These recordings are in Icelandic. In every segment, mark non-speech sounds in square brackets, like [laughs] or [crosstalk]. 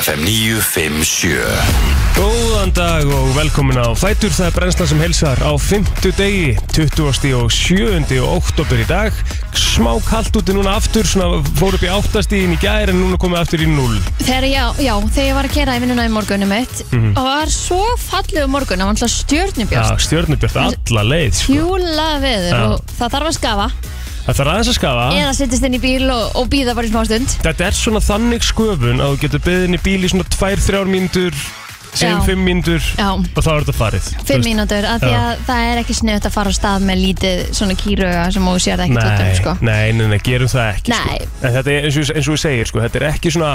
FM 957 Góðan dag og velkomin á Fætur, það er brennslan sem helsar á 50 degi, 20. og 7. og oktober í dag smá kallt úti núna aftur, svona fór upp í áttastíðin í gær en núna komið aftur í 0 Þegar, já, já, þegar ég var að kera í vinnuna í morgunum mitt og var svo fallegu morgun það var alltaf Mhm. Já, stjörnubjörn stjörnubjörn alla leið sko. hjúla veður Já. og það þarf að skafa Það þarf aðeins að skafa eða sittist inn í bíl og, og býða bara í smá stund Þetta er svona þannig sköfun að þú getur beðið inn í bíl í svona 2-3 mínútur Já. segjum 5 mínútur Já. og þá er þetta farið Þú fimm veist, mínútur, af því já. að það er ekki snöðt að fara á stað með lítið svona kýröga sem þú sér ekkert út um Nei, sko. nei, nei, nei, gerum það ekki Nei. sko. En þetta er eins og, eins og við segir sko, Þetta er ekki svona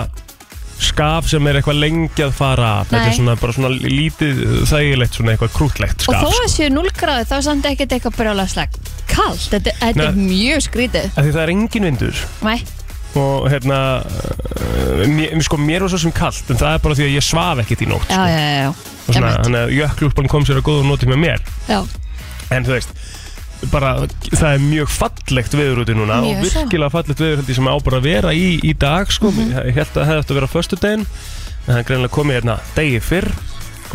skaf sem er eitthvað lengi að fara af Þetta Nei. er svona, bara svona lítið þægilegt Svona eitthvað krútlegt og skaf þó að sko. séu 0 gráðu þá er samt ekkert eitthvað brjólaðslag kallt, þetta, þetta er Nei. mjög skrítið Af Því það er engin vindur Nei, Og hérna uh, mér, sko, mér var svo sem kalt En það er bara því að ég svaf ekkert í nótt sko. já, já, já, já. Og svona, einmitt. Þannig að jökkulpan kom sér að góða og notið með mér já. En þú veist bara, það er mjög fallegt veður úti núna Mjög og svo. virkilega fallegt veður held ég sem á bara að vera í, í dag sko, Mhm. ég held að það hefði átt að vera á föstudegin en það er greinlega komið hérna degi fyrr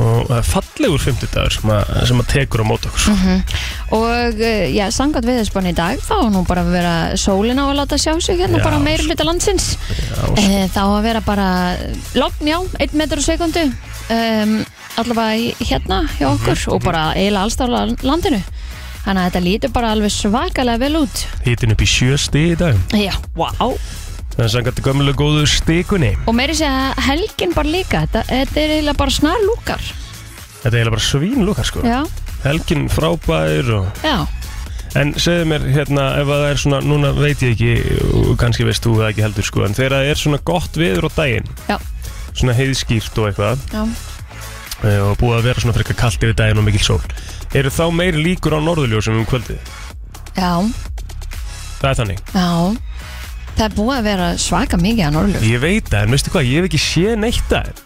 og það er fallegur fymtudagur sem, að- sem að tekur á mót okkur sko. Mhm. Og eh, já, sangat viðspán í dag þá er nú bara að vera sólin á að láta sjá sig hérna Já, bara meir hluta landsins Já, sko. Eh, Þá að vera bara lofn, já, 1 metr og sekundu um, allavega í- hérna hjá Mhm. okkur og bara eiginlega allstála landinu Þannig að þetta lítur bara alveg svakalega vel út Hítin upp í sjö stið í dag Já, wow það er sangat gömlega góðu stikunni Og meiri sé að segja helgin bara líka Þetta, þetta er eiginlega bara snar lúkar þetta er eiginlega bara svínlokar sko Já, helgin frábær og já, En segðu mér hérna ef að það er svona, núna veit ég ekki og kannski veist þú það ekki heldur sko en þegar það er svona gott viður á daginn Já. svona heiðskýrt og eitthvað já eh, og búið að vera svona frekar kallt yfir daginn og mikil sól eru þá meiri líkur á norðurljósum um kvöldið? Já, Það er þannig já Það er búið að vera svaka mikið að norðljóð Ég veit það, en veistu hvað, ég hef ekki séð neitt það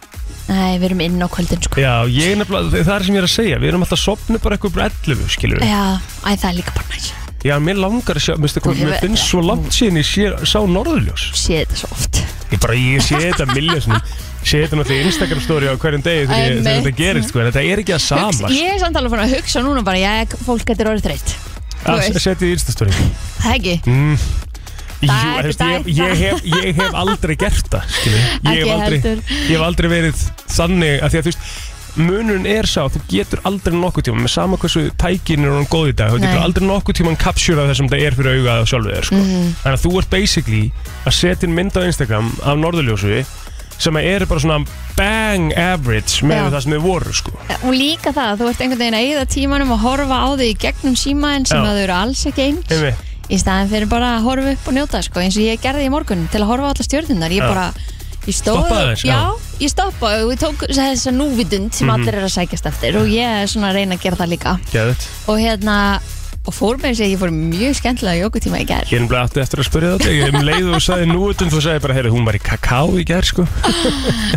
Nei, við erum inn á kvöldin sko Já, ég er nefnilega, það er sem ég er að segja við erum alltaf sopnu bara eitthvað brellufu, skilur við Já, æ, það er líka bara næst Já, mér langar að sjá, veistu hvað, Þú mér hefur- finnst svo langt síðan ég sé, sá norðurljós Séð þetta svo oft Ég bara, ég sé þetta miljósnum Sé þetta náttúrulega í Instagram story á hverjum degi þegar, ég- þegar Einmitt. þetta gerist, sko, en þetta er ekki að Hugsa- sama Ég er samt alveg fann að hugsa núna bara Ég, fólk getur orðið þreytt þú að veist. setja í Insta story Það ekki? mm. Jú, Dag eftir hefst, ég, dag. ég, hef, ég hef aldrei gert það skilur. ég hef Ekki aldrei, heldur. ég hef aldrei verið þannig að því að þú veist munurinn er sá, þú getur aldrei nokkuð tíma með sama hversu tækin er hann góð í dag þú getur Nei. aldrei nokkuð tíma hann kapsjúra það sem það er fyrir augað og sjálfu þér sko. Mhm. þannig að þú ert basically að setja inn mynd á Instagram af norðurljósu sem að eru bara svona bang average með Já. það sem þið voru sko. Og líka það að þú ert einhvern veginn að eyða tímanum og horfa á þig í gegnum símaðin sem Já. að þau eru alls ekki eins Einmitt. í staðin fyrir bara að horfa upp og njóta sko, eins og ég gerði í morgun til að horfa á alla stjörnunar ég Já. bara, ég stóð Stoppaði aðeins, já. Mhm. já, ég stoppaði og ég tók þessa núvitund sem allir eru að sækjast eftir og ég er svona að reyna að gera það líka Geðveikt. og hérna, og fór með þess að ég fór í mjög skemmtilega jókutíma í ger Ég er nefnilega aftur eftir að spyrja þetta Ég um leið og sagði nú utan þú sagði bara heyrðu, hún var í kakao í gær sko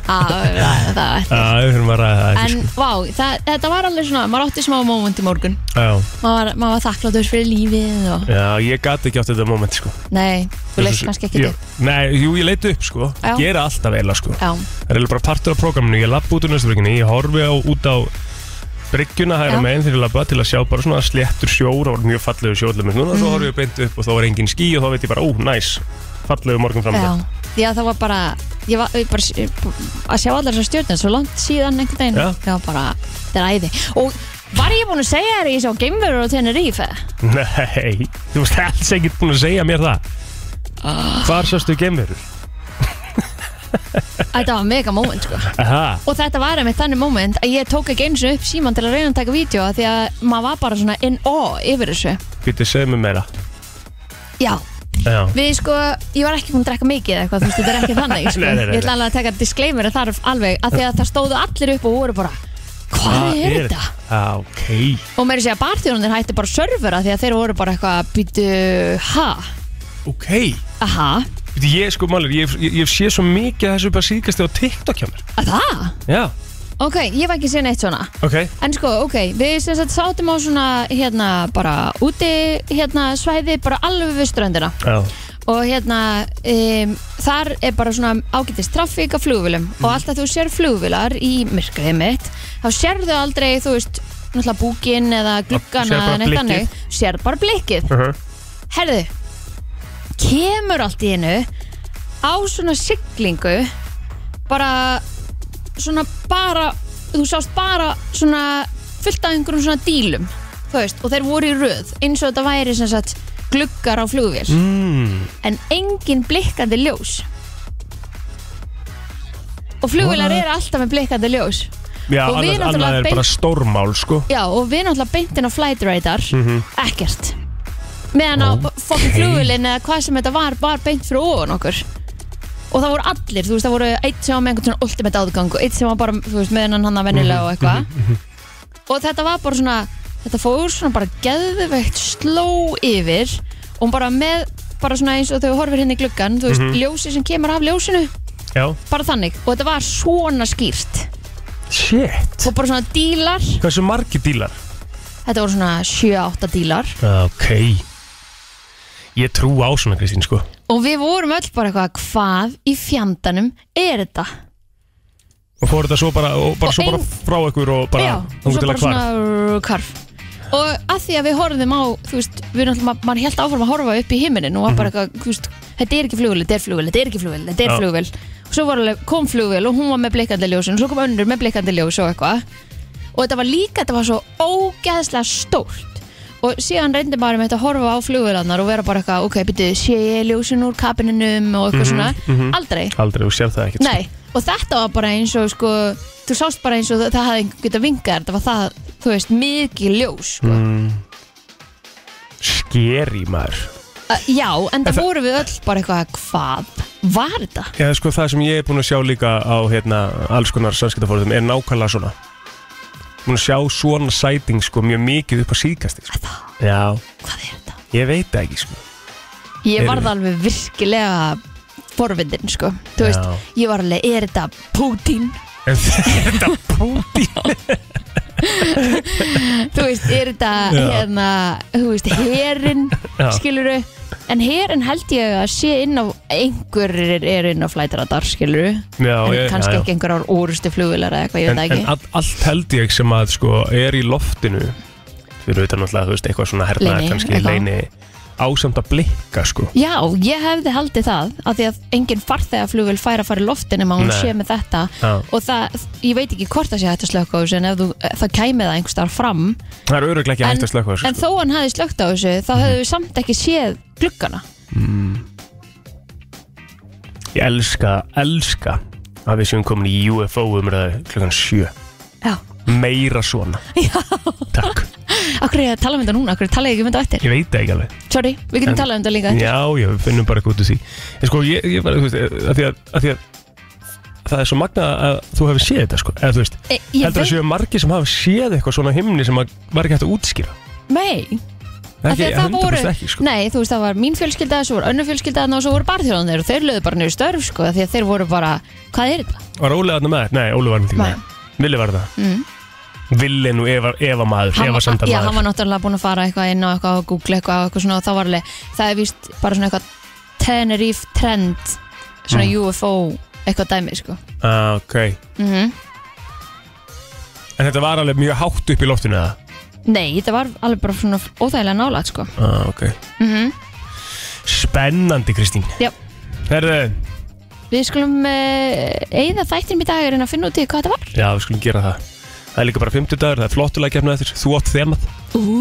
Ah, það var Já, við höfum að ræða það ekki En vá, það, þetta var alveg svona, maður átti smá moment í morgun sko Já, Maður var, maður var þakkláttur fyrir lífið og já ég gati ekki átt þetta moment sko Nei, þú leist Þessu- kannski ekki Já. upp Nei, jú, ég leiti upp sko Já. Gera alltaf eila sko Já, Það er eiginlega bara partur af prógraminu Ég lappa út úr næsturbyrginni Ég horfi á, út á bryggjuna hægra Já. meginn þegar ég lappa til að sjá bara svona sléttur sjór og mjög fallegu sjóðlum núna Mm. svo horfi ég beint upp og þá er engin ský og þá veit ég bara ó, næs, fallegu morgun fram já Já, það var bara, ég var ég bara að sjá allar þessar stjórnir svo langt síðan einhvern veginn Já. Það var bara, þetta er æði Og var ég búin að segja þér að ég sá geimverur á Tenerife? [laughs] Nei, þú veist alls ekkert búin að segja mér það Ah. Hvar sástu gemverur? Þetta var mega moment sko Aha, Og þetta var einmitt þannig moment að ég tók ekki eins og upp síman til að reyna að taka vídeo Því að maður var bara svona in awe yfir þessu býttu segðu mér meira Já, Já, Við sko, ég var ekki búin að drekka mikið eða eitthvað, þú veist, þetta [laughs] er ekki þannig sko. Nei, nei, nei. Ég ætla alveg að taka disclaimer þar alveg að því að það stóðu allir upp og voru bara Hvað er þetta? Já, ok Og meiri segja barþjónunir hættu bara servera því að þeir voru bara eitthvað að býtu ha, Ok, aha, býttu ég sko málir Ég ég- ég hef séð svo mikið að þessu bara síðkast á TikTok hjá mér að það? Já, Ok, ég var ekki sér neitt svona ok En sko, ok, við sem sagt sátum á svona hérna bara úti hérna svæði bara alveg við ströndina Já, og hérna um, þar er bara svona ágætist trafík af flugvilum Mm. og alltaf þú sér flugvilar í myrkriðið mitt þá sérðu aldrei, þú veist náttúrulega búkin eða Sérð gluggana bara eða neitt blikkið. annað, sérðu bara blikkið Uh -huh. herðu kemur allt í einu á svona siglingu bara svona bara þú sást bara svona fullt af einhverjum svona dílum þú veist, og þeir voru í röð eins og þetta væri sem sagt gluggar á flugvél mm. en engin blikkandi ljós og flugvélar What? eru alltaf með blikkandi ljós Já, Og við annað, náttúrulega annað er beint- bara stórmál sko já og við náttúrulega beintin á flight radar ekkert meðan á fokkin flugvélin eða hvað sem þetta var var beint fyrir ofan okkur og það voru allir, þú veist, það voru eitt sem var með einhvern svona ultimate áðgang og eitt sem var bara, þú veist, með hennan hann að venjulega og eitthvað og þetta var bara svona þetta fór svona bara geðveikt sló yfir og bara með, bara svona eins og þau horfir hérna í gluggan, þú veist, mm ljósið sem kemur af ljósinu Já, bara þannig, og þetta var svona skýrt shit og bara svona dílar, Hversu margir dílar? þetta voru svona 7-8 dílar Ok Ég trú á svona Kristín sko og við vorum öll bara eitthvað hvað í fjandanum er þetta Og fór þetta svo bara, og bara, Og svo bara ein- frá ykkur og bara já, og þangað svo til að bara hvarf. svona rrr, hvarf og að því að við horfðum á þú veist, við náttúrulega, ma- maður held áfram að horfa upp í himinin og var bara eitthvað, þú veist þetta er ekki flugvél, þetta er flugvél, þetta er ekki flugvél, þetta er Mhm. Já. flugvél og svo var alveg, kom flugvél og hún var með blikkandi ljósin og svo kom önnur með blikkandi ljós og eitthvað og þetta var líka, þetta var svo ógeðslega stórt og síðan reyndi maður með þetta að horfa á flugvélarnar og vera bara eitthvað, ok, byrju, sé ég ljósin úr kabininum Mhm, og eitthvað svona aldrei, Aldrei, þú sér það ekkert sko. Nei, og þetta var bara eins og sko, þú sást bara eins og það, það hafði getað vingað, þetta var það, þú veist, mikið ljós sko. Mm. Skeri maður Uh, já, en það það- voru við öll bara eitthvað, hvað var þetta? Já, sko, það sem ég er búin að sjá líka á hérna, alls konar samskiptaforðum er nákvæmlega svona Búin að sjá svona sæting sko, mjög mikið upp á síðkasti sko. Það, Já, hvað er þetta? ég veit það ekki sko. Ég Erum varð við- alveg virkilega forvindin, sko, þú veist, Já. ég var alveg, er þetta Putin? En þetta púti Þú veist, er þetta, Já. hérna, þú veist, herin, [laughs] Já. skiluru? En herin held ég að sé inn á, einhverjir eru inn á flætaradar, skiluru? Já, en ég, kannski já, já. ekki einhverjar orustu flugvilar eða eitthvað, ég En, veit en það ekki all, allt held ég sem að sko, er í loftinu Fyrir auðvitað náttúrulega, þú veist, eitthvað svona hernaðar Leyni, kannski eitthvað. leini ásamt að blikka sko. Já, ég hefði haldið það af því að enginn farþega flugvil fær að fara í loftin ef hún Nei. sé með þetta Já. og það, ég veit ekki hvort það sé hægt að slökka á þessu en ef þú, eh, það kæmi það einhvers þar fram Það er öruglega ekki En- hægt að slökka þessu en þó hann hefði slökkt á þessu þá Mhm. hefðu við samt ekki séð gluggana Ég elska, elska að við séum komin í UFO umræðu klukkan sjö Já, Meira [laughs] svona Takk, akkur er ég að tala um þetta núna, akkur er tala ég ekki um þetta á eftir ég veit það ekki alveg Sorry, við En- getum talað um þetta líka á eftir. Já, já, við finnum bara eitthvað út úr því En sko, ég, ég bara, þú veist, að því að, að því að það er svo magna að þú hefur séð þetta sko eða þú veist, e, Ég heldur að veit, séu margir sem hafa séð eitthvað svona á himni sem að var ekki hægt að útskýra nei Af því ekki, að 100% það voru- ekki sko Nei, þú veist, það var mín fjölskylda, svo voru önnu fjölskylda og svo voru barþjóðanir og þeir löðu bara niður störf sko, af því að þeir voru bara, hvað er þetta? Var Óli aðna með þér? Nei, Óli var með Nei. þér Vili var það Mm. Vili nú Eva, Eva maður, Hann Eva var- sandar Já, hann var maður náttúrulega búinn að fara eitthvað inn á eitthvað og googla eitthvað og eitthvað svona og það var alveg, það er víst bara svona eitthvað Tenerife trend svona UFO eitthvað dæmi sko ah, okay. mm En þetta var alveg mjög hátt upp í loftinu eða? Nei, þetta var alveg bara svona óþægilega nálægt sko Ah, ok mm Spennandi Kristín Já. Herðu, Við skulum uh, eigða þættinum í dag er en að finna út í hvað þetta var já við skulum gera það Það er líka bara 50 dagur, það er flottulega kemna eftir Þú átt þemað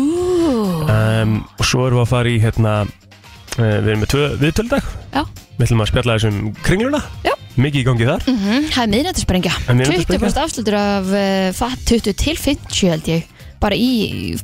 Ú, um, Og svo erum við að fara í hérna uh, Við erum með tvö viðtöldag Já. Við ætlum að spjalla þessum kringluna Já. Mikið í gangi þar mm það er miðnættisprengja er miðnættisprengja. 20% afslutur af uh, fatt 20 til 50 held ég bara í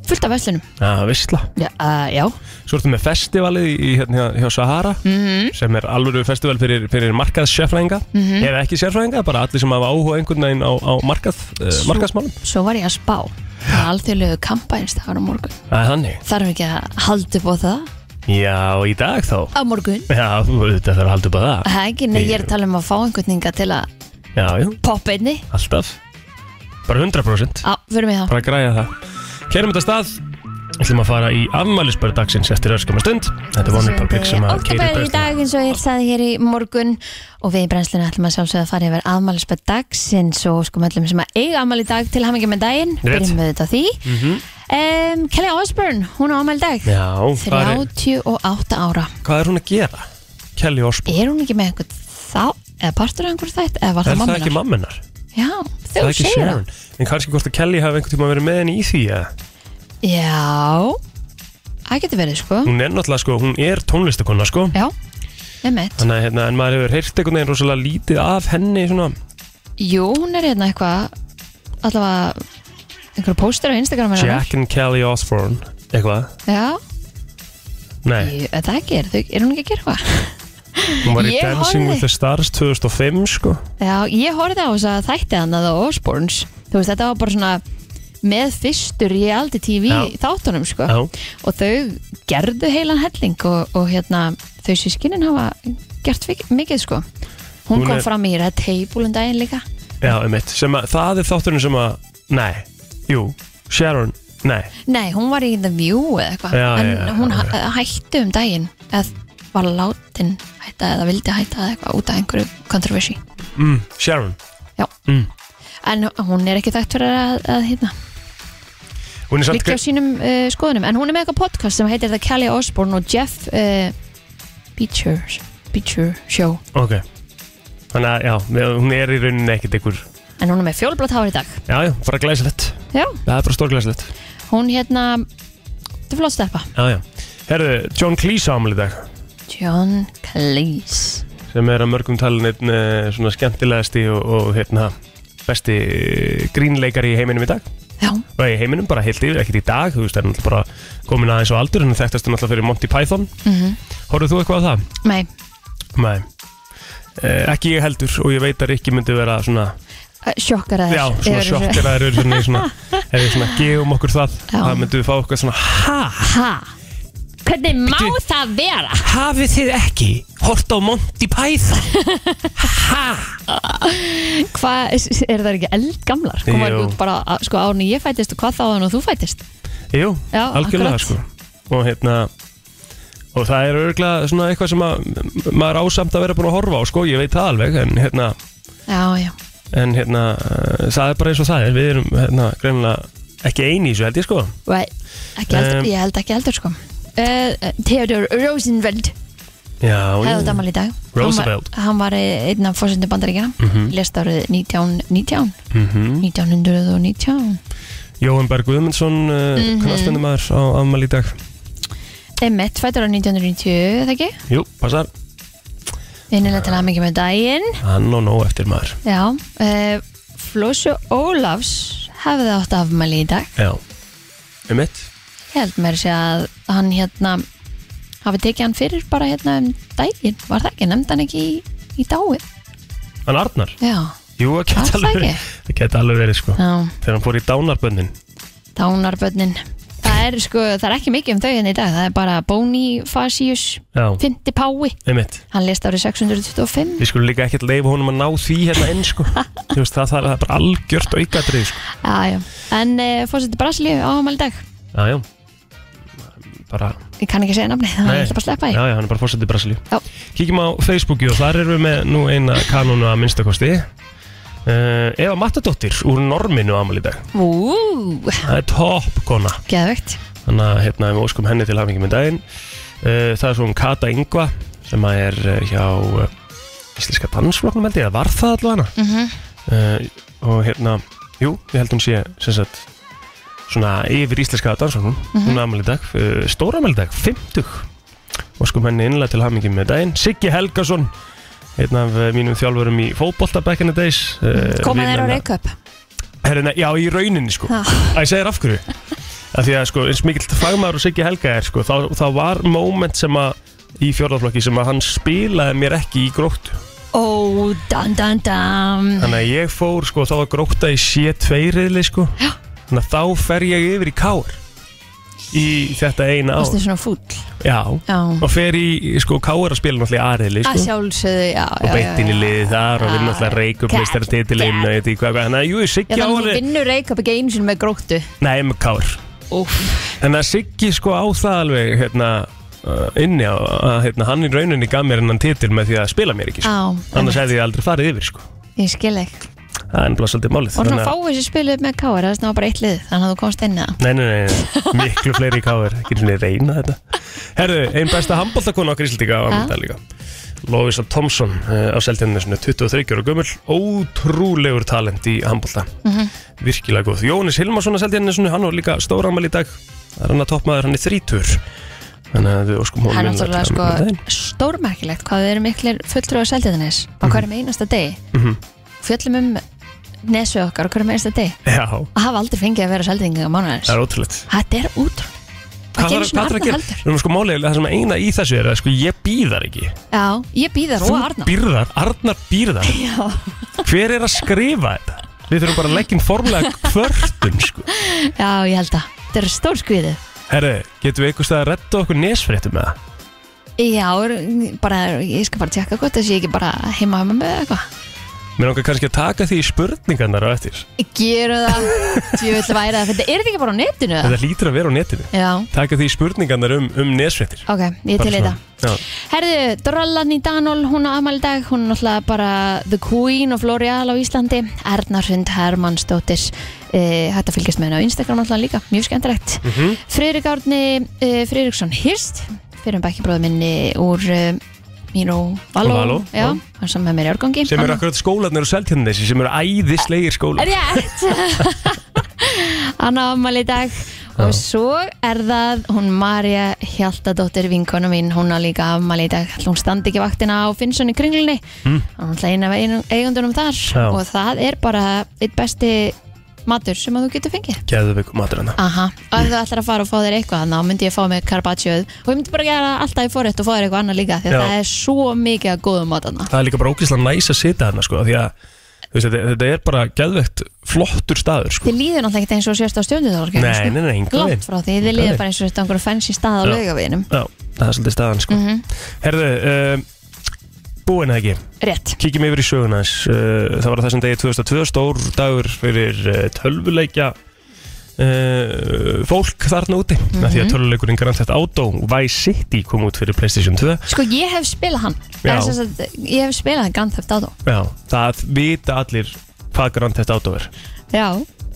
fullt af veslunum Já, veistla Já, uh, já. Svo ertu með festivalið í, hérna, hjá Sahara Mm sem er alvöru festival fyrir, fyrir markaðssérfræðinga Mhm. eða ekki sérfræðinga, bara allir sem hafa áhuga einhvern veginn á, á markað, uh, Svo- markaðsmálum Svo var ég að spá Það er alþjóðlegu kampænstagar á morgun Það er þannig Þarf ekki að halda upp á það Já, í dag þá Á morgun Já, þú auðvitað þarf að halda upp á [laughs] það Það er ekki, nei, ég er að tala um að fá einhvern hinga til að Já, jú, poppa einni alltaf Bara 100% Á, fyrir mig þá Bara að græja það Kerum þetta af stað ætlum að fara í afmælisbörð dagsins eftir öskum að stund Þetta er One Republic sem að keyrir Oktober í brennsluna. dag eins og ég saði hér í morgun og við í brennsluna ætlum að sjálfsögða að fara yfir afmælisbæð dagsins og sko öllum sem að eiga afmæli í dag til hamingja með daginn Rétt. Mhm. byrjum við þetta á því mm Kelly Osbourne, hún á afmæli í dag Já, hvað er, 38 ára hvað er hún að gera? Kelly Osbourne er hún ekki með einhvern þá eða partur af einhver þætt eða var Er það það ekki mamma mamminar? Já, Það þú er ekki segir það Sharon En kannski hvort að Kelly hafi einhvern tíma verið með henni í því eða? Já, það getur verið sko Hún er náttúrulega sko, hún er tónlistakonna sko Já, emitt Þannig að hérna, en maður hefur heyrt einhvern veginn rosalega lítið af henni svona Jú, hún er hérna eitthvað allavega einhverju póstur á Instagram hennar. Jack and Kelly Osbourne Eitthvað, Já, nei ég, það ekki, er, þau- er hún ekki að gera eitthvað? Hún var í Ég Dancing horfði- with the Stars 2005 sko Já, ég horfði á þess að þætti hann að það Osborns, þú veist, þetta var bara svona með fyrstur í aldi TV Já. þáttunum, sko, Já, og þau gerðu heilan helling og, og hérna þau sískinin hafa gert fik- mikið, sko. Hún, Hún kom er- fram í Red Table um daginn líka. já, einmitt sem að, Það er þátturinn sem að, nei Jú, Sharon, nei Nei, hún var í The View eða eitthvað Já, en já, já, hún já. hæ- hætti um daginn eða var látin hætta eða vildi hætta eða eitthvað út af einhverju controversy mm, Sharon Já. Mm. En hún er ekki þekkt fyrir að, að hérna, Hún er samt líka á sínum uh, skoðunum en hún er með eitthvað podcast sem heitir The Kelly Osbourne og Jeff uh, Beecher, Beecher Show Ok Þannig að, já, hún er í rauninni ekkert ykkur en hún er með fjólblátt hár í dag Já, já, bara glæsilegt Já, Það er bara stórglæsilegt hún hérna þetta er flott steppa Já, já Herðu, John Cleese ámæli í dag John Cleese sem er að mörgum talin einn eh, svona skemmtilegasti og, og hérna, besti eh, grínleikari í heiminum í dag Já, og í heiminum bara heilt yfir, ekkert í dag þú veist, það er náttúrulega bara komin aðeins á aldur en þekktast er náttúrulega fyrir Monty Python mm Horfðu þú eitthvað á það? nei Nei Eh, ekki ég heldur og ég veit að Rikki myndi vera svona, eh, sjokkar að já, svona sjokkir að eru svona, svona, [laughs] ef við svona gefum okkur það Já. það myndum við fá okkur svona ha, Ha? Hvernig má Bíddu. það vera? hafið þið ekki hort á Monty [laughs] Python Hvað, er það ekki eldgamlar? Komar Jú. ekki út bara að- sko, árni ég fættist og hvað þá árni þú fættist? Jú, Já, algjörlega akkurat. sko og hérna og það er örgulega svona eitthvað sem að, maður ásamt að vera búin að horfa á sko, ég veit það alveg en hérna, Já, já. en, hérna eh, það er bara eins og það er, við erum hérna, greinlega ekki eini í þessu held ég sko Right. Ekki heldur, Um. ég held ekki heldur sko. Uh, Theodore Roosevelt Já, hefði já. damal í dag. Roosevelt. Hann var, hann var eh, einn af fórsöndu bandaríkina. Mhm. Lest árið 1919. Mhm. 1919. Jóhann Berg Guðmundsson uh, mm Mhm. knastendumar á afmæli í dag Emmett fættur á 1990, er það ekki? Jú, passar, Innilega til aðmengi með daginn. hann og nóg eftir maður Já. Uh, Flósu Ólafs hefði átt afmæli í dag. Já, um mitt Ég held mér sé að hann hérna hafi tekið hann fyrir bara hérna um daginn, var það ekki, nefndi hann ekki í, í dáið. Hann Arnar, Já, jú, það var geta það alveg ekki? verið það geta alveg verið sko, Já, þegar hann fór í dánarbönnin dánarbönnin. Það er sko, það er ekki mikið um þau hérna í dag, það er bara Bonifacius, Já, Fyndi Pái, um mitt hann lést árið 625. Við skulum líka ekkert leifa honum að ná því hérna inn [laughs] sko. Þú veist, það, það, það er bara algjört aukadrið sko. Já, já, en uh, fórsetið Brasilíu á ámæli dag, Já, já bara, ég kann ekki segja nafni, þannig að Nei. ég ætla bara að sleppa já, því. já, hann er bara fórsetið Brasilíu Já. Kíkjum á Facebooki og þar erum við með nú eina kanónu að minnstakosti uh, Eva Mattadóttir úr Norminu ámali dag Ú, Það er topp kona geðvegt. Þannig að hérna við óskum henni til hafingi með daginn uh, Það er svona Kata Ingva sem að er eh, hjá uh, Íslenska dansflokknum held ég, eða var það allavega hana Mm uh, og hérna, jú, ég held hún sé sem sagt svona yfir íslenska dansanum, Mhm. hún aðmæli dag uh, stóra aðmæli dag, 50 og sko henni innlega til hamingi með daginn Siggi Helgason, einn af eh, mínum þjálfurum í fótbolta back in the days uh, Koma þeir á Reykjavík? Herina, já, í rauninni sko Já. að ég segir af hverju að því að sko, eins mikill fagmaður og Siggi Helga er sko, þá, þá var moment sem að í fjórðarflokki sem að hann spilaði mér ekki í gróttu Ó, dan, dan, dan. Þannig að ég fór sko, þá var gróta í C2 riðli sko Já. Þannig að þá fer ég yfir í Kár Í þetta eina ár Vastu svona fúll? Já Já. Og fer í sko Kár að spila náttúrulega í A-riðli að sko sjálfsögðu, já, já, Og beint inn í já, já. liðið þar og við Já, náttúrulega reykum meistara titilinn og ég veit ekki hvað hvað Þannig að jú, Já, Siggi þannig að þú áli vinnur Reykjavík einu sinni með gróttu Nei, með Kár Úf, En að Siggi sko á það alveg hérna, uh, inni á að hérna, hann í rauninni gaf mér hennan titil með því að spila mér ekki sko. á, annars hefði ég aldrei farið yfir sko. ég skil ekki það er ennblá svolítið málið Og svona Þannig að- fáið sér spiluð með káar, það var bara eitt lið Þannig að þú komst inn í það Nei, nei, nei, nei, miklu fleiri í káður ekki svona reyna þetta Herðu, einn besta handbóltakonu á Grísildíka var Ha? með það líka Lovisa Thompson uh, á Seltjarnasinu 23 ára gömul, ótrúlegur talent í handbólta, Mhm. virkilega góð Jónis Hilmarsson á Seltjarnasinu, hann var líka stóramal í dag, það er hann að toppmaður hann er þrítur Þannig að við óskum honum Það er innilega náttúrulega til sko hamingju með daginn. stórmerkilegt hvað við erum miklir fulltrú á seldiðinnes á hverjum einasta degi Mhm. fjöllum um nesu okkar á hverjum einasta degi Já, að hafa aldrei fengið að vera seldiðingar á mánuðins það er ótrúlegt Þetta er útrú Hvað gerir þarf- svona hvað þarf að Arnar gera? heldur? Við erum sko málega, það sem eina í þessu er að sko ég býðar ekki Já, ég býðar og Þú Arnar býrðar, Arnar býrðar Já, Hver er að skrifa þetta? Við þurfum bara að leggja inn formlega kvörtun sko. já, ég held að Þetta er stór skviðið Herri, getum við einhvers stað að redda okkur nesfréttum með það? Já, er- bara, ég skal bara tjekka hvort þess ég ekki bara heima heima með eitthvað Mér langar kannski að taka því í spurningarnar á eftir Gjöru [laughs] það, ég vil væri það Þetta er þetta ekki bara á netinu eða? Þetta lítur að vera á netinu Já, Taka því í spurningarnar um, um nesfréttir ok, ég til í þetta Herðu, Drollarni Danól, hún á afmæli í dag, hún er náttúrulega bara The Queen of L'Oreal á Íslandi, Erna Sund Hermannsdóttir, e, hægt að fylgjast með henni á Instagram náttúrulega líka, mjög skemmtilegt. Mm Mhm. -hmm. Friðrik Árni e, Friðriksson Hirst, fyrir um bækibróðu minni úr e, Míró Való, Való, já, já. hann sem er með mér í árgangi. Sem eru akkurat skólanir og seltjarnesi sem eru æðislegir skólar Rétt [laughs] Hann á afmæli í dag Og svo er það hún Marja Hjaltadóttir vinkonu mín Hún á líka afmæli í dag Ætli Hún standi ekki vaktina á Finnsson í kringlunni mm. Hún ætla eina af einu- eigundunum þar Hmm. Já. Og það er bara eitt besti matur sem að þú getur fengið Gæðu við matur hana Aha, og ef þú ætlar að fara og fá þér eitthvað þá myndi ég fá mig carpaccioð og ég myndi bara gera alltaf í forrétt og fá þér eitthvað annað líka því að Já. það er svo mikið að góðum matana Það er líka bara ógislega næs að sita hana sko, af Því að þú veist, þetta, þetta er bara gæðvegt flottur staður sko. Þið líður náttúrulega ekkert eins og sérst á sko. stjórnudalorginu Nei, nei, nei, enga langt veginn. frá því, þið Engan líður veginn. bara eins og þetta einhverju fenns í stað á Já. laugaveginum Mhm, Já, það er svolítið staðan sko. Herðu, uh, búin eða ekki rétt, Kíkjum yfir í söguna aðeins. Uh, Það var á þessum degi 2002 stór dagur fyrir uh, tölvuleikja uh, fólk þarna úti mm Því að tölvuleikurinn Grand Theft Auto Vice City kom út fyrir Playstation 2 sko ég hef spilað hann Já. Er sem sagt, ég hef spilað hann Grand Theft Auto Já, það vita allir hvað Grand Theft Auto er já,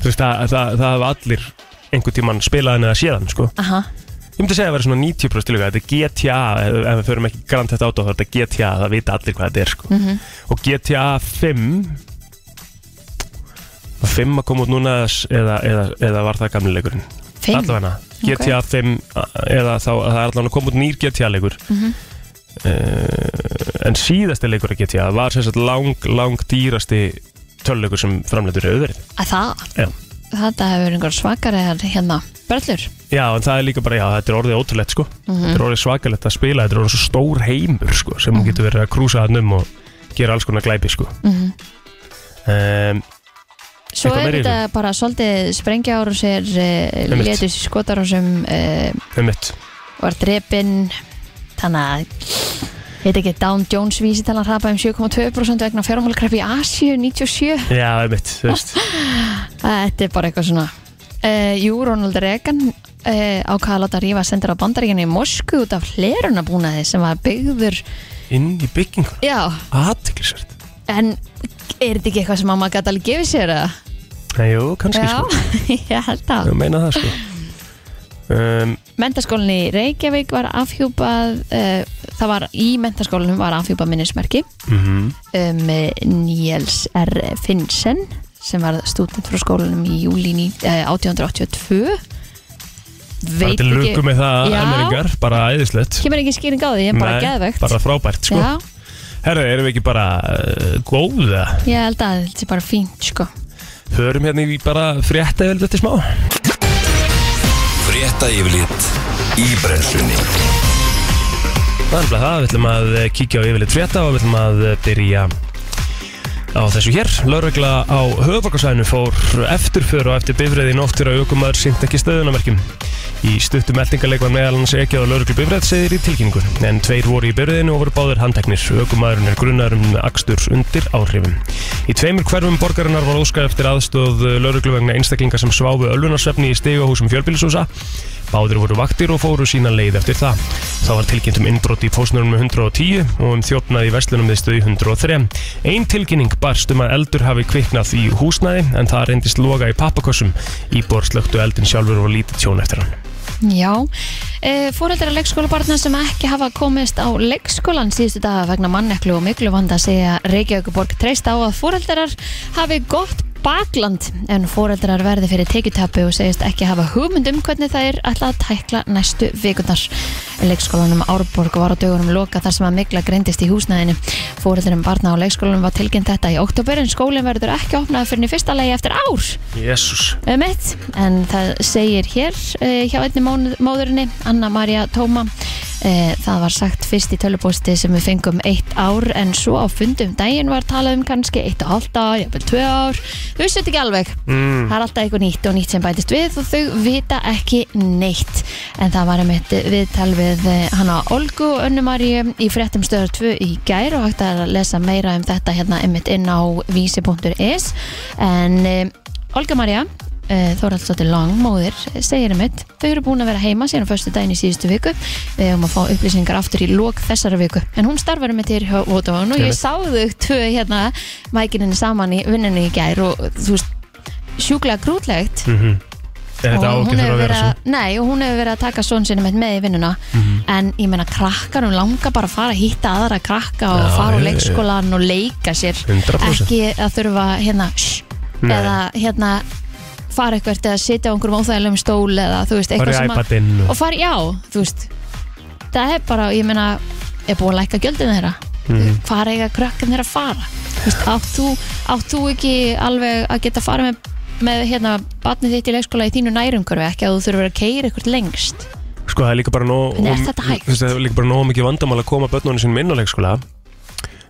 Þú veist, það, það, það hafa allir einhvern tímann spilaðan eða séðan sko. aha, Ég myndi segja að vera svona 90% líka Þetta er GTA, ef ef við förum ekki Grand Theft Auto þá er þetta GTA, það vita allir hvað þetta er sko. Og GTA 5 Var 5 að koma út núna eða, eða, eða, eða var það gamli leikurinn fimm Allavega, GTA 5 a- eða þá, það er allavega að koma út nýr GTA leikur uh, En síðasti leikur að GTA var sem sagt lang, lang dýrasti töluleikur sem framleitur hefur verið að það, Já. þetta hefur einhver svakar eða hérna, börlur Já, en það er líka bara, já, þetta er orðið ótrúlegt, sko Þetta er orðið svakalegt að spila, þetta er orðið svo stór heimur, sko sem hún getur verið að krúsa hann um og gera alls konar glæpi, sko Ehm, mm Mhm. svo Eitthvað er meira í þetta bara svolítið sprengjáru sér uh, Einmitt. létust í skotar og sem uh, um mitt var drepin þannig að Heit ekki Down Jones vísitalan hrapaði um 7,2% vegna fjármálakreppi í Asíu 97 Já, um mitt, þú [laughs] veist Eh, Þetta er bara eitthvað svona uh, Jú, Ronald Reagan uh, ákvaða að láta rífa sendur á bandaríkinu í Mosku út af hlerunabúnaði sem var byggður Inn í bygginguna, Já, aðtiklisvert en er þetta ekki eitthvað sem mamma gæti alveg gefið sér eða? Jú, kannski, Já, sko [laughs] ég held að Ég meina það, sko um, Mentaskólinni í Reykjavík var afhjúpað uh, það var í mentaskólinum var afhjúpað minnismerki mm um eh, Niels R. Finnsen sem var stúdent frá skólanum í júli ní- eh, 1882 Bara til luku með það, Já. emmeringar, bara æðislegt kemur ekki skýring á því, en bara Nei, geðvegt Bara frábært, sko Já, Herra, erum við ekki bara uh, góða? ég held að þetta er bara fínt sko Hörum hérna í bara frétta yfir þetta smá Frétta yfirlit í brennslunni Þannig að það, við ætlum að eh, kíkja á yfirleitt frétta og við ætlum að eh, byrja á þessu hér. Lörgla á höfuborgarsæðinu fór eftirför og eftir bifræði í nóttir að aukumar sínt ekki stöðunamerkjum. Í stuttum eldingarleik var meðal hans ekki á lauruglu bifrætt segir í tilkynningur en tveir voru í byrðinu og voru báðir handteknir aukumæðurinn er grunnar um aksturs undir áhrifum. Í tveimur hverfum borgarinnar var óskað eftir aðstóð lauruglu vegna einstaklinga sem sváfu ölunarsvefni í stigahúsum fjölbílisúsa Báðir voru vaktir og fóru sína leið eftir það. Þá var tilkynnt um innbrot í pósnurum 110 og um þjófnað í verslunum við stöði 103. Ein tilkynning barst um að eldur hafi kviknað í húsnaði en það reyndist loga í pappakossum. Íbor slöktu eldin sjálfur og lítið tjón eftir hann. Já, e, fóreldrar leikskólabarna sem ekki hafa komist á leikskólan síðustu daga vegna manneklu og miklu vanda segja Reykjavíkuborg treyst á að fóreldrar hafi gott bakland en fóreldrar verði fyrir tekjutapu og segist ekki hafa hugmynd um hvernig það er alltaf að tækla næstu vikundar. Leikskólanum Árborg var á dögunum loka þar sem að mikla greindist í húsnæðinu. Fóreldurum barna á leikskólanum var tilkynnt þetta í oktober en skólinn verður ekki opnað fyrir fyrsta legi eftir ár Jésús. um eitt en það segir hér uh, hjá einni mónu- móðurinni Anna-Maria Tóma uh, það var sagt fyrst í tölupósti sem við fengum eitt ár en svo á fundum daginn var talað um kannski eitt og halvt ár, jafnvel tvö ár þau vissu þetta ekki alveg Mm. það er alltaf eitthvað nýtt og nýtt sem bætist við og þau vita ekki neitt en það var um eitt viðtal við eh, hana Olgu og Önnumaríu í fréttum stöðar 2 í gær og hægt er að lesa meira um þetta hérna um inn á vísi.is en eh, Olga eh, Maria Þóraldsdóttir Lang, móðir, segir um eitt þau eru búin að vera heima síðan á föstu daginn í síðustu viku við höfum að fá upplýsingar aftur í lok þessara viku, en hún starfar um eitt hér hjá Vodafone og ég Einmitt. sá þau tvö hérna mækininni saman í vinnunni í gær og þú veist, sjúklega grútlegt Mhm. Er þetta á og ekki hún þurfa hefur að vera verið svo? Mhm. að, nei, og hún hefur verið að taka svona sinni með í vinnuna en ég meina krakkar, hún langar bara að fara að hitta aðra krakka og Já, fara úr já, já. leikskólan og leika sér 100%. ekki að þurfa hérna shh, Nei. eða hérna fara eitthvað eða sitja á einhverjum óþægilegum stól eða þú veist, eitthvað Bara í sem að iPadinn og og... fara, já, þú veist það er bara, ég meina er búið að lækka gjöldin þeirra Mhm. hvað er eiga krakkan þeirra að fara Þú veist, átt þú, átt þú ekki alveg að geta farið með, með hérna, batnið þitt í leikskóla í þínu nærumhverfi ekki að þú þurfur að vera að keira eitthvað lengst Sko það er líka bara nóg... Hvernig er og- þetta hægt? þú veist, Það er líka bara nóg mikið vandamál að koma börnunum sinni minn á leikskóla.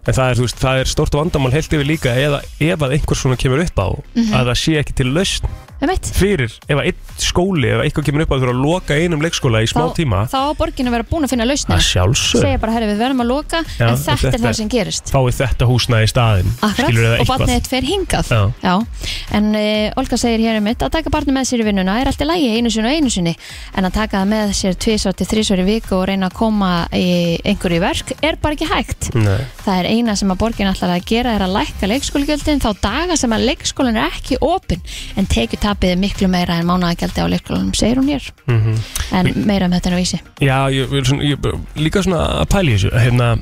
En það er, þú veist, það er stort vandamál heilt yfir líka eða ef að einhver svona kemur upp á Mhm. að það sé ekki til lausn um eitt, fyrir ef að einn skóli ef eitthvað kemur upp að þurfa að loka einum leikskóla í smá tíma þá á borgin að vera búin að finna lausna að sjálfsög segja bara, herri, við verðum að loka Já, en þetta þetta er er- það sem gerist fáið þetta húsnaði í staðin Akkurat, skilur eða og barnið eitthvað þitt fer hingað Já. en uh, Olga segir hér um mitt að taka barnið með sér í vinnuna er allt í lagi einu sinni og einu sinni en að taka það með sér tvisvar til þrísvar í viku og reyna að koma í einhverju í verk er bara ekki hægt Nei. það er eina sem að borgin allar að gera er að lækka leikskólagjöldin þá daga sem að leikskólin er ekki opin en tekið tapið er miklu meira en mánagjaldi á leikskólanum segir hún hér Mhm. en meira um þetta en á vísi já, ég, vil svona, ég líka svona að pæli þessu að hérna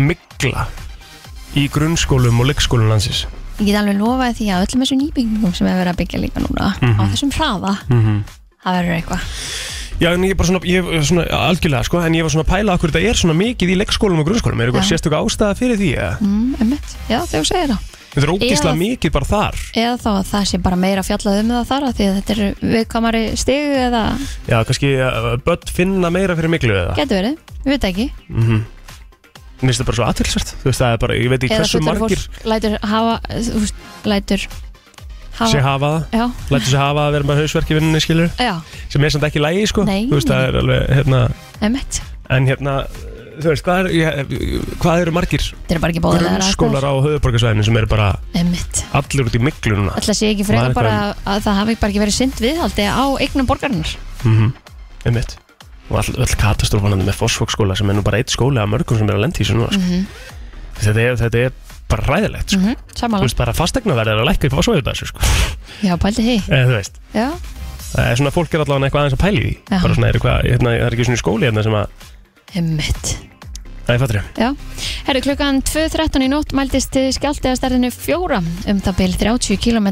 mikla í grunnskólum og leikskólum landsins ég get alveg lofaði því að öllum þessum nýbyggingum sem er verið að byggja líka núna á Mhm. þessum hraða það verður eitthvað já, en ég er bara svona, ég, er svona algjörlega sko, en ég var svona að pæla okkur þetta er svona mikið í leikskólum og grunnskólum er eitthvað Já. sérstök ástæða fyrir því eða? Mm, einmitt. Já, þegar þú segir það. þetta er ógeðslega Eða- mikið bara þar Eða þá að það sé bara meira fjallað um það þar af því að þetta er viðkamari stig eða já, kannski uh, börn finna meira fyrir miklu eða Mhm. getur verið, við veit ekki. Mér finnst það bara svo aðtilsvært Þú veist, það er bara, ég veit ekki Eða hversu fullorðið margir fólk lætur hafa, þú veist, lætur sé hafa, hafa það já, Lætur sér hafa að vera með hausverk í vinninni, skilur já, Sem er samt ekki lægi, sko Nei. Þú veist, það er alveg, hérna einmitt. En hérna, þú veist, hvað, er, ég, hvað eru margir Þetta er bara ekki bóðið að sko. grunnskólar á höfuborgarsvæðinu sem eru bara Einmitt. allir út í miklu núna Ætla sé ekki Það frekar er bara að það hafi bara ekki verið synd viðhaldi á eignum borgarinnar. Mhm, einmitt Og all, all katastrófanandi með fósfóksskóla sem er nú bara eitt skóli af mörgum sem er að lendi í þessu núna, sko Mhm. þetta, er, þetta er bara ræðilegt, sko Mm -hmm. Þú Samanlega. veist, bara fastegnaverðar að lækka í fósfóksvæðinu, [laughs] sko Já, pældi því. Eða, þú veist Já, Það er svona fólk er allavega eitthvað aðeins að pæli því Já. Bara svona er eitthvað, hérna, það er ekki svona í skóli hérna sem að einmitt. Það er fattur Já, herru klukkan 2.13 í nótt mældist skjálti að starðinu fjóra um það byl 30 km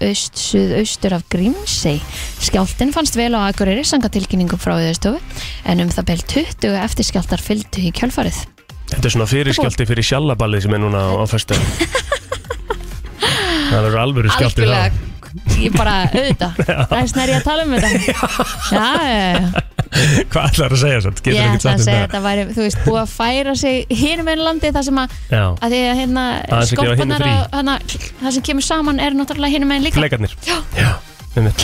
öst, suðaustur af Grímsey skjáltin fannst vel á Akureyri sanga tilkynningum frá Íðurstofu en um það byl 20 eftir skjáltar fylgdu í kjálfarið Þetta er svona fyrirskjálti fyrir sjallaballið sem er núna á, á fyrstu [laughs] Það verður alvöru skjálti þá Algjörlega, ég bara [laughs] auðvita það er snær ég að tala um þetta Já, já, já. Hvað ætlar að segja satt? Getur ég ekki ætla að sagt um segja það þetta væri þú veist, búið að færa sig hinn með landi þar sem að, Já, að því að hérna Aðeins að gefa hinum skorpanar frí. á- hana- það sem kemur saman er náttúrulega hinn með líka fleikarnir Já, um þetta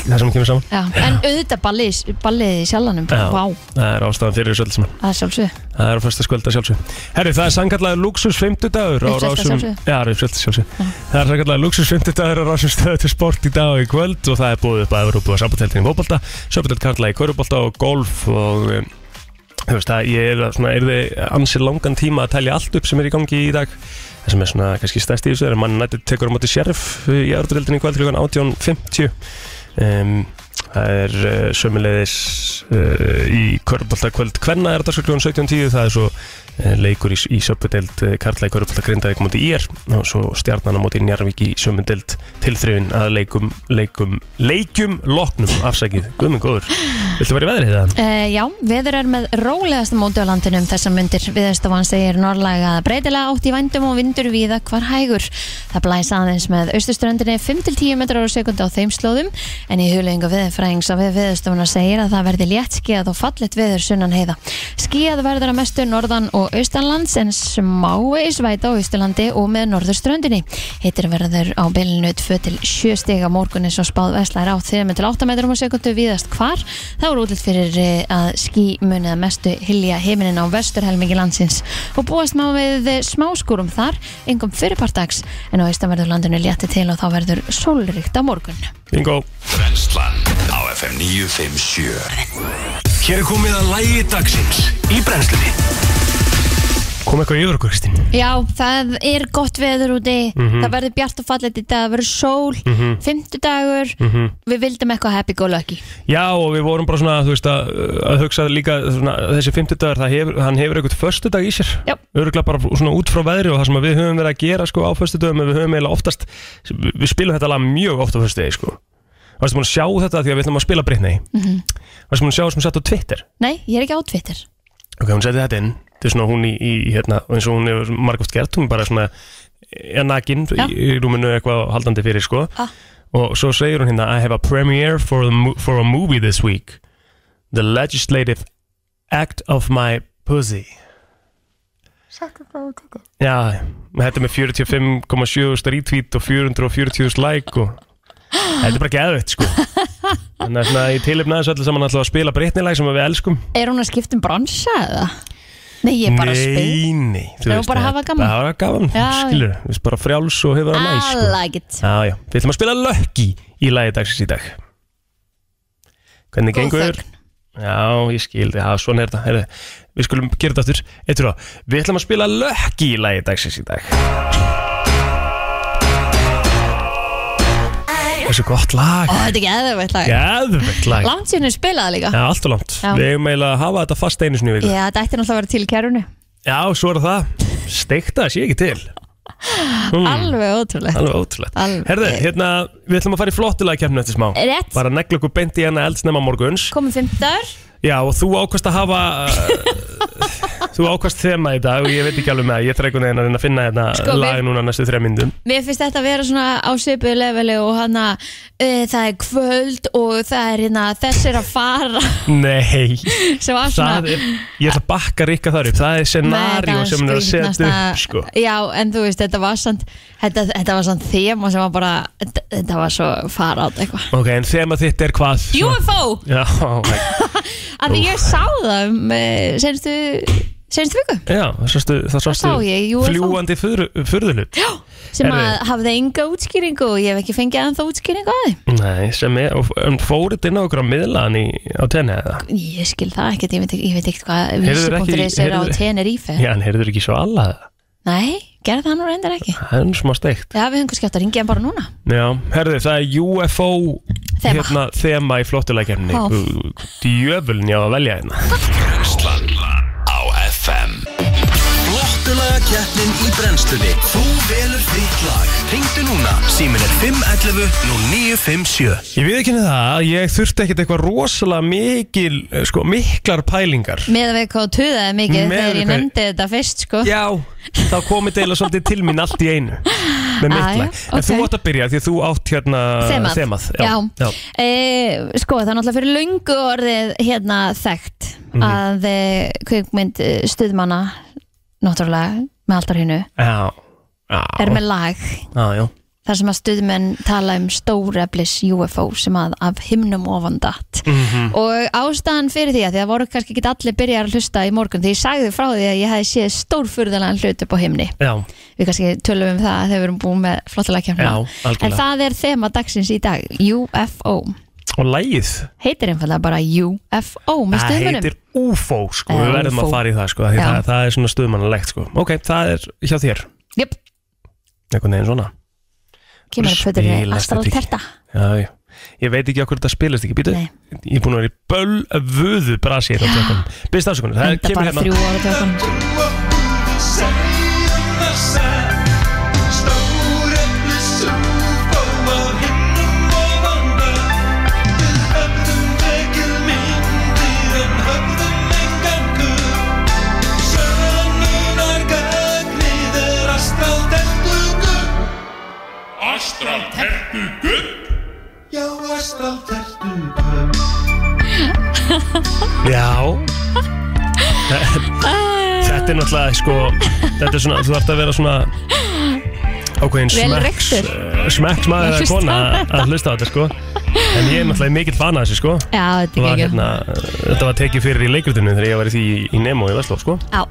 það sem kemur saman Já, en auðvitað ballið, ballið í sjálfanum bara, Já. Vá, Það er ástæðan fyrir þessu öll saman það er sjálfsög Það er á fyrsta skvölda sjálfsög Herri, það er sangallaði Luxus 50 dagur á Uppselta rásum sjálfsögðu. Já, uppselta sjálfsög Það er sangallaði Luxus 50 dagur á rásum stöðu til sport í dag og í kvöld og það er búið upp að Evrópu og sambandeldin í fótbolta Söpindeld Karla í körubólta og golf og um, þú veist það, ég er að svona, er þið ansið langan tíma að telja allt upp sem er í gangi í dag það sem er svona kannski stæst í þessu er að mann nætti tekur á móti sheriff í öðrudöldinni í kvöld klukkan 18.50 um, það er uh, sömulegis uh, í Körbólta kvöld hvenna er þetta klukkan 17.10 það er svo uh, leikur í, í söpudeld uh, Karla í Körbólta grindaði móti í er og svo stjarnan á móti Njarvík í sömudeld tilþrifin að leikum leikum, leikum loknum afsækið, guðminn góður Viltu vera í veðrið það? Uh, já, veður er með rólegasta móti á landinu um þessar myndir. Viðastofan segir norðlaga breytilega átt í vændum og vindur víða hvar hægur. Það blæs aðeins með austurströndinni 5-10 metrar á sekundu á þeim slóðum en í huglegingu viðfræðings á við viðastofuna segir að það verði létt skíðað og fallit veður sunnan heiða. Skíðað verður að mestu norðan og austanlands en smávegis væta á austurlandi og með norðurströndinni. Hittir verður á bylnu 2-7 stiga morgunis og spáð veslar á 3-8 metrum á sekundu víðast hvar. Það voru útlitt fyrir eh, að skí munið að mestu hilja heiminin á vesturhelmingi landsins og búast má við eh, smáskúrum þar, engum fyrirpartags en á austanverður landinu létti til og þá verður sólríkt á morgun. Bingo Brennslan á FM 957 Hér er komið að lægi dagsins í brennslunni Kom eitthvað yfir okkur, Kristín Já, það er gott veður úti, það verður bjart og fallet í dag, það verður sól, mm fimmtudagur, við vildum eitthvað happy go lucky. Já, og við vorum bara svona, þú veist, að, að hugsa líka svona, þessi fimmtudagur, það hefur, hann hefur eitthvað förstudag í sér Já. Öruglega bara svona út frá veðri og það sem að við höfum verið að gera sko á förstudagum Við höfum eiginlega oftast, við spilum þetta lag mjög oft á förstudagi sko Varstu múin að sjá þetta því að við ætlum að spila Britney mm -hmm. Varstu múin að sjá það sem sett á Twitter Nei, ég er ekki á Twitter. Ok, hún setti þetta inn Þetta er svona hún í, í hérna, og eins og hún hefur margóft gert Hún bara svona, er nakin Já. í, í rúminu eitthvað haldandi fyrir sko Ah. Og svo segir hún hérna I have a premiere for, the, mo- for a movie this week The legislative act of my pussy Já, þetta er með 45,7 retweet og 440 like og Þetta er bara geðvett sko Þannig að svona í tilefna þessu öllu saman alltaf að spila Britney-lag sem við elskum Er hún að skipta um bransa eða? Nei, ég er bara að spila. Nei, nei þú Það er veist, bara að hafa gaman. Bara að hafa gaman, Já, skilur Við erum bara frjáls og hefur það næs I sko. like it. Já, já, við ætlum að spila löggi í lagi dagsins í dag Hvernig gengur þér? Já, ég skildi, já, svona er þetta Heyrðu, Við skulum gera þetta aftur Eittur á, við ætlum að spila löggi í lagi dagsins í dag Þessu gott lag Ó, þetta er ekki eðvægt lag. Gæðvegt lag Langt síðan við spilaði líka. Já, allt og langt Já. Við eigum eiginlega að hafa þetta fast einu sinni í viku Já, þetta ætti náttúrulega að vera til í kærunni. Já, svo er það Steikta, sé ekki til Alveg ótrúlegt. Alveg ótrúlegt Alveg. Herðu, hérna, við ætlum að fara í flottulega kemna eftir smá Rétt. Bara negla okkur beint í hana eldsnema morguns Komið fimmtar. Já, og þú ákvast að [laughs] hafa uh, Þú ákvast þema í dag og ég veit ekki alveg með það Ég þarf einhvern veginn að reyna að finna hérna Sko, við- lag núna næstu þrjá myndum Mér finnst þetta að vera svona á svipuðu leveli og hana, e, það er kvöld og það er hérna þessir að fara [laughs] Nei, sem var svona... það er Ég ætla að bakka rikka þar upp Það er scenari Nei, sem hún er að setja skrýtnasta- upp sko. Já, en þú veist, þetta var samt þetta, þetta var samt þema sem var bara þetta, þetta var svo farátt eitthvað Ok, en þema þitt er hvað? Svona- UFO, Já, ok. af því ég sá það um, eh, senstu, senstu viku já, það sástu, það sástu sá ég, UFO. Fljúandi furðulut sem Herðu. að hafði enga útskýringu og ég hef ekki fengið ennþá útskýringu að Nei, sem er, og en fóruð inn á okkur á miðlan í, á tenni eða? því ég skil það ekkert, ég veit ekki, ég veit ekki hvað Heyrðuðu ekki- vísi.is er á heyrðuðu- Tenerife Já, en heyrður ekki svo alla það? nei, gerði það nú reyndar ekki Það er nú smá steikt. já, við höfum kannski átt að ringja hann bara núna Já, herðu, það er UFO Þema. hérna, þema í flottulækjarni. Ó. Djöfuln ég á að velja hérna. Brennslan á FM Flottulega keppnin í brennslunni Þú velur þitt lag Ringdu núna, símin er 511 0957 Ég við ekki það að ég þurfti ekkert eitthvað rosalega mikil, eh, sko, miklar pælingar. með að við hvað þú tuðaði mikið Miðað þegar við ég hvað- nefndi þetta fyrst sko. Já, þá komið deila svolítið til mín allt í einu með mitt Á, lag. já, En þú ok. átt að byrja því að þú átt hérna Þemað. þemað Já. já. E, sko, það er náttúrulega fyrir löngu orðið hérna þekkt Mhm. að e, kvikmynd eh, stuðmanna náttúrulega með aldarhinu Já, já, er með lag já, já. þar sem að stuðmenn tala um stóreflis UFO sem að af himnum ofan datt Mhm. og ástæðan fyrir því að því að voru kannski ekki allir byrjar að hlusta í morgun því ég sagði frá því að ég hefði séð stórfurðalega hlut upp á himni Já, við kannski tölum um það þegar við erum búin með flottalega já, kemna en algjörlega það er þema dagsins í dag UFO Og lægið, heitir einfallega bara UFO með það stuðmennum heitir UFO sko, Já, við verðum UFO. að fara í það sko af því Já. það, það er svona stuðmannalegt sko Ok, það er hjá þér, Jöp, einhvern veginn svona kemur upp fötur í Spilast astral þetta ekki? terta Já, já Ég veit ekki okkur þetta spilast ekki býtu Nei. Ég er búin að vera í bölvöðu brasi hérna á tökunum Byrst afsökunar, það enda kemur bara hérna þrjú ára tökum Astral Tertu Gull Já, Astral Tertu [laughs] Já Þetta er náttúrulega sko Þetta er svona, þú þarf að vera svona ákveðin Vel smekks reyktur. eh, smekks maður Að eða hlusta kona á að hlusta á þetta sko En ég er náttúrulega mikill fan að þessu sko Já, þetta var, er ekki hérna, Þetta var tekið fyrir í leikritinu þegar ég var í því í- í Nemo í Vestló sko Já,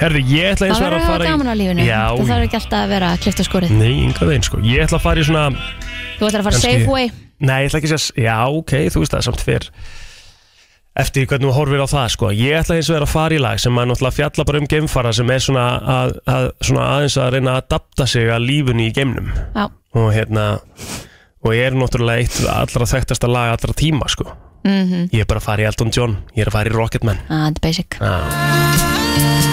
Herðu, ég ætla eins það og verður að að hafa fara gaman á lífinu Já, Það þarf ekki alltaf að vera klift á skorið nei, yngar veginn sko Ég ætla að fara í svona Þú ætlar að fara Kannski- safe way Nei, ég ætla ekki að segja, já, ok, þú veist það, samt fyrr Eftir hvernig þú horfir á það, sko Ég ætla eins og er að fara í lag sem maður náttúrulega fjalla bara um geimfara sem er svona, að, að, svona aðeins að reyna að adapta sig að lífunni í geimnum Já, og hérna og ég er náttúrulega eitt allra þekktasta lag allra tíma, sko Mhm. -hmm. Ég er bara að fara í Elton John, ég er að fara í Rocketman að þetta er basic ah.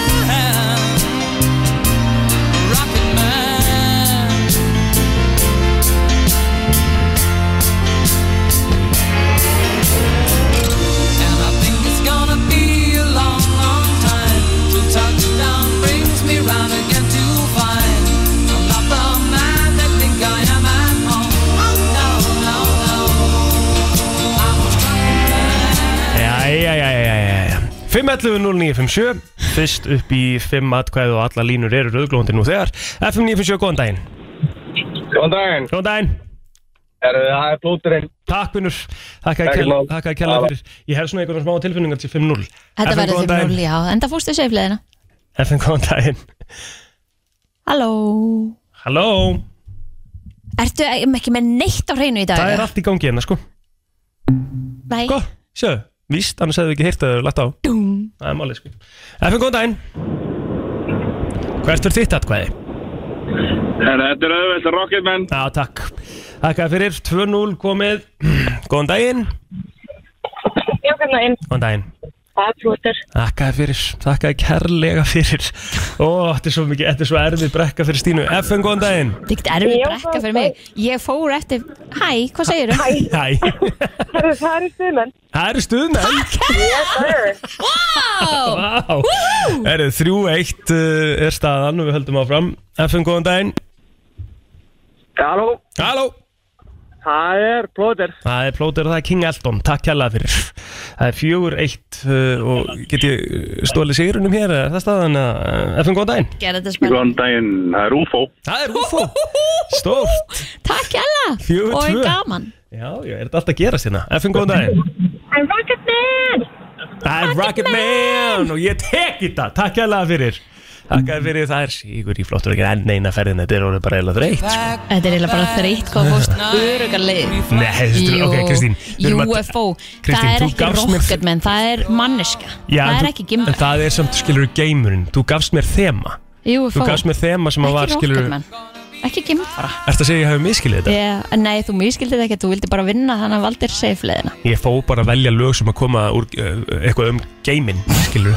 Jæja, jæja, jæja, jæja 5.11.09.57 Fyrst upp í 5 atkvæði og alla línur eru rauðglóðandi nú þegar FM 9.57, góðan daginn Góðan daginn, Góðan daginn er eh, það er blóturinn Takk vinnur, þakka að Ekkert kella, mál. þakka að kella fyrir Ég hef svona einhverjum smá tilfinningar til 5-0 FM, Þetta verður góðan þeim daginn. núli, já, enda fórstu safe leiðina FM góðan daginn Halló Halló, Ertu ekki með neitt á hreinu í dag? það er allt í gangi hérna sko Nei, Sko, sjöðu, víst, annars hefðu við ekki heyrt að þau lagt á Dúm Það er málið sko FM góðan daginn Hvert fyrir þitt atkvæði? Þetta er auðvitað Rocketman Já, takk Þakka fyrir, 2-0 komið [clears throat] Góðan daginn Já, hérna inn. Góðan daginn Það er plútur. Þakkaði fyrir, þakkaði kærlega fyrir Ó, þetta er svo mikið, þetta er svo erfið brekka fyrir Stínu FN, góðan daginn þetta er ekkert erfið Já, brekka það- fyrir mig Ég fór eftir, hæ, hvað segirðu? Hæ, Það eru stuðmenn. það eru stuðmenn Hæ Vá, er þið þrjú eitt eh, er staðan og við höldum áfram FN, góðan daginn Halló, Halló það er blótur Það er plótur og það er King Eldon, takk kærlega fyrir Það er fjögur eitt uh, og get ég uh, stólið sigurunum hér er það staðan að FN, góðan daginn Gerðu þetta spennandi Góðan daginn, það er UFO Það er UFO, stórt Takk hella Fjögur Og tvö. gaman Já, já, er þetta alltaf að gerast hérna FN, góðan daginn Það er Rocketman! Það er Rocketman og ég tek í þetta, takk hérlega fyrir Takk að fyrir það er sígur í flottur ekki enn eina ferðin, þetta er orðið bara eða þreytt sko. Þetta er eiginlega bara þreytt sko, hvað fórst örugar leið Nei, þetta er, ok, Kristín við erum að- UFO, Kristín, það er þú ekki gafst mér- rocketman, það er manneska Já, Það en er þú- ekki En gimmur það er samt, skilur, geimurinn, þú gafst mér þema Þú UFO, gafst mér þema sem að var, ekki skilur rocketman Ekki gimmfara Ertu að segja að ég hafi miskilið þetta? yeah, Nei, þú miskildið ekki, þú vildi bara vinna þannig að valdir safe leiðina Ég fó bara að velja lög sem að koma úr, uh, eitthvað um geiminn, skilur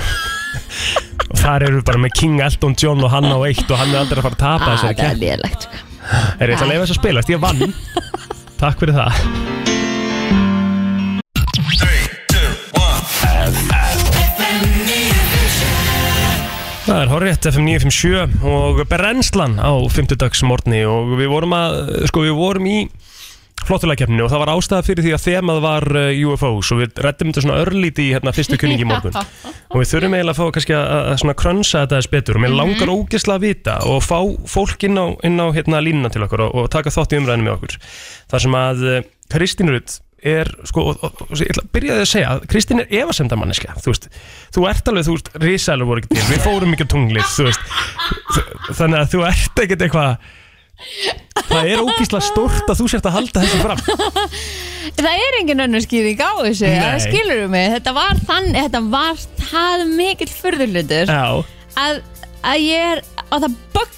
Og þar eru við bara með King Elton John og hann á eitt og hann er aldrei að fara að tapa Ah, þessari Það er keppni. lélegt Er ég ætla að leifa þess að spilast, ég vann Takk fyrir það Það er horrið FM 957 og brennslan á 50 dags morgni og við vorum að, sko við vorum í flottulegkeppninu og það var ástæða fyrir því að þemað var eh, UFO svo við reddum þetta svona örlíti í hérna fyrstu kynningi í morgun og við þurfum eiginlega að fá kannski að, að- að svona krönsa þetta þess betur og mér langar ógeðslega að vita og fá fólk inn á, inn á hérna línuna til okkur og, og taka þátt í umræðinu með okkur þar sem að eh, Kristín Rutt er sko, og, og, og ég ætla að byrja því að segja að Kristín er efasemdamanniska, þú veist þú ert alveg, þú veist, risalur voru ekki til við fórum ekki á tunglið, þú veist Þ- þannig að þú ert ekkert eitthvað það er ógeðslega stórt að þú sért að halda þessu fram Það er engin önnur skýring á þessu, Nei. það skilur mig. Þetta var, þann, þetta var það mikill fyrðulutur Já, að, að ég er, að það böggaði mig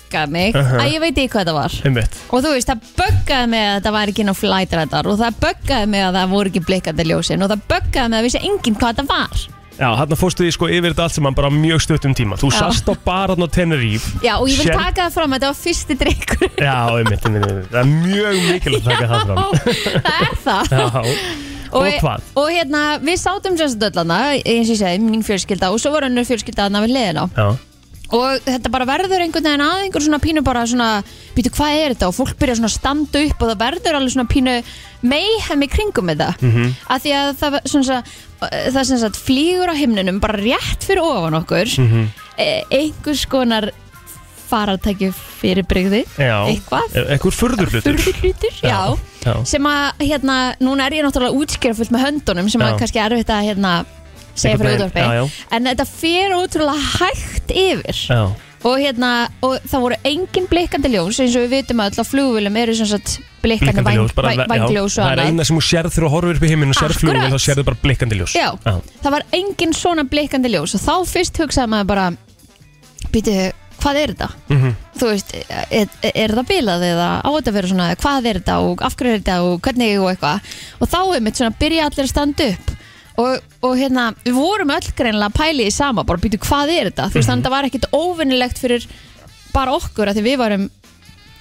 Uh-huh. að ég veit ekki hvað þetta var. einmitt Og þú veist, það böggaði mig að þetta var ekki inn á flætrættar og það böggaði mig að það voru ekki blikkandi ljósin og það böggaði mig að vissi enginn hvað þetta var. Já, hann fórstu því sko yfir þetta allt sem hann bara á mjög stuttum tíma Þú Já. sast á baran og Teneríf Já, og ég vil Sér- taka það fram að þetta var fyrsti drikkur. Já, einmitt, einmitt, einmitt. það er mjög mikilvægt að taka það fram [laughs] það er það. Já, og hvað? og hérna, við sátum sem sagt öllana, eins og ég segi, mín fjölskylda og svo var önnur fjölskylda þarna við liðina Já, og þetta bara verður einhvern veginn að einhver svona pínu bara svona, býtu hvað er þetta og fólk byrja svona að standa upp og það verður alveg svona pínu meihem í kringum þetta Mhm. -hmm. að því að það svona, sa- það sem sagt flýgur á himninum bara rétt fyrir ofan okkur Mhm. -hmm. einhvers konar farartæki fyrir brygði já eitthvað, E- Ekkur furðurlutur furðurlutur, já Já, sem að hérna, núna er ég náttúrulega útskýra fullt með höndunum sem Já. að kannski er erfitt að hérna segja fyrir Einhvern útvarpi veginn, já, já. en þetta fyrir útrúlega hægt yfir já, og hérna, og það voru engin blikkandi ljós eins og við vitum öll að flugvölum eru sem sagt blikkandi blikkandi væng- ljós bara- væng- já, vængljós og Það er annað eina sem þú sérð þegar þú horfir upp í heiminn og sérð Akkurat. flugum þá sérðu bara blikkandi ljós Já. það var engin svona blikkandi ljós og þá fyrst hugsaði maður bara býtu, hvað er þetta? Mhm. þú veist, er, er það bilað eða á þetta að vera svona, hvað er þetta og af hverju er þetta og hvernig og eitthvað og þá er mitt svona, byrja allir að standa upp og, og hérna, við vorum öll greinlega að pæli í sama, bara býtu, hvað er þetta? þú Mhm. veist, þannig að þetta var ekkit óvinnilegt fyrir bara okkur, af því við varum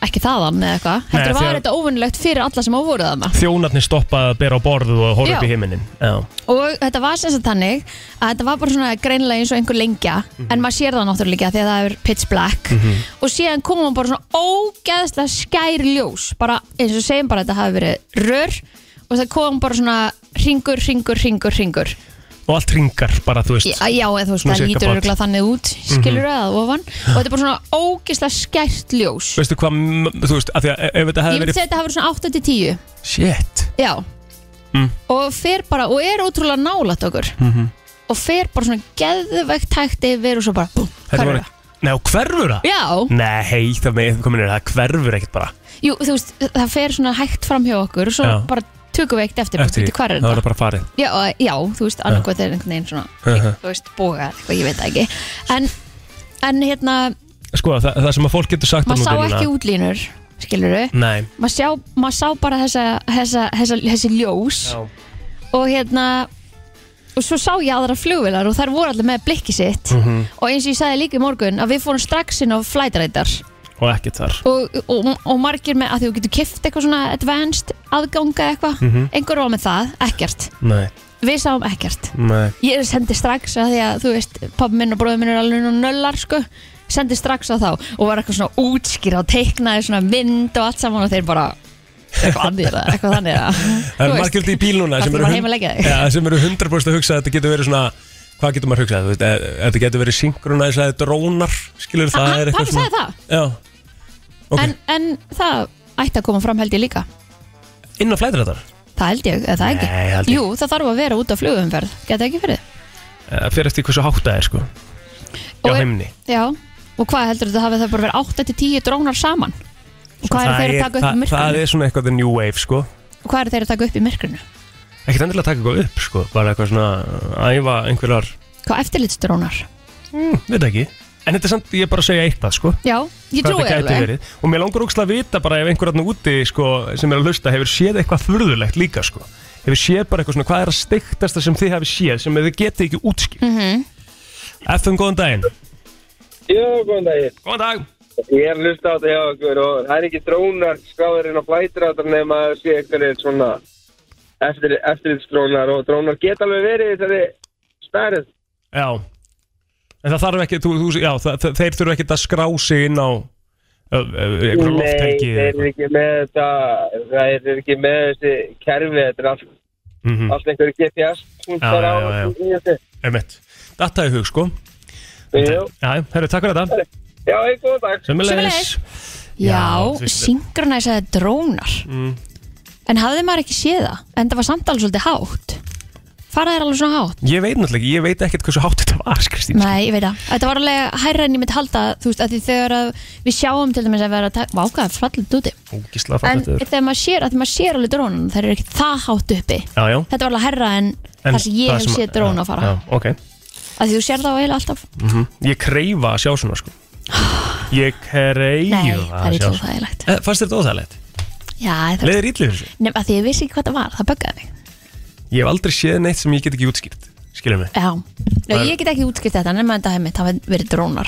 ekki þaðan eða eitthvað, Nei, heldur því var að- þetta óvinnilegt fyrir alla sem á voru þarna Þjónarnir stoppa að bera á borðu og horfa Já. upp í heiminn Já, og þetta var sem sagt þannig að þetta var bara svona greinlega eins og einhver lengja Mhm. en maður sér það náttúrulega því að það er pitch black og síðan komum bara svona ógeðslega skær ljós bara eins og segjum bara að þetta hafi verið rör og það kom bara svona ringur, ringur, ringur, ringur og allt ringar bara, þú veist já, já eða þú veist, Svona það cirka lítur bát. Mhm. örgulega þannig út skilur það að ofan og þetta er bara svona ógeðslega skært ljós Veistu hvað, m- þú veist, af því að ef þetta ég hefði myndi verið segja að þetta hafi verið svona 8-10 Shit Já Mm. Og fer bara, og er ótrúlega nálætt okkur Mhm. Og fer bara svona geðvegt hægt yfir og svo bara búm, Þetta Mm. hverfur voru- það. Nei, og hverfur það? Já, Nei, það með kominir, það hverfur ekkert bara jú, þú veist, það fer svona hægt fram hjá okkur og svo Já. bara bara tökum við eitt eftir, eftir því. hvað Það er þetta? verður bara farið Já, og- já, þú veist, annarkot er einhvern veginn svona, Uh-huh. þú veist, bóga, eitthvað, ég veit það ekki En, en hérna, Sko, það, það sem að fólk getur sagt maður sá ekki útlínur, skilur við Nei Maður sá, maður sá bara þessa, þessa, þessa, þessi ljós og hérna og svo sá ég aðra flugvilar og þær voru allir með blikki sitt og eins og ég sagði líka í morgun að við fórum strax inn á flætrætar Og ekkert þar og, og, og margir með að því þú getur kift eitthvað svona advanced aðganga eitthvað einhver var með það, ekkert Nei, við sáum ekkert nei ég sendi strax að því að þú veist pabbi minn og bróði minn er alveg nú nöllar sko sendi strax á þá og var eitthvað svona útskýra og teiknaði svona mynd og allt saman og þeir bara eitthvað annir eða eitthvað þannig eða [laughs] Það Þú eru veist, margir í bíluna Af sem því eru, maður hund- heima að leggja þig. ja, sem eru 100% að hugsa að þetta getur verið svona Hvað getur maður hugsað? Þú veist, e- Þetta getur verið synkronæsaði drónar Skilur það Hann- er eitthvað pabbi sagði það? Já, Ok. en, en það ætti að koma fram held ég líka inn á flæðrættar Það held ég, eða það ekki? Nei, held ég. Jú, það þarf að vera út á flugumferð, geta ekki fyrir Fyrir eftir hversu hátt það er sko Já, Og- heimni Já, og hvað heldur þetta hafið það bara verið 8-10 drónar saman? Og hvað eru þeir að taka upp í Sko, það, það myrkrinu? er svona eitthvað the new wave sko Og hvað eru þeir að taka upp í myrkrinu? Ekkert endilega að taka eitthvað upp sko Bara eitthvað svona að æfa einhverjar Hvað eftirlitsdrónar? mm, Veit ekki En þetta er samt, ég er bara að segja eitthvað sko Já, ég hvað trúi þetta gæti alveg verið og mér langar ógslag að vita bara ef einhverjarn úti sko, sem er að hlusta hefur séð eitthvað furðulegt líka sko. hefur séð bara eitthvað svona hvað er að steiktasta sem þið hafi séð sem þið getið ekki útskýr mm Mhm. FM góðan daginn Jú, góðan daginn. góðan dag Ég er að hlusta á þetta hjá okkur og það er ekki drónar skráður inn á flætrættar nema að sé einhvern veginn svona eftir, eftirlitsdrónar og drónar geta alveg verið í þessari stærð. já en það þarf ekki þú, þú, já, það, það, þeir þurfa ekki að skrá sig inn á einhverja Nei, lofthelgi þeir eða eru eitthvað. ekki með þetta, það er ekki með þessi kerfi, þetta er allt Mhm. allt einhverju GPS punktar Já, á já, já, já. og í þessu. Einmitt. Datta í hug, sko. Jú. Já, herru, takk fyrir þetta. Já, hey, góðan dag Sömmulegis. Sömuleiðis. Já, þú veist- synkronæsaði drónar Mm. En hafði maður ekki séð það? En það var samt alveg svolítið hátt Farað er alveg svona hátt Ég veit náttúrulega ekki, ég veit ekkert hversu hátt þetta var, Kristín. Nei, ég veit það Þetta var alveg hærra en ég myndi halda Þú veist, að því þegar að við sjáum til dæmis að vera að taka Vákaði fallið úti Ógísla En fallegt þetta er. þegar maður sér, að því maður sér alveg drónan Það er ekki það hátt uppi Já, já. Þetta var alveg hærra en, En það sem ég hef sem- séð dróna fara Já, ok. Að því þú sér það á eiginlega alltaf Mhm. Ég kreifa að sjá svona, sko. Ég kreifa Nei, það að er sjá eitthvað svona. þægilegt Eh, Fannst þér þetta óþægilegt? Já, það er Leðir ítlið þessu? Nefn að því ég vissi ekki hvað það var, það böggaði mig Ég hef aldrei séð neitt sem ég get ekki útskýrt. Skiljum mig. Já, Nei, Það er- ég get ekki útskipt þetta nema þetta hefði mitt, það hefði verið drónar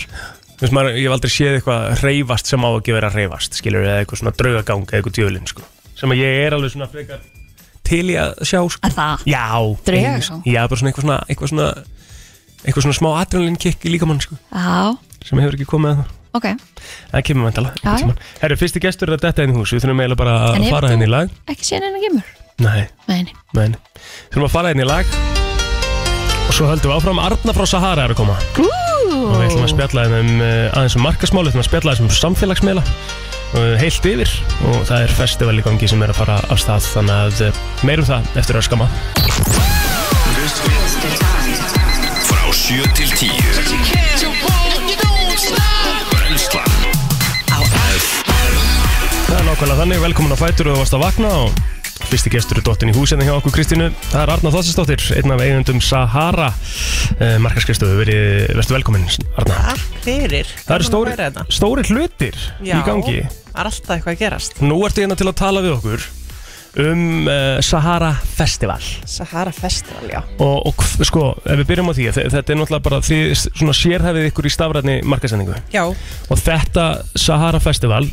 Þú veist maður, ég hef aldrei séð eitthvað reyfast sem á ekki að vera reyfast, skilur við, eða eitthvað svona draugagang eða eitthvað djölinn, sko. Sem að ég er alveg svona frekar til í að sjá, sko. Er það? Já. Draugagang? Já, bara svona eitthvað svona, eitthvað svona, eitthvað svona smá adrenalin kick í líkamann, sko, Já, sem hefur ekki komið að það. ok Það kemur vantala, Já, já. einhvern tímann. Herru, fyrsti gestur er að detta inn í hús, við þurfum eiginlega bara En að hefur fara þú- henni í lag. Ekki séð neina gemur Nei, Nei, nei. nei, nei. Þurfum að fara henni í lag. Og svo höldum við áfram, Arna frá Sahara er að koma. Ú, og við ætlum að spjalla þeim um, eh, aðeins um markasmáli, við ætlum að spjalla aðeins um samfélagsmiðla eh, heilt yfir og það er festival í gangi sem er að fara af stað þannig að eh, meira um það eftir að skama Frá 7 til 10 Brennslan Á Það er nákvæmlega þannig, velkomin að fætur og þú varst að vakna og fyrsti gestur er dottin í húsinni hjá okkur Kristínu það er Arna Þossisdóttir, einn af eigendum Sahara eh, markaskristofu, verið- vertu velkomin Arna Takk fyrir Það eru Gaman að stóri, vera hérna. stóri hlutir Já, í gangi Það er alltaf eitthvað að gerast Nú ertu hérna til að tala við okkur um uh, Sahara Festival Sahara Festival, já og, og hv- sko, ef við byrjum á því þe- þetta er náttúrulega bara því svona sérhæfið ykkur í stafræðni markasendingu Já, og þetta Sahara Festival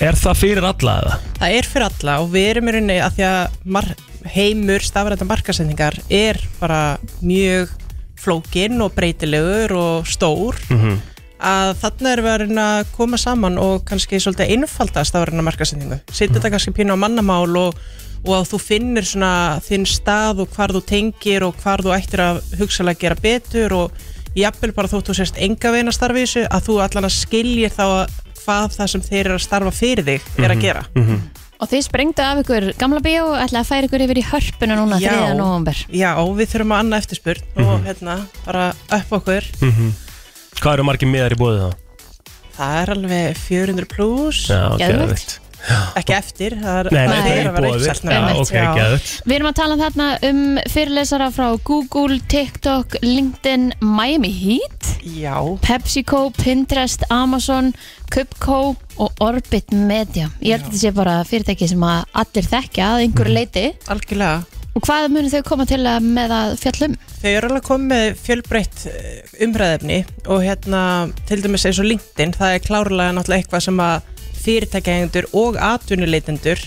er það fyrir alla eða? það er fyrir alla og við erum í rauninni að því að mar heimur stafrættan markasendingar er bara mjög flókin og breytilegur og stór Mhm. að þarna erum við að reyna að koma saman og kannski svolítið einfalda stafrættan markasendingu setja þetta kannski pínu á mannamál og, og að þú finnir svona þinn stað og hvar þú tengir og hvar þú ættir að hugsalega gera betur og jafnvel bara þótt þú sérst enga veina starfi í þessu að þú allan að skiljir þá að hvað það sem þeir eru að starfa fyrir þig er að gera Og þið sprengdu af ykkur gamla bíó og ætlaði að færa ykkur yfir í hörpuna núna 3. november Já, við þurfum að annað eftirspurn og Mhm. hérna, bara upp okkur Hvað eru margir miðar í bóðið þá? Það er alveg 400 pluss Já, Geðveikt. geðveikt. ekki eftir það er, Nei, nei, það það er er að í vera bóði uppselt Já, núna. ok, geðveikt Við erum að tala þarna um fyrirlesara frá Google, TikTok, LinkedIn, Miami Heat Já, PepsiCo, Pinterest, Amazon, Cupco og Orbit Media Ég held að þetta sé bara fyrirtæki sem að allir þekkja að einhverju Mhm. leiti algjörlega Og hvað munir þau koma til að með að um? fjallum? Þau eru alveg komið með fjölbreytt eh, umræðefni og hérna til dæmis eins og LinkedIn, það er klárlega náttúrulega eitthvað sem að fyrirtækjagendur og atvinnuleitendur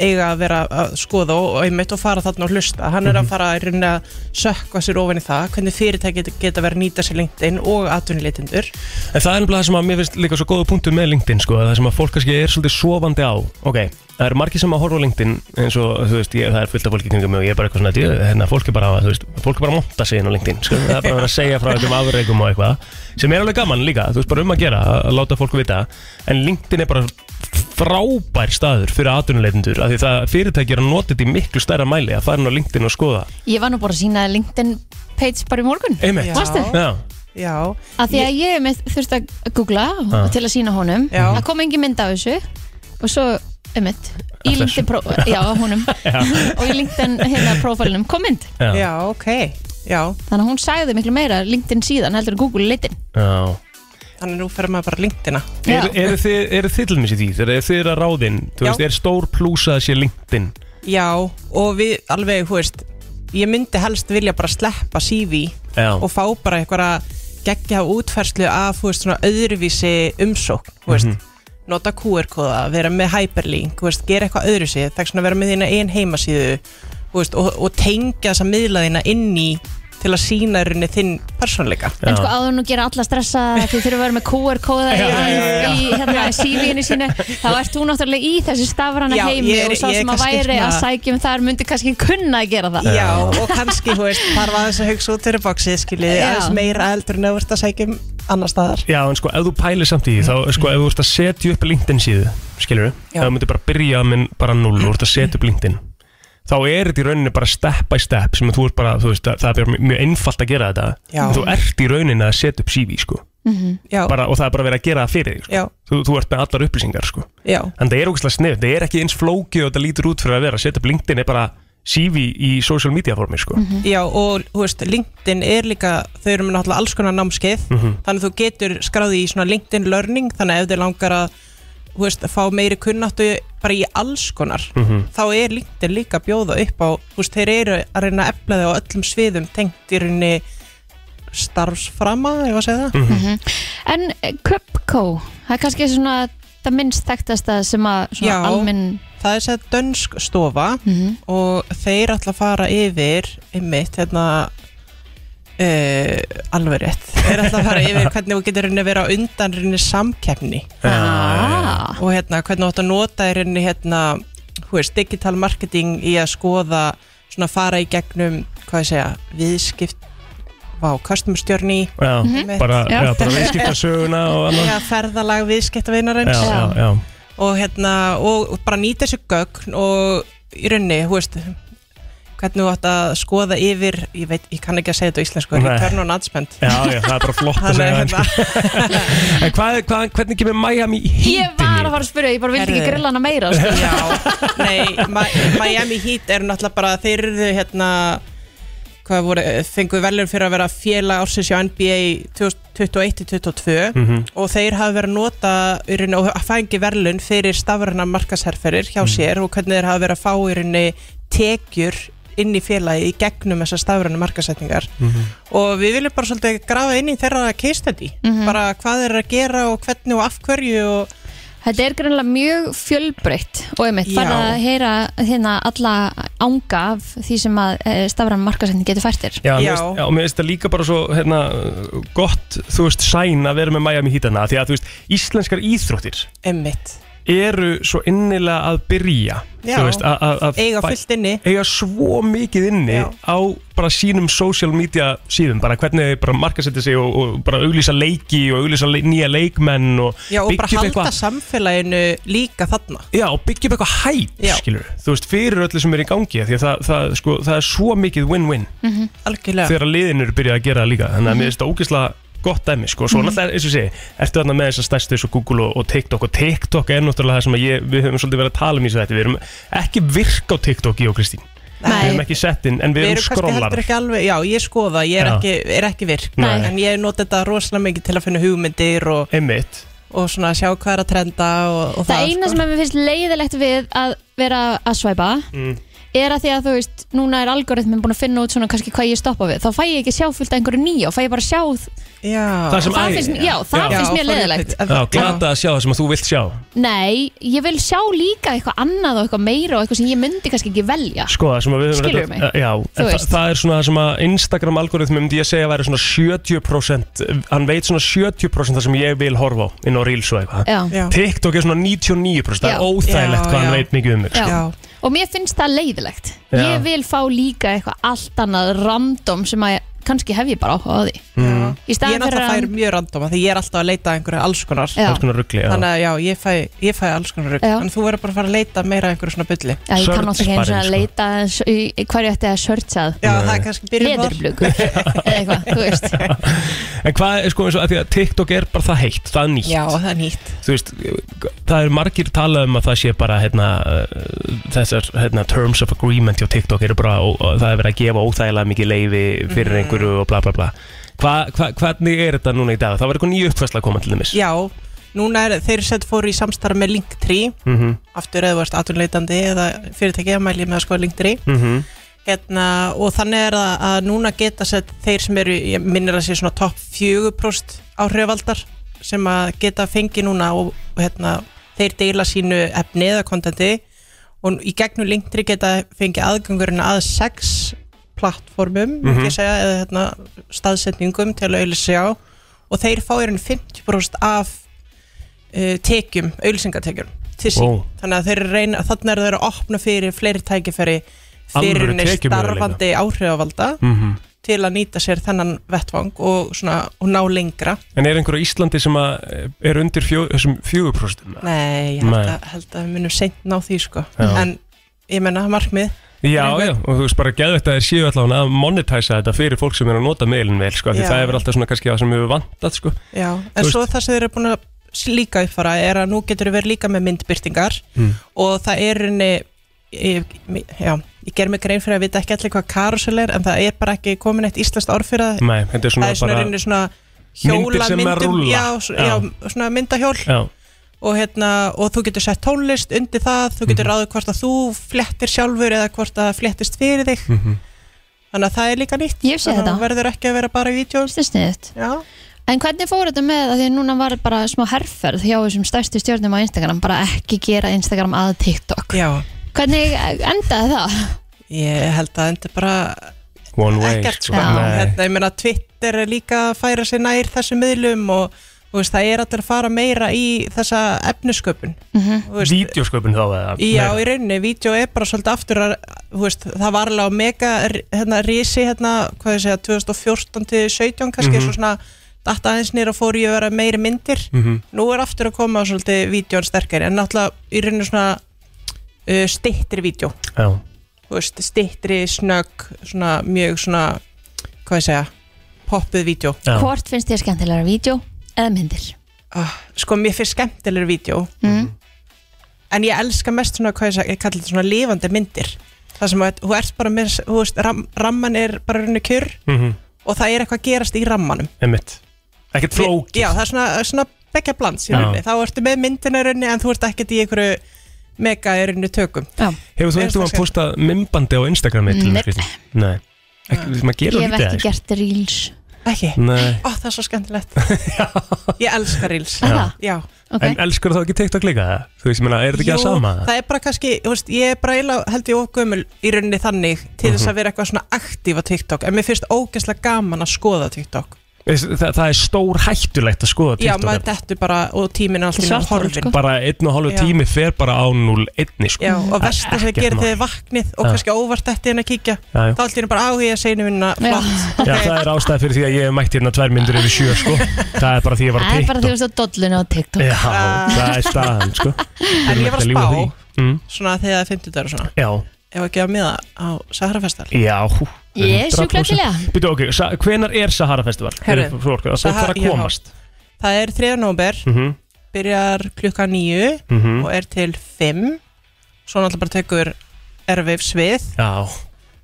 eiga að vera að skoða og, og einmitt og fara þarna og hlusta. Hann er að fara að reyna að sökka sér ofan í það, hvernig fyrirtæki geta verið að nýta sér LinkedIn og atvinnuleitendur. En það er nefnilega það sem að mér finnst líka svo góða punktur með LinkedIn sko, það sem að fólk kannski er svolítið sofandi á Ok, það eru margir sem að horfa á LinkedIn eins og þú veist, ég, það er fullt af fólki kringum mig og ég er bara eitthvað svona, djú, hérna, fólk er bara þú veist, fólk er bara að monta sig inn á LinkedIn sko, það er bara að vera að segja frá einhverjum afreikum og eitthvað sem er alveg gaman líka, þú veist, bara um að gera að láta fólku vita, en LinkedIn er bara frábær staður fyrir atvinnuleitindur af því það fyrirtæki er að nota þetta í miklu stærra mæli að fara inn á LinkedIn og skoða Ég var nú bara að sína LinkedIn page bara í morgun Einmitt. Varstu? Já, Já, Af því að ég hef með- þurfti að googla Ah. til að sína honum Já. Það kom engin mynd af þessu Og svo, einmitt Í Af þessu? LinkedIn, pró- já, af [laughs] honum Og í LinkedIn hérna prófælinum kom mynd já, já. já, ok, já, Þannig að hún sagði miklu meira LinkedIn síðan heldur en Google leitin já. þannig nú fer maður bara LinkedIna. Já. Eru er þið, er þið til mér sér því? Þegar þið eru að ráðinn, þú Já. veist, er stór plúsa að sé LinkedIn? Já, og við alveg, hú veist, ég myndi helst vilja bara sleppa CV Já. og fá bara eitthvað geggja útferðslu af, hú veist, svona öðruvísi umsókn, hú veist, Mhm. nota QR-kóða, vera með hyperlink, hú veist, gera eitthvað öðruvísi, það er svona að vera með þína einn heimasíðu, hú veist, og, og tengja þessa miðla þína inn í til að sína rauninni þinn persónleika En sko áður nú gera alla stressa [laughs] því þurfa að vera með QR-kóða í, í hérna, CV-inu sínu þá ert þú náttúrulega í þessi stafrana Já, heimi ég er- og sá ég er sem að kannski væri svona- að sækjum þar myndi kannski kunna að gera það Já, og kannski, þú veist, þarf aðeins að hugsa út fyrir bóksið, skiljið, Já. aðeins meira eldur en að verða að sækja um annar staðar. Já, en sko, ef þú pælir samt í því, þá, sko, ef þú ert að setja upp LinkedIn síðu, skilur við, Já. þá myndir bara byrja minn bara null og þú ert að setja upp LinkedIn, þá er þetta í rauninni bara step by step, sem að þú ert bara, þú veist, það það er bara mjög einfalt að gera þetta, Já. En þú ert í rauninni að setja upp CV, sko, Já, bara, og það er bara verið að gera það fyrir þig, sko, já, þú, þú ert með allar upplýsingar, sko, já, en það er ógæslega snið, það er ekki eins flókið og þetta lítur út fyrir að vera, að setja upp LinkedIn er bara CV í social media formi, sko, já, og þú veist, LinkedIn er líka, þau eru með náttúrulega alls konar námskeið, þannig að þú getur skráði í svona LinkedIn Learning, þannig að ef þið langar að, þú veist, fá meiri kunnáttu bara í alls konar, þá er LinkedIn líka að bjóða upp á, þú veist, þeir eru að reyna að efla þau á öllum sviðum, tengt í rauninni starfsframa, ef að segja það. En eh, Cupco, það er kannski svona það minnst þekktasta sem að svona Já. alminn Það er sér dönsk stofa og þeir ætla að fara yfir einmitt hérna uh, alveg rétt þeir ætla að fara yfir hvernig þú getur rauninni að vera á undan rauninni samkeppni ah, og hérna hvernig þú átt að nota í rauninni hérna, hú veist, digital marketing í að skoða svona fara í gegnum, hvað ég segja, viðskipt á customer journey já, Mhm. bara, Já. já. bara viðskipta og annað, eða ferðalag viðskiptavinarins já, já, já. og hérna og bara nýta þessu gögn og í rauninni, hú veist hvernig þú átt að skoða yfir ég veit, ég kann ekki að segja þetta á íslensku Nei. return on ad spend Já, já, það er bara flott að Þannig segja að það hérna, En hvað, hvað, hvernig kemur Miami í Ég var að fara að spyrja, ég bara vildi ekki Herðu. grilla hana meira [laughs] sko. já, nei, Mi- Miami Heat eru náttúrulega bara, þeir eru hérna hvað voru, fengu velur fyrir að vera félag ársins hjá NBA 2021-2022 og þeir hafa verið að nota í rauninni, og að fængi verðlun fyrir stafræna markasherferir hjá sér og hvernig þeir hafa verið að fá í rauninni tekjur inn í félagi í gegnum þessar stafræna markasetningar og við viljum bara svolítið grafa inn í þeirra case study, bara hvað þeir eru að gera og hvernig og af hverju og Þetta er greinlega mjög fjölbreytt og einmitt Já. bara að heyra hérna alla ánga af því sem að stafran markasendin getur fært þér. Já, Já. mér finnst- já, og mér finnst það líka bara svo hérna, gott, þú veist, sæn að vera með Miami hítana, því að þú veist, íslenskar íþróttir emmitt, eru svo innilega að byrja Já. þú veist, að- að- að eiga fæ- fullt inni eiga svo mikið inni Já. á bara sínum social media síðum, bara hvernig þau bara markasetja sig og, og bara auglýsa leiki og auglýsa le nýja leikmenn og Já, og bara byggja upp halda eitthvað- samfélaginu líka þarna Já, og byggja upp eitthvað hæp, Já. skilur Þú veist, fyrir öllu sem er í gangi Því að það, það, sko, það er svo mikið win-win Algjörlega Þegar liðin eru byrjað að gera það líka Þannig að mér finnst það ógeðslega gott dæmi, sko Svo náttúrulega, eins og ég segi, ertu þarna með þessar stærstu eins og Google og, og TikTok Og TikTok er náttúrulega það sem að ég, við höfum svolítið verið að tala um í þessu þetta Við erum ekki virk á TikTok, ég og Kristín Við Nei. erum ekki um sett inn, en við, erum Við erum kannski heldur skrollarar ekki alveg Já, ég skoða, ég er, Já. ekki, er ekki virk Nei. En ég nota þetta rosalega mikið til að finna hugmyndir og, Einmitt, og svona sjá hvað er að trenda og, og Það eina sko. sem að mér finnst leiðilegt við að vera að svæpa er að því að þú veist, núna er algoritmin búin að finna út svona kannski hvað ég stoppa við. Þá fæ ég ekki sjá fullt af einhverju nýja og fæ ég bara sjá Já það sem það æ- finnst, já, það Já. finnst mér forritið. leiðilegt. En- Já, glata að sjá það sem að þú vilt sjá Nei, ég vil sjá líka eitthvað annað og eitthvað meira og eitthvað sem ég myndi kannski ekki velja. Sko, það sem að við höfum Skilurðu reyndar- mig? Já, en þa veist. það er svona það sem að Instagram algoritmi myndi ég segja að væri svona 70% Hann veit svona 70% það sem ég vil horfa á inn á Reels og eitthvað Já. Já. TikTok er svona 99% Það Já. er óþægilegt Já, hvað hann já. veit mikið um mig Já. Já. Og mér finnst það leiðilegt. Já. Ég vil fá líka eitthvað allt annað random sem að kannski hef ég bara áhuga á því. Mm. Í Ég staðan fyrir náttúrulega fær að... mjög random af Því ég er alltaf að leita að einhverju alls konar Já. Alls konar ruggli Þannig að já, ég fæ, ég fæ alls konar rugg Já. En þú verður bara að fara að leita meira að einhverju svona bulli Já, ég kann Search alltaf ekki eins og að barinn, sko. leita aðeins í, í hverju ætti að searchað Já, það er kannski byrjum þar. leðurblugur eða eitthvað, þú [laughs] veist En hvað er sko eins og að því að TikTok er bara það heitt Það er nýtt Já, það er nýtt Þú veist, það er margir talað um að það sé bara hérna, uh, þessar hérna, terms of agreement hjá TikTok eru bara, og, og það er verið að gefa óþægilega mikið leiði Mhm. fyrir einhverju og bla bla bla hva, hva, Hvernig er þetta núna í dag? Það var eitthvað nýju uppfærsla að koma til dæmis Já, núna er þeir sett fóru í samstarf með Linktree Mhm, aftur eða þú ert atvinnuleitandi eða fyrirtæki að mæli með að skoða lengtir í mhm, hérna, og þannig er að, að núna geta sett þeir sem eru, ég minnir að sé svona topp 4% áhrifaldar sem að geta fengi núna og, og hérna, þeir deila sínu efni eða kontenti og í gegnum lengtir geta fengi aðgangurinn að 6 plattformum mm Mhm. -hmm. segja, eða hérna, staðsetningum til að auðlýsja á og þeir fá einn 50% af uh, tekjum, auðlýsingatekjum til sín, Vó. þannig að þeir eru reyna þannig eru þeir að opna fyrir fleiri tækifæri Alvöru fyrir neist tekjumöguleika. starfandi áhrifavalda Mhm. til að nýta sér þennan vettvang og, svona, og ná lengra En er einhver á Íslandi sem að eh, er undir fjó, þessum 4%? Nei, ég held, Nei. Að, held að við munum seint ná því sko. Já. en ég menna markmið Já, Nei, já, og þú veist bara geðvægt að þeir séu allavega að monetæsa þetta fyrir fólk sem er að nota meilin vel, sko, af því Já. það er vel alltaf svona kannski það sem við vantat, sko. Já, Þú en veist- svo það sem þeir eru búin að líka uppfara er að nú getur við verið líka með myndbyrtingar Hmm. og það er henni ég, já, ég ger mig grein fyrir að vita ekki allir hvað karusel er en það er bara ekki komin eitt íslenskt orð fyrir það Nei, þetta er það svona er svona bara... reynir svona Myndir sem að hjólamyndum rúlla. já, s- já, svona myndahjól Já, og, hérna, og þú getur sett tónlist undir það þú getur ráðið hvort að þú flettir sjálfur eða hvort að það flettist fyrir þig þannig að það er líka nýtt Ég sé Þannig að þetta. þú verður ekki að vera bara í vídeo Þetta er sniðut. já, En hvernig fór þetta með að því að núna var bara smá herferð hjá þessum stærstu stjórnum á Instagram, bara ekki gera Instagram að TikTok. já, Hvernig endaði það? ég held að þetta er bara one way, ekkert sko. sko, Nei. hérna, ég meina Twitter er líka að færa sig nær þessum miðlum og þú veist, það er allir að fara meira í þessa efnisköpun Mhm. Þú veist, Vídeósköpun þá eða... Já, meira. í rauninni, vídeo er bara svolítið aftur að, þú veist, það var alveg á mega hérna risi hérna, hvað ég segja 2014 til 17 kannski svo svona datt aðeins nýra fór ég að vera meiri myndir, nú er aftur að koma svolítið vídjón sterkari, en náttúrulega í rauninni svona uh, stittri vídjó Já. þú veist, stittri, snögg svona mjög svona hvað ég segja, poppuð vídeo Já. Hvort finnst þér skemmtilega vídeo eða myndir? ah, sko, mér finnst skemmtilegur vídeo Mm. en ég elska mest svona, hvað ég segja, ég kallar þetta svona lifandi myndir það sem að, þú ert bara með þú veist, ram, ramman er bara rauninu kjur Mhm. og það er eitthvað að gerast í rammanum Einmitt. Ekkert flókið. já, það er svona, svona begja blans í Já. rauninni, þá ertu með myndina í rauninni en þú ert ekkert í einhverju mega í rauninni tökum Já, Hefur þú Mér einhvern finnst veginn það postað mymbandi á Instagrami til Nei. þess að Nei. Ekki, maður ég gerur hef lítið ekki það, gert reels. ekki, sko. Nei. ó það er svo [laughs] skemmtilegt ég elska reels Er það? já. Ok. En elskur þá ekki TikTok líka það? Þú veist, ég meina, er þetta ekki að Jú, sama? það er bara kannski, þú veist, ég er bara eiginlega held ég ógömmul í rauninni þannig til Mhm. þess að vera eitthvað svona aktíf á TikTok en mér finnst ógeðslega gaman að skoða TikTok Það, það, það er stór hættulegt að skoða já, TikTok. maður dettu bara og tíminn er Til alltaf svarthol, horfin sko. Bara einn og hálfu Já. tími fer bara á 0-1, sko. já, og vest þess að Ekkert gera mál. þegar þið vaknið og Já. kannski óvart þetta en að kíkja Já, já. þá allt hérna bara á því að segja minna Já. flott Já, það er ástæði fyrir því að ég hef mætt hérna tvær myndir yfir sjö, sko. Það er bara því að ég var á Það er bara því TikTok. að þú ert á dollinu á TikTok. Já, það er staðan, [laughs] sko. Þurfum en ekki ég að var að ljúga spá því. Mm, svona þegar það er 50 dagar og svona já, ef ekki að miða á Saharafestal já. Ég er sjúklega til í það. Býtu, ok, sa- hvenar er Sahara Festival? Herru, Fyrir fólk, að fólk Sahara- þarf að já. komast. það er 3. november Mhm. byrjar klukka 9 Mhm. og er til 5 svo náttúrulega bara tekur erfifs við Já,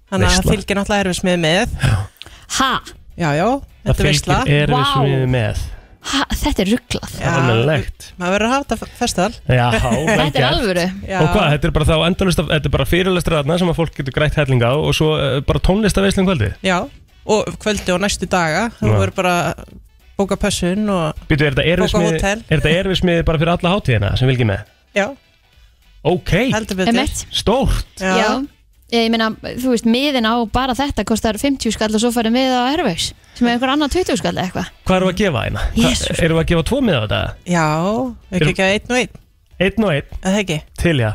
þannig að það Veisla. fylgir náttúrulega erfismið með Ha, já, já, það þetta er veistla fylgir erum við Vá. sviðið með. ha, þetta er rugglað. Já. Almennilegt. maður verður að hafa þetta festival [laughs] Já, vel Þetta er gert. alvöru. já, Og hvað, þetta er bara þá endalist af, þetta er bara fyrirlestur aðna sem að fólk getur grætt hellinga á og svo uh, bara tónlistaveislinn kvöldi. já, og kvöldi og næstu daga þú Já. verður bara að bóka pössun og Býtu, er þetta Bóka erfismið, hótel. er þetta erfismið bara fyrir alla hátíðina sem vilki með? já, Ok, heldur betur Emmett. stórt. já, Já. Ég meina, þú veist, miðin á bara þetta kostar 50 skall og svo færi mið á Airways sem er einhver annar 20 skall eða eitthvað. Hvað erum við að gefa hérna? Jesús. Hvað- Erum við að gefa tvo miða á þetta? já Erum- ekki ekki að einn og einn, Einn og einn, eða ekki til já.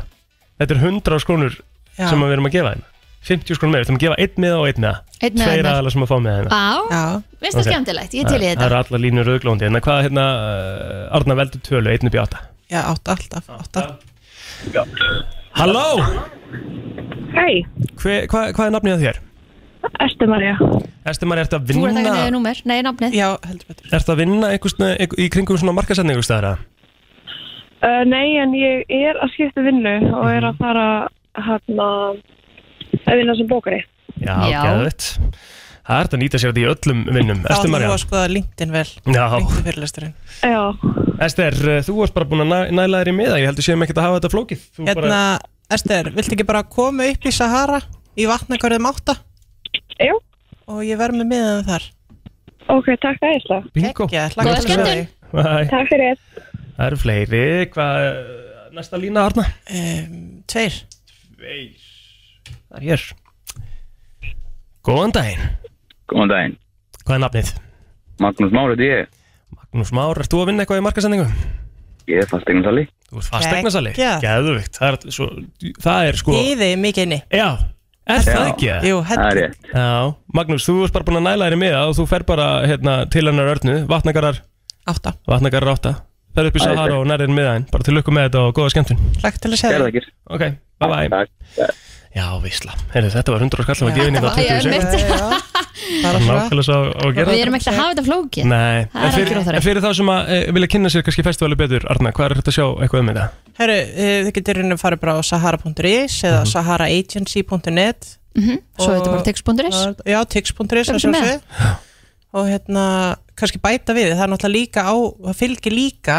Þetta er 100 skrónur já, sem að við erum að gefa hérna. 50 skrónur meira, við ætlum að gefa einn miða og einn miða. Einn miða og einn Tveir miða. aðalega sem að fá miða hérna. Á, já, veist það Ok. skemmtilegt, ég til í Það þetta. eru allar línur auðglóndi. En hvað hérna, uh, Arna veldur tölu, einn upp í átta. já, átta alltaf átta. Halló, Hei, Hve- hvað hvað er nafnið á þér? Östu Marja. Erstu maður eftir að Þú er að taka niður vinna númer, nei, nafnið. já, heldur betur Ertu að vinna einhvers, einhver, í kringum svona markasetning einhvers staðar að? Uh, nei, en ég er að skipta vinnu og er Mhm. að fara hérna að vinna sem bókari. Já, Já. geðvitt Það er þetta að nýta sér þetta í öllum vinnum þá Erstu þú Marja að skoða LinkedIn vel Já, LinkedIn fyrirlesturinn Já, Ester, þú varst bara búin að næ- næla þér í miða Ég heldur séum ekkert að hafa þetta flókið Þú hérna, bara, Ester, viltu ekki bara koma upp í Sahara í vatnakörðum átta já, og ég verð með miðan þar ok, takk að þér það. bingo Gekkja, Góða hlakka til að sjá skemmtun. þig. Æ, Takk fyrir. Það eru fleiri Hvað, næsta lína Arna? um, Ehm, Tveir Veir Það er hér Góðan daginn, Góðan daginn. hvað er nafnið? Magnús Már, þetta ég. Magnús Már, ert þú að vinna eitthvað í markasendingu? Ég er fasteignarsali. Þú ert fastegnasali? Geggjað. Geðvikt, það er, svo, það er sko Í þið mikið inni Já, er það ekki? það? Jú, Það er heldur rétt. Já, Magnús, þú ert bara búin að næla þér í miða og þú fer bara hérna, til hennar örnu, vatnagarar, Átta, vatnagarar átta fer upp í Æðislegt. Sahara og nærðin miðaðinn, bara til lukku með þetta og góða skemmtun hlægt til að segja Gerða þér. ekki. Ok, bye bye Takk. Já, visla, Heyrðu, þetta var 100 skall að gefa inn í það þetta 20 var- sekund einmitt. Já, [laughs] já. Bara svona Nákvæmlega svo á að gera Við erum ekkert að hafa þetta flókið Nei, Það er en fyrir, algjör óþarfi. en fyrir þá sem að e, vilja kynna sér kannski festivali betur, Arna, hvað er þetta að sjá eitthvað um þetta? Herru, eh, þið getur rauninni að fara bara á sahara.is Mhm. eða saharaagency.net Mhm. Svo er þetta bara Það text.is er- Já, tix.is Sem að sem er. sjálfsögðu. og hérna, kannski bæta við það er náttúrulega líka á, það fylgir líka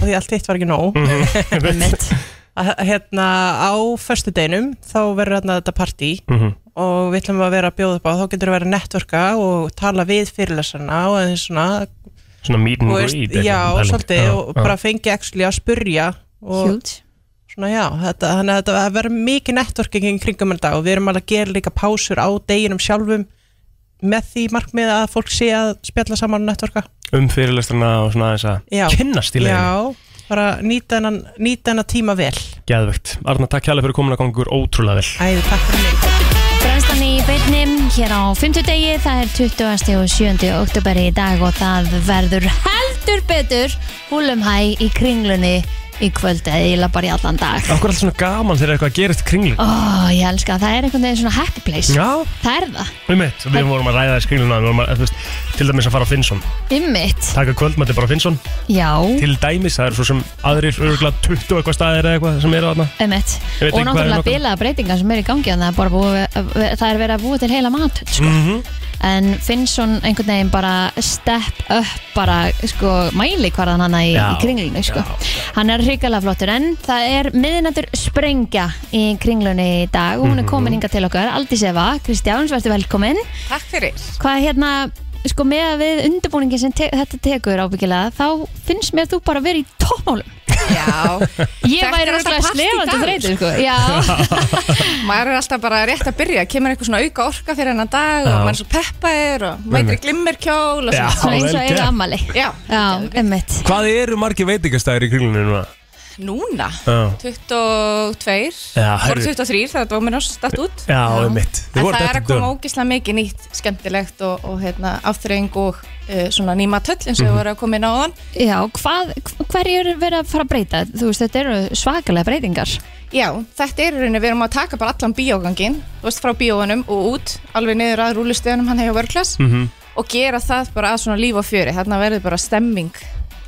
og því allt eitt var ekki nóg Mhm. Einmitt. [laughs] að hérna á föstudeginum þá verður hérna þetta partí Mhm. og við ætlum að vera að bjóða upp á þá getur að vera að networka og tala við fyrirlesarna og eins svona Svona meet and og veist, greet eitthvað, já, pæling. svolítið já. og bara fengi actually að spurja og Huge svona já, þetta, þannig að þetta það verður mikið networking í kringum þetta og við erum alveg að gera líka pásur á deginum sjálfum með því markmið að fólk sé að spjalla saman og networka um fyrirlestrana og svona þess Já. að kynnast í leiðinu, Já, bara nýta hennan, nýta hennan tíma vel geðvögt Arna, takk hérlega fyrir komin að ganga ykkur ótrúlega vel Æði, takk fyrir mig Brænslan í beinnim hér á 50 degi, það er 20. og 7. oktober í dag og það verður heldur betur húlum hæ í kringlunni í kvöld eða ég bara í allan dag. Akkur er allt svona gaman þegar eitthvað gerist kringlu Ó, ég elska það, það er einhvern veginn svona happy place. Já, Það er það, um mitt, við vorum að ræða í skringluna við vorum að, þú veist, til dæmis að fara á Finnsson ymmit, taka kvöldmætti bara á Finnsson, já, til dæmis það er svo sem aðrir örgulega 20 eitthvað staðir eða eitthvað sem eru þarna ymmit. Ég veit Og ekki hvað er náttúrulega nokkuð. bilaða breytingar sem eru í gangi þannig að bara búið, það er verið að búa til heila matur, sko. Mhm. En Finnsson einhvern veginn bara step up bara, sko, mæli hvarðan hana í, Já, í kringlunni, sko. Hann er hrikalega flottur en það er miðnættur sprengja í kringlunni í dag og hún Mhm. er komin hingað til okkar, Aldís Eva, Kristján, svo ertu velkomin. Takk fyrir. hvað hérna sko með að við undirbúningin sem te þetta tekur ábyggilega þá finnst mér þú bara verið í toppmálum Já, ég [laughs] Þetta væri er alltaf röglega part í slefandi dag, þreytur sko. [laughs] já, maður er alltaf bara rétt að byrja, kemur eitthvað svona auka orka fyrir hennan dag Já. og maður er svo peppaðir og mætir í glimmerkjól og Já. svona. svona eins vel og eru gert. ammali Já, já, emmitt Hvað eru margir veitingastæðir í kringlunni núna? núna, Já. 22, Já, voru herri. 23 þegar Dominos datt út. Já, um mitt En það er að koma ógislega mikið nýtt, skemmtilegt og, og hérna, afþreying og uh, svona nýma töll eins og Mhm. við vorum að koma inn á þann. já, hvað, hverju eru verið að fara að breyta þú veist, þetta eru svakalega breytingar Já, þetta er í rauninni, við erum að taka bara allan bíógangin, þú veist, frá bíóanum og út, alveg niður að rúlistöðunum hann hefur vörklass Mhm. -hmm. og gera það bara að svona líf og fjöri, þarna verður bara stemming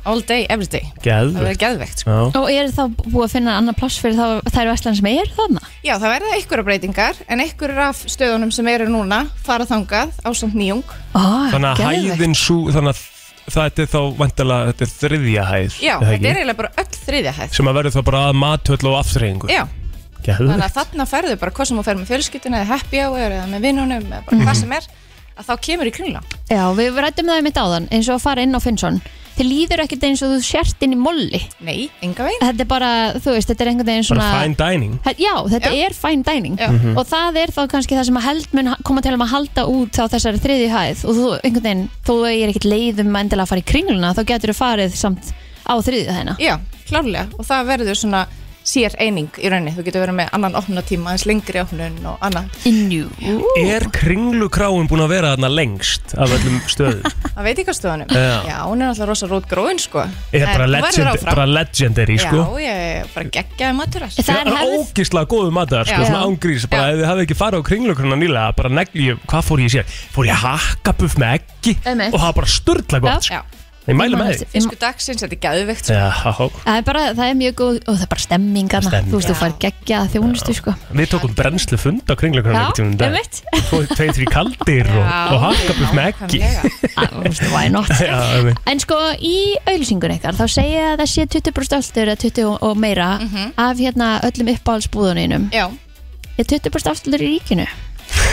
all day, every day, það verður Geðvögt geðvegt sko. Já, og eru þá búið að finna annar pláss fyrir þá, þær veslan sem er þarna Já, það verða einhverja breytingar en einhverjur af stöðunum sem eru núna fara þangað ásamt nýjung oh, þannig að hæðin svo þannig að það er þá vantilega þetta er þriðja hæð Já, er það þetta er ekki? eiginlega bara öll þriðja hæð sem að verður þá bara að matöll og aftreyingu Já, þannig að Geðvögt þarna ferðu bara hvað sem þú fer með fjölskyldinu eða happy hour eða með vinnunum eða bara hvað Mhm. sem er að þá kemur í kringla já, við rættum það um eitt áðan eins og að fara inn á Finnsson þið líður ekkert eins og þú sért inn í molli Nei, enga veginn þetta er bara, þú veist, þetta er einhvern veginn svona Bara fine dining Þetta- Já, þetta er fine dining Já. Mhm. og það er þá kannski það sem að held mun ha- koma til um að halda út á þessari þriði hæð og þú, einhvern veginn, þó að ég er ekkit leiðum um endilega að fara í kringluna, þá getur þú farið samt á þriði hæðina Já, klárlega og það verður svona sér eining í rauninni, þú getur verið með annan opnatíma eins lengri opnun og annað Innjú Er kringlukráin búin að vera þarna lengst af öllum [laughs] stöðum? að veitingastöðunum, Já. já, hún er alltaf rosa rótgróin sko, Er bara, En hún verður legend, áfram. bara legendary sko? já, ég er bara geggjaði maturar Það er Það er hefð ógislega góðu matar, sko, Já. svona ángrís bara Já. ef þið hafið ekki farið á kringlukrona nýlega bara negli, ég- hvað fór ég sér? Fór ég hakkabuff með eggi Einmitt. og það var bara sturla gott, já, sko Ég mælu Ég man með eftir- því fisku dagsins, þetta er geðveikt sko. Já, Það er bara, það er mjög góð og það er bara stemmingarna, Stemming. þú veist, þú fær geggja þjónustu sko við tókum brennslu fund á kringlukrona Já, einmitt. Tveið þrý kaldir og, Já, og hakkabuff með eggi nákvæmlega. Ah, Þú veist, why not [laughs] Já, einmitt. En sko í auðlýsingun ykkar þá segja að það sé 20% aftur eða 20 og- og meira af hérna öllum uppáhaldsbúðuninum Já, er 20% aftur í ríkinu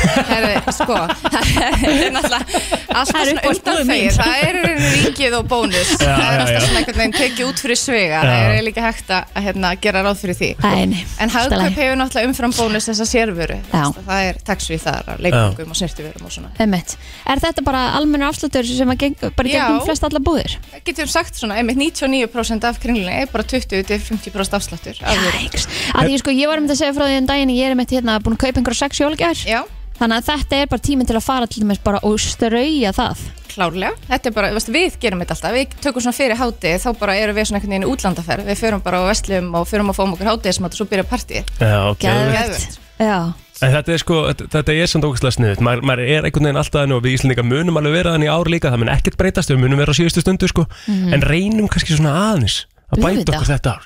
herri, sko, [laughs] það er náttúrulega alltaf Það er svona uppáhaldsbúðin mín. undanfegir, það er í rauninni ríki tekið og bónus Já, það er já, alltaf já. svona einhvern veginn tekið út fyrir svega það Já. er eiginlega ekki hægt að að, hérna, gera ráð fyrir því Nei, nei, en allt í lagi. hagkaup hefur náttúrulega umfram bónus þessa sérvöru Þú Já. veist að það er taxfree þar að leikungum og snirtivörum og svona Einmitt. Er þetta bara almennur afslutur sem að geng, bara Já. gegnum flest alla búðir? Við getum sagt svona, einmitt 99% af kringlunni er bara 20-50% afsláttur af vöru. Jæks. Að því sko, ég var um þetta að segja frá því um daginn ég er um hérna búin að kaupa einhverja sex jólgjær Já, þannig að þetta er bara tíminn til að fara til dæmis bara og strauja það klárlega Þetta er bara, þú veist, við gerum þetta alltaf Við tökum svona fyrir hátið, þá bara erum við svona einhvern veginn í útlandaferð Við förum bara á veslum og förum að fáum okkur hátiðismat og svo byrja partíið Já, ok. Geðveikt. Geðveikt. Já, En þetta er sko, þetta- þetta er samt ógæslega sniðut. Maður, maður er einhvern veginn alltaf þannig og við Íslandingar munum alveg vera þannig í ár líka, það mun ekkert breytast, við munum vera á síðustu stundu sko, Mhm. en reynum kannski svona aðeins að bæta Auðvitað. okkur þetta ár.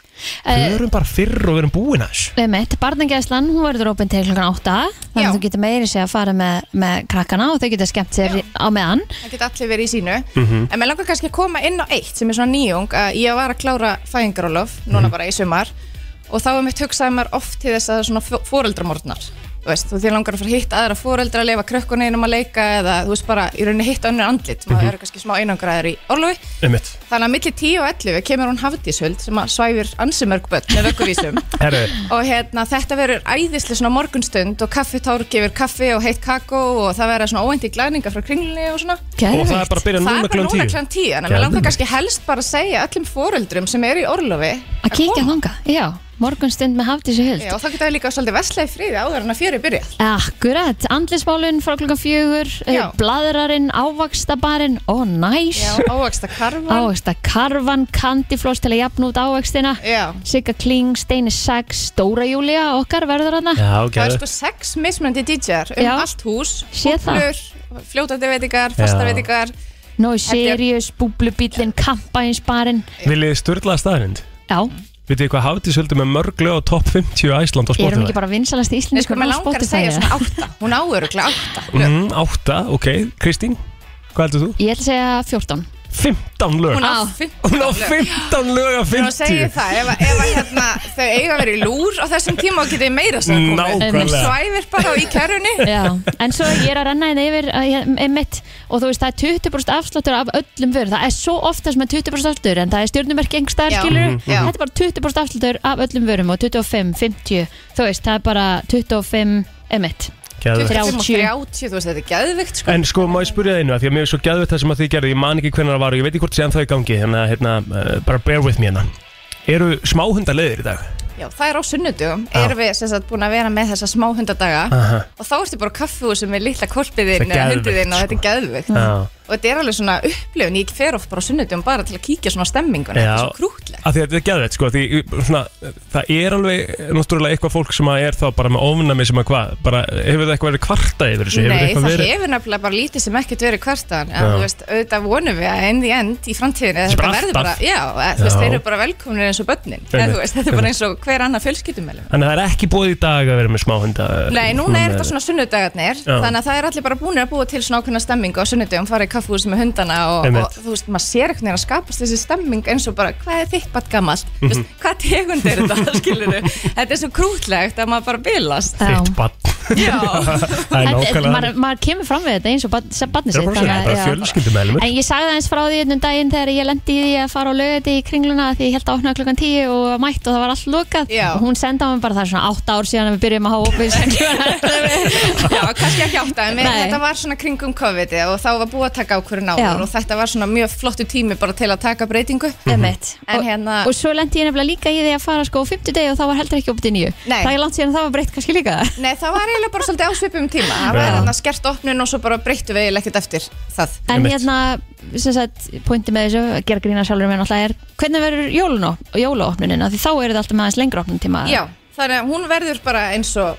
Eh, Við erum bara fyrr og við erum búin að þessu. einmitt, barnagæslan, hún verður opinn til klokkan 8 þannig Já. að þú getur meiri sig að fara með, með krakkana og þau getur skemmt sér á meðan Það geta allir verið í sínu En mér langar kannski að koma inn á eitt sem er svona nýjung að ég var að klára fæðingarólof núna bara í sumar og þá er mitt hugsaði maður oft til þess að svona fóreldramornar þú veist, þú þér langar að fara að hitta aðra fóreldra að lefa krökkunni innum að leika eða þú veist bara í rauninni hitta önnur andlit maður er kannski smá einangraður í orlofi Einmitt. þannig að milli 10 og 11 kemur hún Hafdíshöld sem að svæfir ansimörg börn með vökkuvísum Herru, og hérna, þetta verður æðislega svona morgunstund og kaffitár gefur kaffi og heitt kakó og það verður svona óænti glæninga frá kringlunni og svona og það er bara að byrja það núna er bara kljóðan núna tíu. klann tíu en við langar Geðveikt. kannski helst bara að segja öllum foreldrum sem eru í orlofi að kíkja koma. þanga, já, morgunstund með hafdísi Já, huld og þá geta við líka svolítið versla í friði áður en að fjöri byrja Akkurat, andlismálun frá klokkan fjögur Já. bladrarinn, ávaxtabarinn ó, næs [laughs] Já, ávaksta karvan Ávexta karvan, kandifloss til að jafna út ávextina Já. Sigga Kling, Steini Sax, Dóra Júlia okkar verður hana Já, ok. Það er sko sex mismunandi DJ-ar um Já. allt hús, Sé það. húplur, fljótandi veitingar, fastar Já. veitingar Nói Þetta er- Sirius, Búblubílin, Kampainsbarinn sko- Viljið þið störlaða staðrind? Já, Vitið þið hvað Hafdísöldu með mörglu á topp 50 Æsland á er hún Spotify? ekki bara vinsalast í Nei, íslensku sko, maður langar að segja svona átta Hún áuruglega átta lög. Mm, átta, ok. Kristín, hvað heldur þú? Ég ætla að segja 14 15 lög. Hún Á. á 15 Hún á lög. 15 lög af Nú segir 50. það, ef, að- ef að, hérna, þau eiga að vera í lúr á þessum tíma og getið meira sem Nákvæmlega. Svæfir bara í kerrunni Já, en svo ég er að renna henni yfir að ég- einmitt og þú veist það er 20% afsláttur af öllum vörð það er svo ofta sem er 20% afsláttur en það er stjórnumerki engstæðar Já. skilur Mhm, já. þetta er bara 20% afsláttur af öllum vörum og 25, 50, þú veist það er bara 25, einmitt Geðveikt. 25 og 30. 30, þú veist, þetta er geðvikt sko. En sko, má ég spyrja það einu að því að mér er svo gæðvett það sem að þið gerðu, ég man ekki hvernig það var og ég veit ekki hvort séðan það í gangi, þannig að hérna, uh, bara bear with me hérna. Eru smáhundar leiðir í dag? Já, það er á sunnudugum, erum við sem sagt búin að vera með þessa smá hundadaga Aha. og þá ertu bara á kaffihúsi með litla Það er kolpiðin eða geðveikt, hundiðin og sko. þetta er geðvikt Já. og þetta er alveg svona upplifun, ég fer oft bara á sunnudugum bara til að kíkja svona á stemminguna, þetta er svo krútleg Af því að þetta er gæðvett, sko, því svona, það er alveg, náttúrulega eitthvað fólk sem að er þá bara með ofnami sem að hvað, bara, hefur það eitthvað verið kvarta yfir þessu? Nei, hefur það verið... hefur nefnilega bara lítið sem ekkert verið kvartan en Já. þú veist, auðvitað vonum við að in the end í Þetta framtíðinu er þetta bara verður alltaf. bara, já, að, þú veist, Já. þeir eru bara velkomnir eins og börnin eða, Einmitt. þú veist, þetta er bara eins og hver annar fjölskyldumælum Þannig að það er ekki búið í dag að vera með smáhunda. Nei, núna er þetta svona sunnudagarnir Já. þannig að það er allir bara búinir að búa til svona ákveðna stemmingu á sunnudagum, fara í kaffúsi með hundana og, Einmitt. og þú veist, maður sér einhvern veginn að skapast þessi stemming eins og bara, hvað er þitt bætt gammalt, mm Mhm. veist, hvað tegund er þetta, [laughs] skilur þetta er svo krútlegt að maður bara bilast [laughs] Já. Þitt barn. Já, Það er Þetta- nákvæmlega maður, maður kemur fram við þetta eins og barn- sem Það barnið er sitt bara svona, þannig að- bara já. fjölskyldumeðlimur. En ég sagði aðeins frá því einnum daginn þegar ég lendi í því að fara á lögati í kringluna því ég held að opna klokkan 10 og var mætt og það var allt lokað Já. og hún sendi á mig bara það er svona 8 ár síðan að við byrjum að hafa opið [laughs] [laughs] já, kannski ekki átta en mér, Nei. þetta var svona kringum COVID og þá var búið að taka ákvörðun áður Já. og þetta var svona mjög flottu tími bara til að taka breytingu Emmett En hérna- og, og svo lendi ég nefnilega líka í því að fara sko á 50 degi og það var heldur ekki opið í nýju Nei. Það er langt síðan að það var breytt kannski líka Nei, það var eiginlega bara svolítið ásvipum tíma það var Já. þarna skert opnun og svo bara breyttu við eiginlega ekkert eftir það En Einmitt. hérna, sem sagt, pointi með þessu að gera grína sjálfur minn alltaf er hvernig verður jólun og jólaopnunin Af því þá eru það alltaf með aðeins lengra opnun Já, þannig að hún verður bara eins og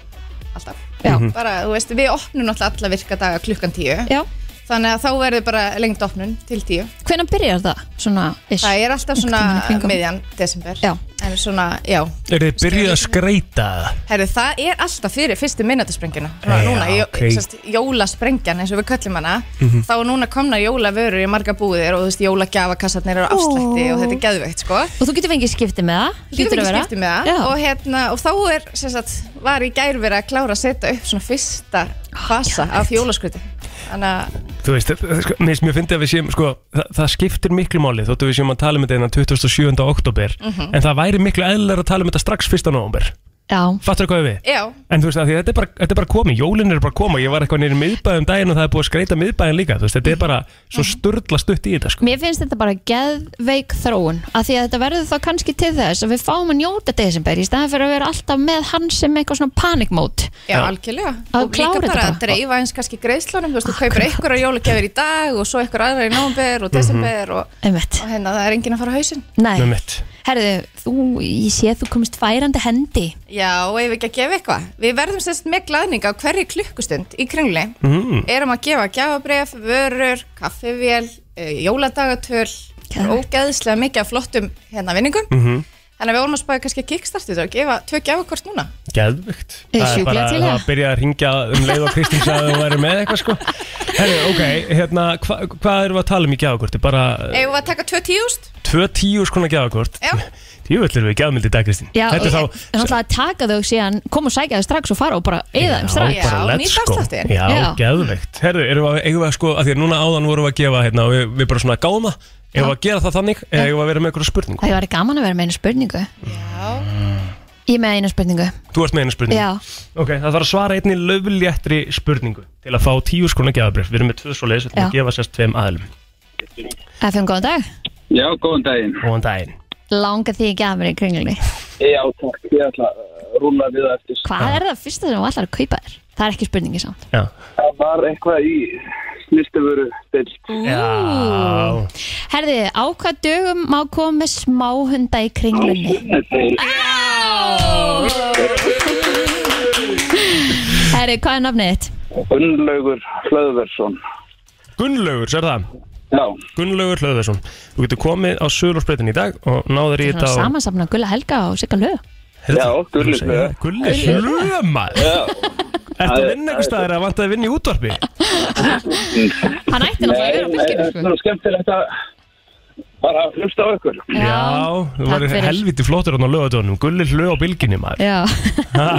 alltaf Já. bara, þú veist, við opnum alltaf alla virka daga klukkan tíu Já. þannig að þá verður bara lengt opnun til tíu Hvenær byrjar það? Svona, ish. það er alltaf svona Einhvern tímann í kringum. miðjan desember Já. en svona, já Er þið byrjuð að skreita það? Herru, það er alltaf fyrir fyrstu minnatusprengjuna Já, núna, jó, ok. sest, jólasprengjan eins og við köllum hana Mhm. þá er núna komna jólavörur í marga búðir og þú veist, jólagjafakassarnir eru á afslætti Ó. og þetta er geðveikt, sko Og þú getur fengið skipti með það Þú getur hlýtur að ekki vera. skiptið með um það Já. og, hérna, og þá er, sem sagt, var í gær verið að klára að setja upp svona fyrsta fasa af jólaskröti Þannig að Þú veist, það- sko, mér finnst mjög fyndið að við séum, sko, það, það skiptir miklu máli þóttu við séum að tala um þetta innan 27. oktober Mhm. en það væri miklu eðlar að tala um þetta strax 1. november. Já. Fattur hvað ég við? Já, En þú veist, af því að þetta er bara, þetta er bara komið, jólin er bara komið, ég var eitthvað nýrið miðbæðum daginn og það er búið að skreita miðbæðin líka, þú veist, þetta er bara svo Mhm. sturla stutt í þetta, sko. Mér finnst þetta bara geðveik þróun að því að þetta verður þá kannski til þess að við fáum að njóta desember í staðan fyrir að vera alltaf með hann sem eitthvað svona panic mode já, algjörlega Að Og líka klára bara þetta að dreifa eins kannski greiðslunum Þú veist, þú kaupir einhverja jólagjafir í dag og svo einhverja aðra í Mhm. nómber og desember og, Einmitt. og hérna, það er enginn að fara á hausinn Nei, Með mitt. herðu, þú, ég sé að þú komist færandi hendi Já, og ef við ekki að gefa eitthvað Við verðum sérst með glæðninga á hverju klukkustund í kringli Mm. Erum að gefa gjafabref, vörur, kaffivél, uh, jóladagatöl Geðveikt. Ógeðslega mikið af flottum hérna vinningum Mhm. Þannig að við vorum að spáði kannski að kickstartu þetta og gefa tvö gjafakort núna Geðvögt. Það Ég er er sjúklega bara til í það það. að byrja að ringja um leið og Kristín sagði að þú væri með eitthvað, sko. Herri, ok, hérna, hva, hvað erum við að tala um í gjafakorti? Bara eh, Ef við að taka tvö tíust tvö tíu skona gjafakort. Já. Tjúvill erum við gjafmildi í dag, Kristín. Já, þetta er og- þá... en alltaf að taka þau síðan koma og sækja þau strax og fara og bara eða þeim strax Já, bara let's nýta go. afsláttinn. Já, Já. geðveikt Herðu, erum við, eigum við að sko, að því að núna áðan vorum við að gefa hérna, og við, við bara svona gáðum það Eigum við að gera það þannig, eða eigum við að vera með einhverja spurningu Það væri gaman að vera með einu spurningu Já, Ég er með einu spurningu Þú ert með einu spurningu Já, Ok, það þarf að svara einni löfléttri spurningu Til að fá tíu skona gefabrif Við erum með tvö svo leiðis, við ætlum að Já. gefa sérst tveim aðlum FM, góðan dag Já, góðan daginn. Góðan daginn Langa því ekki að vera í kringlunni Já, takk. Ég ætla að rúla við það eftir. Hvað er það fyrsta sem þú ætlar að kaupa þér? Það er ekki spurningi samt Já, Það var eitthvað í snistufuru deilt. Já. Herði, á hvað dögum má koma með smáhunda í kringlunni? Þetta er Herri, hvað er nafnið þitt? Unnlaugur Hlöðversson. Gunnlaugur, sér það Já, Gunnlaugur Hlöðversson Þú getur komið á Söðlórsbreytin í dag og náður í Það þetta er á- samansafna Gulla Helga og Sigga Lög Heyrðu, Já, þú Gulli segir Hlöð. það. Gulli Hlöðmar Eh, Ertu að vinna einhver staðar að vantaði vinna í útvarpi? Hann ætti náttúrulega að vera á fylginu Eh, það sko. er skemmtilegt að bara hlusta á ykkur. Já, þú takk var fyrir. helviti flottur hann á lögadónum Gulli hlöð á bylginni maður Já, ha,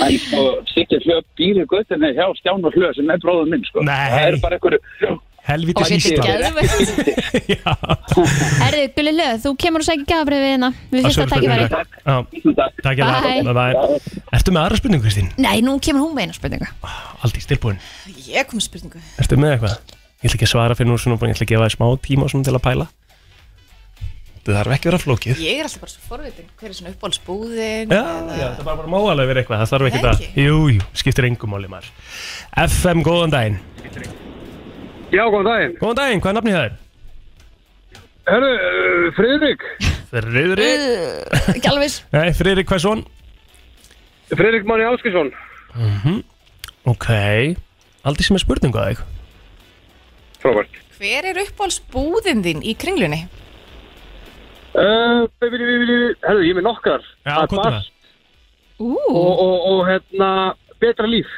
En sko, Siggi Hlöð býr í guttinni hjá Stjána Hlöð sem er bróður minn, sko. Nei. Það er bara einhverju... Helviti sísta geðvegt Já, Herri, Gulli Lög, þú kemur og sækir gafabrið við hérna Við fyrsta Söðursbrautinni takkifæri í dag. Já, Takk. Takk ég Bye. það Ertu með aðra spurningu Kristín? Nei, nú kemur hún með eina spurningu Aldís tilbúin ég kom með spurningu Ertu með eitthvað? Ég ætla ekki að svara fyrir nú svona búin Ég ætla að gefa þér smá tíma og svona til að pæla Það þarf ekki að vera flókið Ég er alltaf bara svo forvitin, hver er svona uppáhaldsbúðin Já, já, það bara bara má alveg vera eitthvað, það þarf ekki Nei, það. ekki. Jú, jú, skiptir engum máli maður. FM, góðan daginn. Já, góðan daginn. Góðan daginn, hvað er nafnið það er? Herru, uh, Friðrik. Friðrik. Ekki alveg viss. Nei, Friðrik, hvað er svon? Friðrik Máni Áskilsson. Ok, aldrei sem er spurningu að þig. Frábært. Hver er uppáhaldsbúðin þín í kringlunni? Uh, baby, baby, baby, baby. Herru, ég er með nokkar. Já, Það er komdu með. Bars Ú, Og, og, og hérna, betra líf.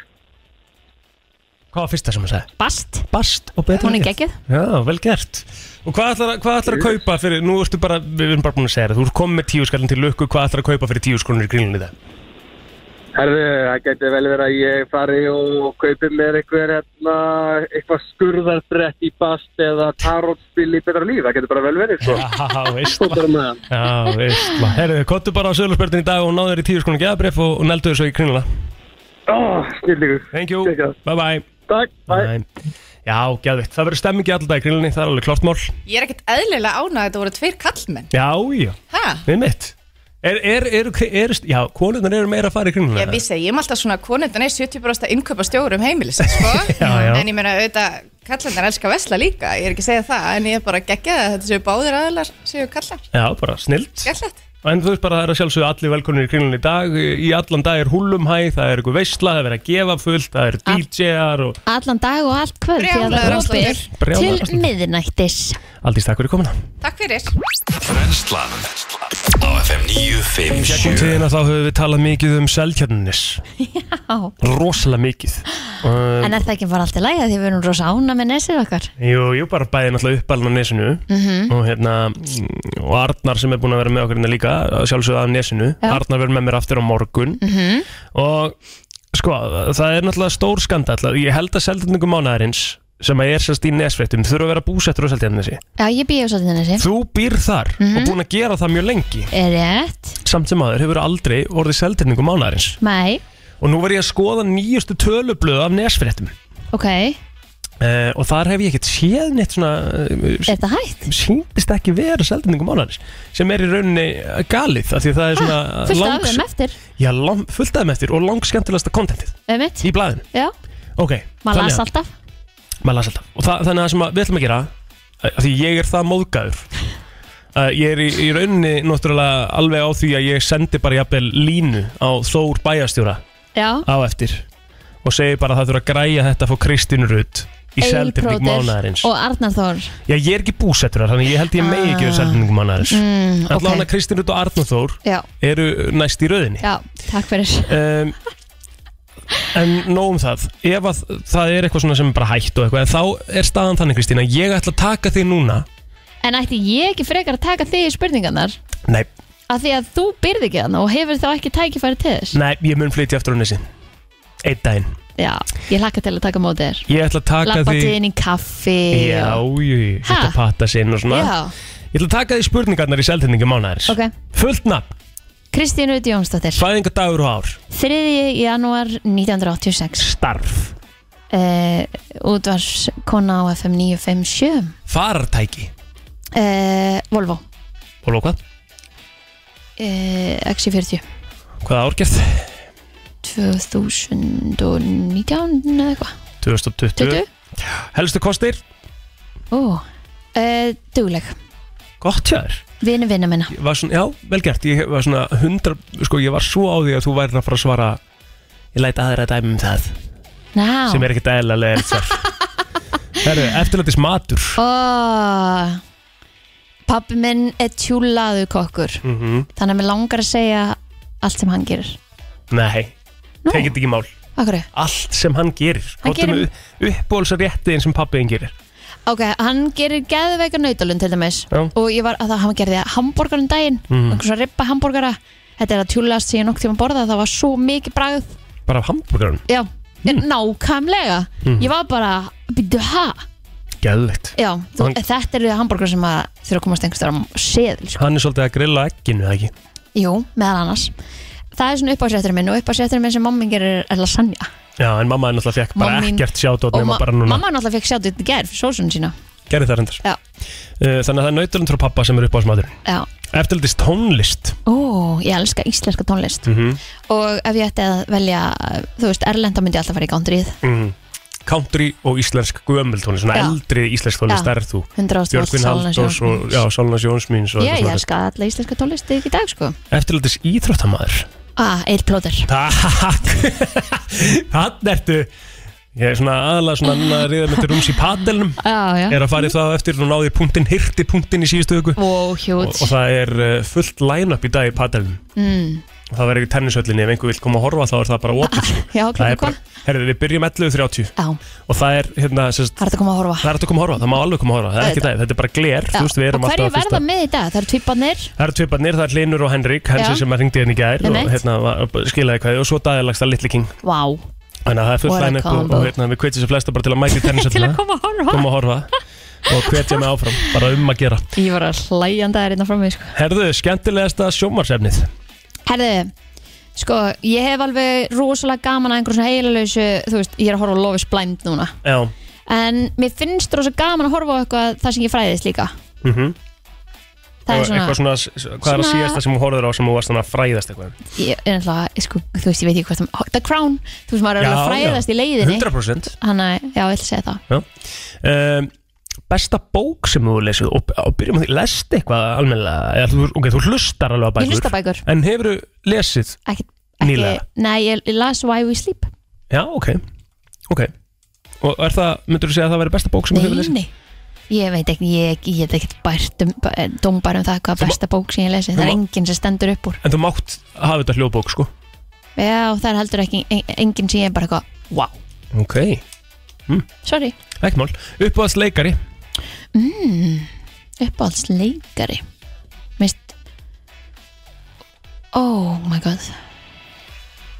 Hvað var fyrsta sem hún sagði? bast Bast og betra Hún er lið. geggið Já, vel gert Og hvað ætlar, að- hvað ætlar að kaupa fyrir, nú ertu bara, við erum bara búin að segja það Þú ert komið með tíu skallin til lukku, hvað ætlar að kaupa fyrir tíu skallin í grílunni það? Herru, það getur vel verið að ég fari og kaupi mér einhver, hérna, eitthvað skurðarbrett í bast eða tarotspil í betra líf. Það getur bara vel verið, sko. Já, veist Svo bara með það. Já, veist Herðu, kottu bara á sögurspörtin í dag og náðu þér í tíu skallin geðabref og, og neldu þér svo í grílunna Ó, snillingur. Thank you, Gekkað. bye bye, Takk, bye. bye. Já, geðvitt, það verður stemmingi alltaf í grílunni, það er alveg klart mál Ég er ekkert eðlilega ánægð að þetta voru tveir kallmenn Já, já, Hæ? við mitt Er, er, er, er, já, konurnar eru meira að fara í kringluna Ég vissi, ég er alltaf svona konundan er 70% innkaupa stjórum heimilis sko? [laughs] Já, já. En ég meina auðvitað kallandar elska vesla líka Ég er ekki að segja það, en ég er bara geggjað að þetta séu báðir aðlar séu kallar Já, bara snilt Gællett En þú veist bara, það er að sjálfsögðu allir velkonir í kringlunni í dag Í allan dag er húllumhæ, það er eitthvað veistla, það er verið að gefa fullt Það eru DJ-ar og Allan dag og allt kvöld því að Brjálaður það er afsláttur. opið Brjálaður Til afsláttur. miðinættis Aldís, takk fyrir komuna Takk fyrir Brennslan á FM Í 957 gegnum tíðina þá höfum við talað mikið um selkjarnis Já Rosalega mikið um, En er það ekki bara allt í lagi að því við erum rosa ána með nesið okkar? Jú, jú, bara bæði náttúrulega uppalinn á nesinu og, hérna, mm, og Arnar sem er búin að vera með okkur hérna líka að Sjálfsögðu af nesinu Já. Arnar verður með mér aftur á morgun -hmm. Og sko, það er náttúrulega stór skandall Ég held að selkjarningum mánæðarins sem að er sérst í nesfréttum þurfa að vera búsettur á Seltjarnesi Já, ég býði á Seltjarnesi Þú býr þar og búin að gera það mjög lengi Er rétt? Samt sem aður hefur aldrei orðið seltirningu mánarins Mæ, Og nú var ég að skoða nýjustu tölublöð af nesfréttum ok uh, Og þar hef ég ekkert séð neitt svona uh, Er það hægt? Sýndist ekki vera seltirningu mánarins Sem er í rauninni uh, galið af Því að það er svona Ah, Fullt af þeim eftir Já, lang, fullt af þeim eftir og langskemmtilegasta kontentið Ömmit, Í blæðinu já Ok, Maður þannig las að- alltaf maður las alltaf og það, þannig að það sem að við ætlum að gera af því ég er það móðgæður að ég er í, í rauninni náttúrulega alveg á því að ég sendi bara jafnvel línu á Þór bæjarstjóra Já, á eftir og segi bara að það þurfa að græja þetta að fá Kristínu Rutt í Egil seldifning Proder mánaðarins Og Arnar Þór Já, ég er ekki búsettur þar, þannig að ég held ég megi ekki Ah. við seldifning mánaðarins mm, mm, okay. Allá hana Ok, Kristín Rutt og Arnur Þór já, eru næst í rauðinni já, takk fyrir um, En nóg um það Ef að það er eitthvað svona sem er bara hægt og eitthvað en Þá er staðan þannig Kristín að ég ætla að taka þig núna En ætti ég ekki frekar að taka þig í spurningarnar Nei, Af því að þú byrði ekki þannig og hefur þá ekki tækifæri til þess nei, ég mun flytja aftur á nesi Einn daginn Já, ég hlakka til að taka móti þér Ég ætla að taka Lappa þig til inn í kaffi Já, jú, jú, Ha? þetta patta sinn og svona já, Ég ætla að taka þig spurningarnar í seltendingu mánæðars ok Fullt nafn, Kristín Rutt Jónsdóttir fæðingar dagur og ár 3. janúar 1986 Starf, uh, Útvars kona á FM 957 farartæki uh, Volvo Og lókað, uh, XC40 hvaða árgerð? 2019 eða eitthvað 2020 20? Helstu kostir? Ó, uh, dugleg Gott hjá þér Vinu vinna minna Ég var svona, já, vel gert, ég var svona hundra, sko, ég var svo á því að þú væri að fara að svara ég læt aðra dæmi um það Ná sem er ekkert eðlilega er það [laughs] Herru, eftirlætis matur Ó, Pappi minn er tjúlaðu kokkur mm Þannig að mér langar að segja allt sem hann gerir Nei, Nú, tekið þetta ekki í mál akkur Allt sem hann gerir Hann Gottum gerir- við uppbólsaréttiðin sem pappiðin gerir Ok, hann gerir geðveika nautalund til dæmis Já. og ég var að það hann gerði hambúrgarum daginn Mhm. einhvers að rippa hambúrgara þetta er að tjúlast sem ég nokk tíma borða það var svo mikið bragð Bara af hambúrgarun, já, Hmm. nákvæmlega ég var bara, býttu ha geðveikt já, þú, Hann- þetta eru hambúrgar sem að þurfa að komast einhvers þar á seðil sko. Hann er svolítið að grilla egginu, eða ekki jú, meðal annars það er svona uppásetturinn minn og uppásetturinn minn sem mammin gerir er lasagna Já, en mamma er náttúrulega fekk bara Mamma mín- ekkert sjátt og nema bara núna mamma náttúrulega fekk sjátt í gerð fyrir sósunum sína Gerði það reyndar Já. Eh, Þannig að það er nautalund frá pappa sem er uppbólsmatur já. Eftirlætis tónlist Ó, ég elska íslenska tónlist mm og ef ég ætti að velja þú veist, Erlenda myndi ég alltaf fara í countryð mm. country og íslensk gömultónlist svona Já. eldri íslensk tónlist, Já. það er þú 100 Björgvin Halldórs og já, Solna Sjónsmýns og ég, ég eitthvað elska alla íslenska tónlist í dag sko svona. Eftirlætis íþróttamaður ah, Eil Plóter Takk [laughs] Þann ertu Ég er svona aðalega svona að riða með til rúms í padelnum já, já. er að fara í það á eftir og náði punktinn, hirti punktinn í síðustu viku Ó, og, hjút og það er uh, fullt line-up í dag í padelnum mm. og það verður í tennishöllinni ef einhver vil koma að horfa þá er það bara opið [laughs] Það já, klukkan er bara, hvað? herrðu, við byrjum 11.30 Já, og það er, hérna, sérst, það er þetta að koma að horfa það er hægt að koma að horfa, það má alveg koma að horfa, það er ekki það, þetta er bara gler, Já. þú veist, við og erum hverju alltaf að verða fyrsta. með í Það eru tviparnir, dag? Það eru tvíbarnir það er Hlinur og Henrik, Já. hensi sem að ringdi henni í gær og Einmitt. hérna var- skilaði hvað og svo dagilagst að Little King. Vá, Þannig að það er fullt What a læn upp og, combo. og hérna, við kveitjum sér flesta bara til að mæta í [laughs] til að tennisöldina, koma að horfa koma að horfa og kvetja mig áfram, bara um að gera. Ég var að hlæjanda þær innan frá mig sko. Herðu, skemmtilegasta sjómarsefnið. Herðu, sko, ég hef alveg rosalega gaman að einhverjum svona heilalösu Þú veist, ég er að horfa á Love is Blind núna Já, En mér finnst rosalega gaman að horfa á eitthvað þar sem ég fræðist líka mm Það er og eitthvað svona, svona, hvað er að Svona- síðasta sem þú horfður á sem þú varst þannig að fræðast eitthvað? ég er alltaf, sko, þú veist, ég veit ekki hvort það, The Crown, þú veist, maður er alveg að fræðast í leiðinni 100%. Hann að, já, ég ætla að segja það um, besta bók sem þú lesið og, og byrjum á því, lest eitthvað almennilega eða þú, okay, þú hlustar alveg að Ég bækur hlusta á bækur, en hefur þú lesið ekki, ekki Nýlega. Nei, ég, ég las Why We Sleep já, ok, ok og er það, myndur þú segja að það væri besta bók sem þú hefur Nei, lesið nei, ég veit ekki, ég, ég get ekki bært um, dómbar um það hvað Þú má- besta bók sem ég lesi, það þú er má- enginn sem stendur upp úr en þú mátt hafa þetta hljóðbók sko Já, það er heldur ekki, en- enginn sem ég er bara eitthvað, wow, ok, sorry ekki mál uppáðast leikari, mm, uppáhaldsleikari mist oh my god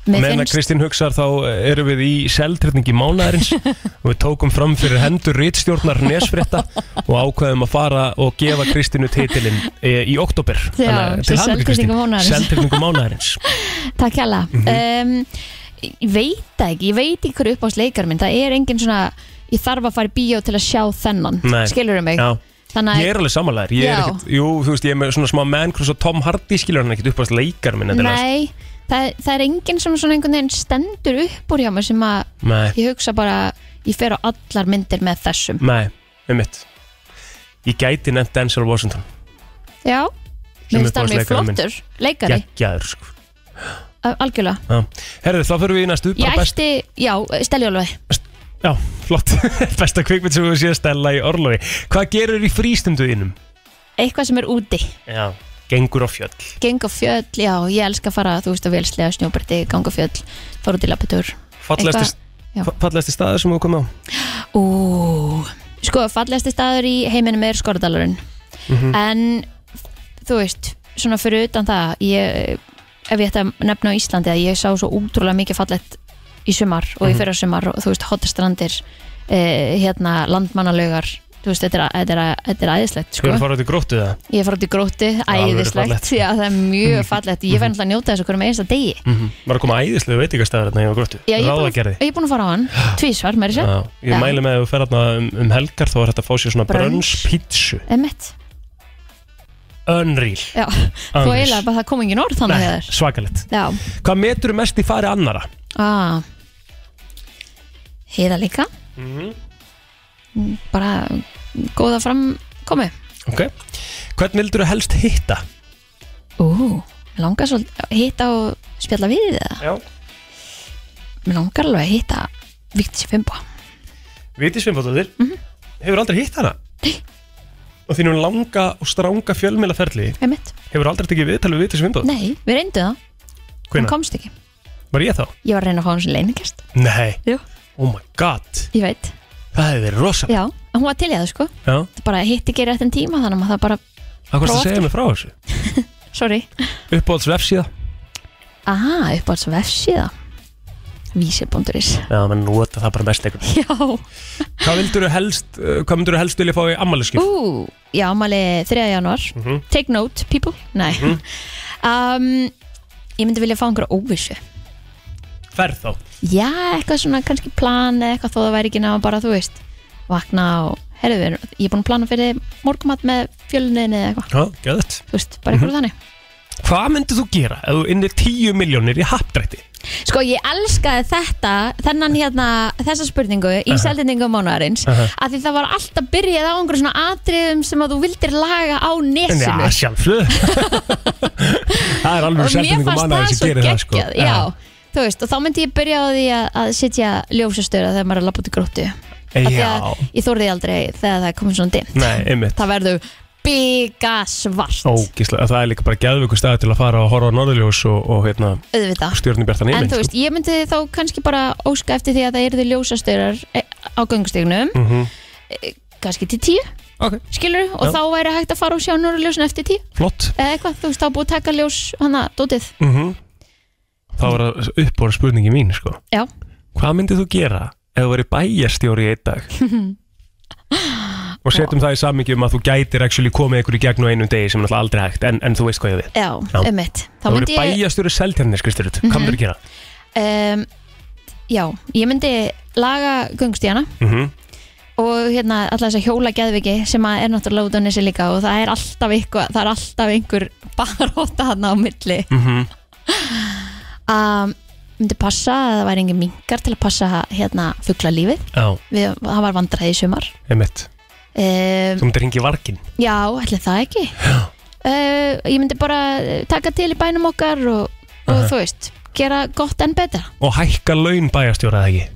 Mér Meðan að finnst- Kristín hugsar þá erum við í seltrefningi [laughs] mánaðarins og við tókum fram fyrir hendur rítstjórnar nesfrétta og ákveðum að fara og gefa Kristínu titilinn e, í oktober Já, sem seltirningu mánaðarins. Seltrefningu [laughs] mánaðarins Takk hella Mhm. um, Ég veit það ekki, ég veit ekki hverju uppáðsleikar minn Það er engin svona, ég þarf að fara í bíó til að sjá þennan Nei. Skilurðu mig? Já. Þannig Ég að er alveg samanlegar Ég er Já. ekkert, jú, þú veist, ég er með svona smá menn hvernig svo Tom Hardy skilur hann ekkert upp að leikar minn endilega, Nei, það, það er enginn sem svona einhvern veginn stendur upp úr hjá mér sem að sko. Nei, ég hugsa bara, ég fer á allar myndir með þessum. nei, um mitt Ég gæti nefnt Denzel Washington Já, Mm. Sem mér finnst hann mjög uppáhaldsleikarinn minn. flottur, leikari, Geggjaður, sko al- algjörlega. Já. Herðu, þá fyrir við í næstu Ég bara best- ætti, já, Stelji Ólfi, Já, flott. [laughs] Besta kvikmynd sem við séð stella í orlofi. Hvað gerur í frístunduðinum? eitthvað sem er úti, Já. Gengur á fjöll. geng á fjöll, já, ég elska að fara, þú veist, að velslega snjóbriti, gang á fjöll, fara út í lappitur. Fallegasti, já. fallegasti staður sem þú kom á? Ú, sko, fallegasti staður í heiminum er skorðalurinn Mhm. En, þú veist, svona fyrir utan það ég, Ef ég ætti að nefna á Íslandi að ég sá svo útrúlega mikið fallegt í sumar og Mhm. í fyrra sumar og þú veist, hotastrandir eh, hérna, landmannalögar þú veist, þetta er, þetta er, þetta er æðislegt Þú sko. erum farað til gróttu það? ég fór út í gróti, Alvöru æðislegt fallegt. já, það er mjög [laughs] fallegt, ég fær náttúrulega að njóta þessu hverjum einasta degi Var að koma æðislega veitingastæður hérna hjá gróttu. já, ég, er búin að, Ráðagerði. ég er búin að fara á [gasps] hann tvísvar, með þessu, Já, ég Já. mæli með að þú fer hérna um, um helgar þá er þetta að fá sér svona Brunch. brönnspítsu. emitt Unreal. já, þú eiginlega bara það kom engin orð þannig að Nei, þér svakalegt. já, Hvað metur mest í fari annara? Ah. Heiða líka Mm, Bara góða framkomi Ok. Hvern vildur þú helst hitta? Ú, mig langar svolítið að hitta og spjalla við það Já. Mér langar alveg að hitta Víktis Fimbo Viti Sveinfóttur hefur aldrei hitt hana og þínum langa og stranga fjölmiðlaferli Einmitt. hefur aldrei tekið viðtal við Viti Sveinfóttur Nei, við reyndum það, hún Hvenær? komst ekki Var ég þá? Ég var að reyna að fá hún sem leiningest Nei Jú. Oh my god Ég veit, Það hefur verið rosa já, en hún var til í það sko Já Það bara hitti ekki réttin tíma þannig að það bara, Það hvað Prófa það segja mig frá þessu sorry Uppáhalds vefsíða Aha, upp á þessu vefsíða Vísir.is Já, menn nota það bara mest eitthvað Já Hvað vildur þú helst uh, Hvað myndur þú helst vilja fá í ammæliskip? Ú, já, ámali 3. januar Take note, people Nei [laughs] um, Ég myndi vilja fá einhverja óvissu Ferð þá Já, eitthvað svona, kannski plan eða eitthvað þó það væri ekki náma bara, þú veist Vakna og, herðu við, erum- ég er búin að plana fyrir morgumat með fjölunniðinni eða eitthvað Já, gæðið Þú veist, bara einhverju þannig Hvað myndur þú gera ef þú innir 10 miljónir í hapdrætti? Sko, ég elskaði þetta, þennan hérna, þessa spurningu í uh -huh. seldendingum mánuðarins að því það var alltaf byrjað á einhverju svona atriðum sem að þú vildir laga á nesinu Já, [laughs] sjálfsög Það er alveg og mér seltingum fannst annað það sem svo gerir það sko geggjað já, þú veist, og þá myndi ég byrja á því að, að sitja ljósastöra þegar maður er að labba út í gróttu Af því að Já, ég þorði aldrei þegar það er komið svona dimt nei, einmitt það verður byggasvart Ógíslega, það er líka bara geðvöku stað til að fara og horfa á norðurljós og, og hérna, auðvitað stjórnibjartan en yfir sko. þú veist, ég myndi þá kannski bara óska eftir því að það eru ljósastörar eh, á göngustegnum mm Mhm. kannski til tíu Ok. skilur, og Já. þá væri hægt að fara og sjá norðurljósin eftir tíu, Flott eða eitthvað, þú veist, þá er búið að taka ljós hana, dótið, mm Þá var það uppbóra spurningi mín sko. já Hvað myndið þú gera ef þú verið bæjarstjóri í einn [laughs] dag? og setjum það í samingi um að þú gætir actually komið ykkur í gegn og einum degi sem er náttúrulega aldrei hægt en, en þú veist hvað ég á við já, Já. ummitt þá Það voru myndi ég Mhm. bæjarstjóri seltjarnir skristur mm Hvað myndir þú gera? um, Já, ég myndi laga gungstíana Mm og hérna alltaf þess að hjóla geðviki sem að er náttúrulega út á nesi líka og það er alltaf, eitthvað, það er alltaf einhver [laughs] baróta hann á milli Mm. mhm. um, myndi passa að það væri engin minkar til að passa hérna fuglalífið Já, Við, það var vandræði í sumar einmitt um, Þú myndir ringi vargin Já, ætli það ekki uh, Ég myndi bara eh, taka til í bænum okkar og, og þú veist, gera gott en betra og hækka laun bæjarstjóra eða ekki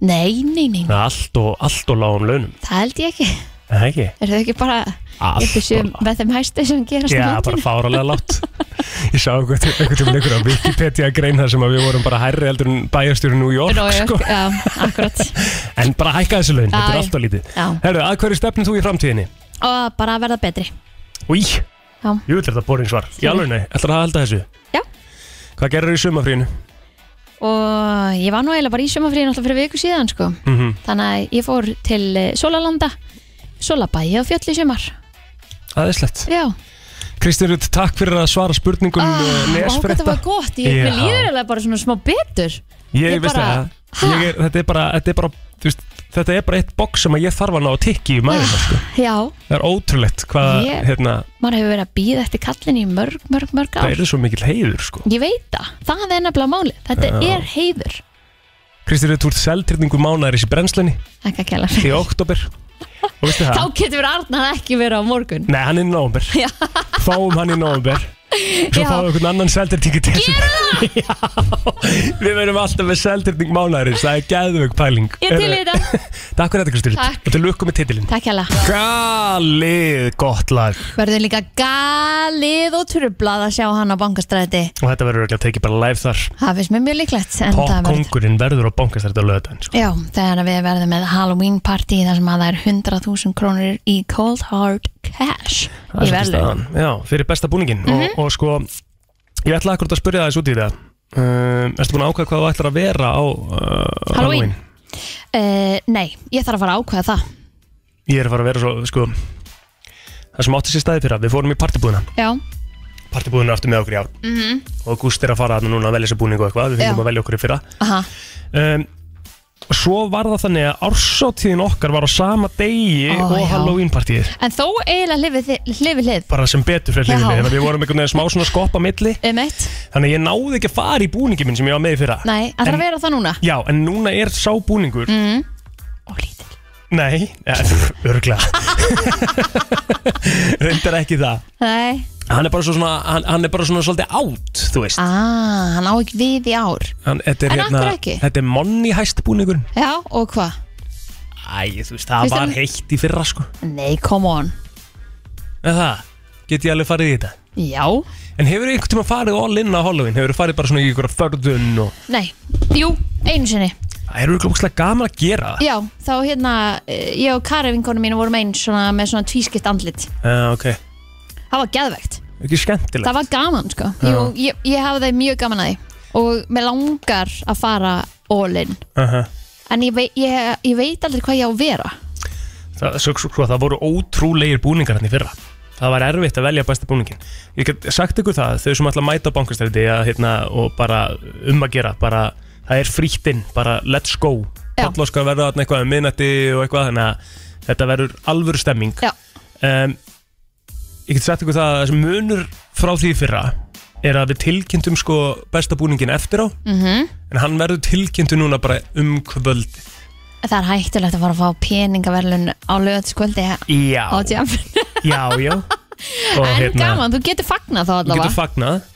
Nei, nei, nei, nei. með allt og, allt og lágum launum það held ég ekki eða ekki? Er þau ekki bara Allt upp í sjöum og- með þeim hæstu sem gerast í Já, bara landinu? fáralega [laughs] látt Ég sá einhvern einhvern tímann ykkur á Wikipedia grein þar sem að við vorum bara hærri heldur en bæjarstjóri New York Nó, já, sko. já, akkurat En bara hækka þessu laun, þetta Já, er já. alltaf lítið [laughs] Já. Herru, að hverju stefnir þú í framtíðinni? Og bara að verða betri Új, Já. jú, þetta er þetta boring svar Í alveg nei, ætlar það að halda þessu? Já. Hvað gerir þú í sumafrínu? og ég var nú eiginlega bara í sumafríðin alltaf fyrir viku síðan sko Mhm. þannig að ég fór til eh, Sólalanda Sólabæi og fjöll í sumar Aðeinslegt. Já, Kristján Rutt, takk fyrir að svara spurningum ah, Vá, hvað þetta nesfretta. var gott, ég Já. mér líður eiginlega bara svona smá betur Ég, ég veist bara- það. Ég er, þetta er bara, þetta er bara, þú veist, þetta er bara eitt boks sem að ég þarf að ná að tikki í maður. Sko. Já, Það er ótrúlegt hvað, Ég- hérna, maður hefur verið að býða eftir kallin í mörg, mörg, mörg það ár er svo mikill heiður, sko. Ég veit það, það er nefnilega málið Þetta Já. er heiður Kristján Rutt, þú ert seltrýningu mánaðaris í brennslunni Þakka kjæla í oktober. Og veistu Þá það? getur Arnar ekki verið á morgun Nei, hann er í nóvumber. Já. Fáum hann í nóvumber. Svo Já. fáum við einhvern annan seltrýningu til. [laughs] Já, við verðum alltaf með seltrýning mánaðaris. Það er geðvögg pæling. Ég til í þetta Takk fyrir þetta Kristján Rutt. Takk. Og til lukku með titilinn. Takk kjæla Galið gott lag Verður líka galið og trublað að sjá hann á bankastræti Og þetta verður ekki að teki bara live þar Það finnst mér mjög líklegt en það verður- Popkongurinn verður á bankastræti á löðan sko. Já, þegar við verðum með Halloween party þar sem að það er 100.000 krónur í cold hard cash Það er í Mhm. svolítið verðlun. staðan. Já, fyrir besta búningin og, og sko, ég ætla akkur að spyrja það þessu út í það um, Erstu búin að ákvæða hvað þú ætlar að vera á uh, Halloween. Uh, nei, ég þarf að fara að ákveða það. Ég er að fara að vera svo, sko Það sem átti sér staði fyrir að við fórum í partibúðina Já, Partibúðina er aftur með okkur í ár -hmm. Og Gúst er að fara þarna núna að velja sér búning og eitthvað Við fengum Mhm. Já. að velja okkur í fyrra aha, um, Svo var það þannig að ársáttíðin okkar var á sama degi Ó, og já. Halloween partíið en þó eiginlega hlifið þi- hlifið hlið bara sem betur fyrir Já. hlifinu þannig að við vorum einhvern veginn smá svona skopp á milli um eitt. þannig að ég náði ekki að fara í búningi minn sem ég var með í fyrra Nei, það þarf að vera það núna. já, en núna er sá búningur Mm. Ó, lítil. nei, ja, [laughs] örglega reyndar ekki það Nei, hann er bara svo svona, hann, hann er bara svona svolítið átt þú veist ah, hann á ekki við í ár. hann, þetta er En hérna, af hverju ekki? þetta er monni hæst búningur Já, og hvað? æ, þú veist, það Finnst var þér- heitt í fyrra sko Nei, come on. en það, get ég alveg farið í þetta Já, en hefur einhvern tíma farið all in á Halloween hefur farið bara svona í ykkur förðun og nei, jú, einu sinni. það er ykkur gaman að gera það Já, þá hérna, eh, ég og Kari vinkonu mínu vorum eins svona með svona tvískipt andlit. uh, ok, Það var geðvegt. ekki skemmtilegt Það var gaman sko Jú, ég, ég hafði mjög gaman að því Og mér langar að fara all in Aha. En ég, vei, ég, ég veit aldrei hvað ég á að vera það, svo, svo, svo, það voru ótrúlegir búningar hann í fyrra það var erfitt að velja besta búningin ég get sagt ykkur það, þau sem ætla að mæta á bankastræti að, hérna, og bara um að gera bara, það er frítt inn bara let's go, Já. alloskar verða þarna eitthvað um minnati og eitthvað þannig að þetta verður alvöru stemming Já. um, ég get sagt ykkur það að þessi munur frá því í fyrra er að við tilkynntum sko besta búningin eftir á Mhm. en hann verður tilkynntu núna bara um kvöld Það er hættulegt að fara að fá peningaverlun á lögatiskvöldi á já, tjám já, já [laughs] Og, hérna- En gaman, þú getur fagnað þá Þú allavega getur fagnað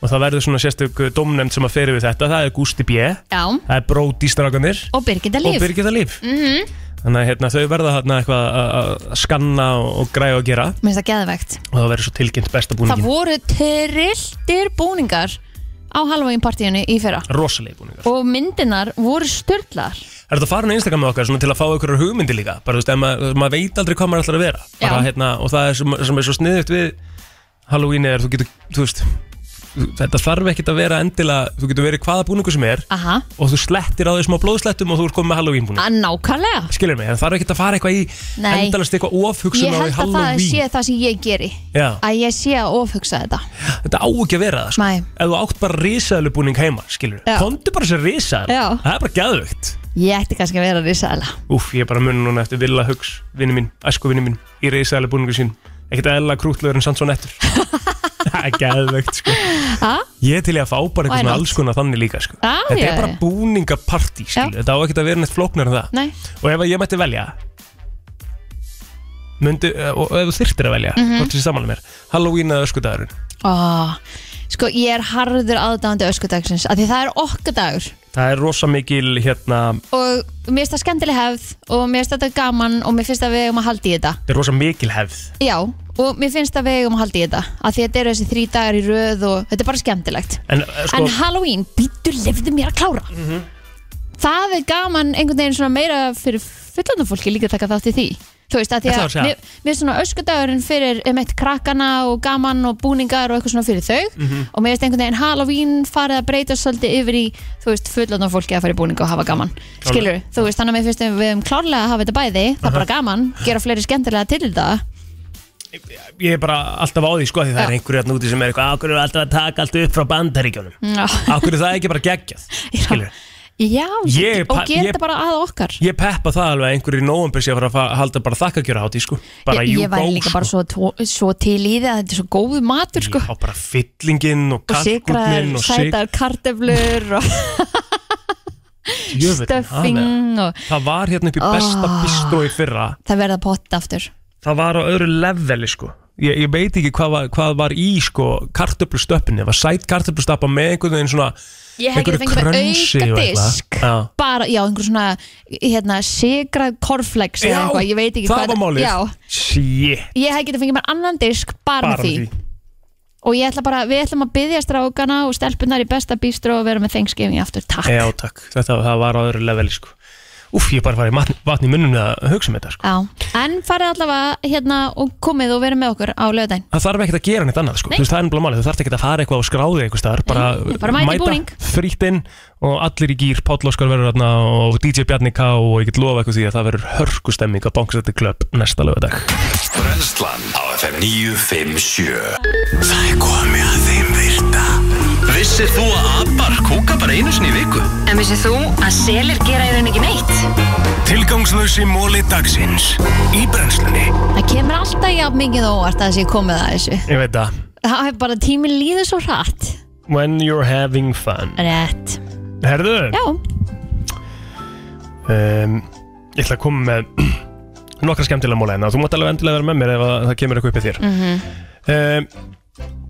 og það verður svona sérstök domnefnd sem að fyrir við þetta það er Gusti B, Já, það er Bróti strákanir og Birgitta og Líf Mhm. Birgitta Líf þannig að hérna, þau verða hérna, eitthvað að- að að skanna og, og græja og gera Mér finnst það geðvegt og það verður svo tilkynnt besta Það búningin voru trilltir búningar á Halloween partíinu í fyrra rosaleg búningar Og myndinar voru störtlar Er þetta farin að Instagram með okkar svona til að fá ykkur hugmyndi líka bara þú veist, ef maður, maður veit aldrei hvað maður ætlar að vera bara, Já. hérna, og það er sem, sem er svo sniðugt við Halloween er þú getur, þú veist þetta þarf ekkert að vera endilega þú getur verið hvaða búningu sem er Aha, og þú slettir á því smá blóðslettum og þú er komið með Halloween búning að nákvæmlega skilur mig, það þarf ekki að fara eitthvað í Nei. endalast eitthvað ofhugsun Ég á því held að það Halloween sé það sem ég geri Já. Að ég sé að ofhugsa þetta þetta á ekki að vera það sko. Nei. ef þú átt bara risaðlubúning heima skilur, Já. komdu bara sér risaðl Já. það er bara gæðvögt Ég ætti kannski að vera risaðala Úf, ég er bara munum núna eftir Villa Hugs vinnu mín, æskuvinnu mín, í risaðlubúningu sín ekkert að ella krútlegur en samt svo [laughs] nettur það er gæðvögt sko. Ha? ég er til í að fá bara Why eitthvað svona not? alls konar þannig líka sko. Já, þetta já, er bara já. búningapartí skilur. Já. þetta á ekki að vera neitt flóknar en það Nei, og ef ég mætti velja myndi, og ef þú þyrtir að velja mm Mhm. -hmm. hvort þessi samanlega mér, Halloween eða öskudagurinn Ó, sko ég er harður aðdáðandi öskudagsins af Því það er okkar dagur það er rosa mikil hérna það Og mér finnst það skemmtileg hefð Og mér finnst þetta gaman Og mér finnst að við eigum að halda í þetta er rosa mikil hefð Já, og mér finnst að við eigum að halda í þetta af Því þetta eru þessi þrý dagar í röð Og þetta er bara skemmtilegt en, eh, sko, Mhm. En Halloween, býttu lefðu mér að klára Það er gaman einhvern veginn svona meira fyrir fullandafólki líka að taka þátt í því þú veist, að því Ætlaðu að að segja? mér mér er svona öskudagurinn fyrir um eitt krakkana og gaman og búningar og eitthvað svona fyrir þau Mhm. og mér veist einhvern veginn Halloween farið að breyta svolítið yfir í, þú veist, fullotna fólki að fara í búninga og hafa gaman, Klárlega. skilur þú veist, þannig að mér finnst að við um klárlega að hafa þetta bæði það er Uh-huh. bara gaman, gera fleiri skemmtilega til þetta Ég er bara alltaf á því sko því það er einhverju hérna úti sem er eitthvað Akkur er alltaf að taka allt upp frá bandaríkjónum Já. [laughs] Akkur er það ekki bara geggjað Skilur Já, Ég er og pa- gera ég- þetta bara að okkar Ég peppa það alveg að einhverju í nóvambur sé að fara að fa- halda bara þakkakjöra hátíð sko Bara Ég, you ég væri go líka sko bara svo, tó- svo til í það að þetta er svo góðu matur sko Á bara fyllingin og og sigraðar, kalkutnin og sig sætar karteflur og Jöfullinn, hana. stuffing og Það var hérna upp í besta Ah. bistrói fyrra það verða pott aftur Það var á öðru leveli sko Ég, ég veit ekki hvað var, hvað var í sko kartöflustöppinni, það var sætt kartöflustappa með einhvern veginn svona Ég hef ekki einhverju fengið mér krönsi og eitthvað. aukadisk. Já. bara, já, einhver svona hérna, sigrað korflex eða eitthvað, ég veit ekki það hvað var málið já, Shit, ég hef getið fengið mér annan disk bara, með því. og ég ætla bara, við ætlum að byggja strákana og stelpunar í besta bístró og vera með Thanksgiving aftur, takk Já, takk, þetta það var á öðru leveli sko Úf, ég er bara að fara í matn, vatn í munnum með að hugsa um þetta sko já. en farið allavega hérna og komið og verið með okkur á lögdæn Það þarf ekkert að gera neitt annað sko, Nei. þú veist það er ennbla málið, þú þarf ekkert að fara eitthvað og skráði eitthvað staðar, bara, bara mæta í búning. frítt inn og allir í gýr, Páll Óskar verður þarna og DJ Bjarni K og ég get lofa eitthvað því að það verður hörkustemming á Bankstætti Club næsta lögadag. Brenslan á FM 957 Það er komið að þeim virta Vissir þú að abar kúka bara einu sinni í viku? En vissið þú að selir gera í raun ekki neitt? Tilgangslösi móli dagsins Í brennslunni það kemur alltaf jafn mikið á óvart að það sé komið að þessu Ég veit það, það er bara tíminn líður svo hratt when you're having fun. rétt, Herðu? já, um, Ég ætla að koma með [clears throat] nokkra skemmtilega móla hérna Þú mátt alveg endilega vera með mér ef að það kemur eitthvað upp í þér mm Mhm. um,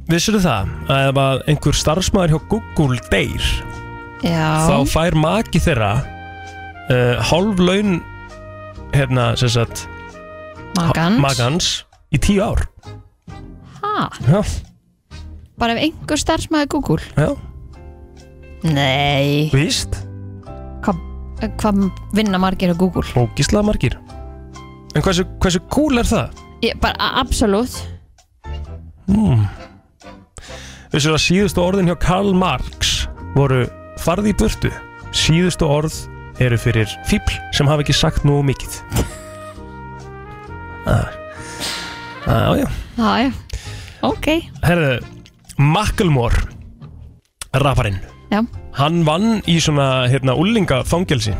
Vissirðu það að ef að einhver starfsmæður hjá Google deyr já þá fær maki þeirra uh, hálf laun hérna, sem sagt Magans. Magans í tíu ár Ha, Já, bara ef einhver starfsmæði Google já, Nei víst Eh, Hvað hva vinna margir á Google? Ógislega margir En hversu, hversu cool er það? Ég, bara a- absolutt Mm. Þessu að síðustu orðin hjá Karl Marx voru farði í burtu síðustu orð eru fyrir fíbl sem hafa ekki sagt nú mikið Það ah. ah, já Já, já, ok Herðu, Macklemore rafarinn Já. hann vann í svona hérna, ullinga fangelsi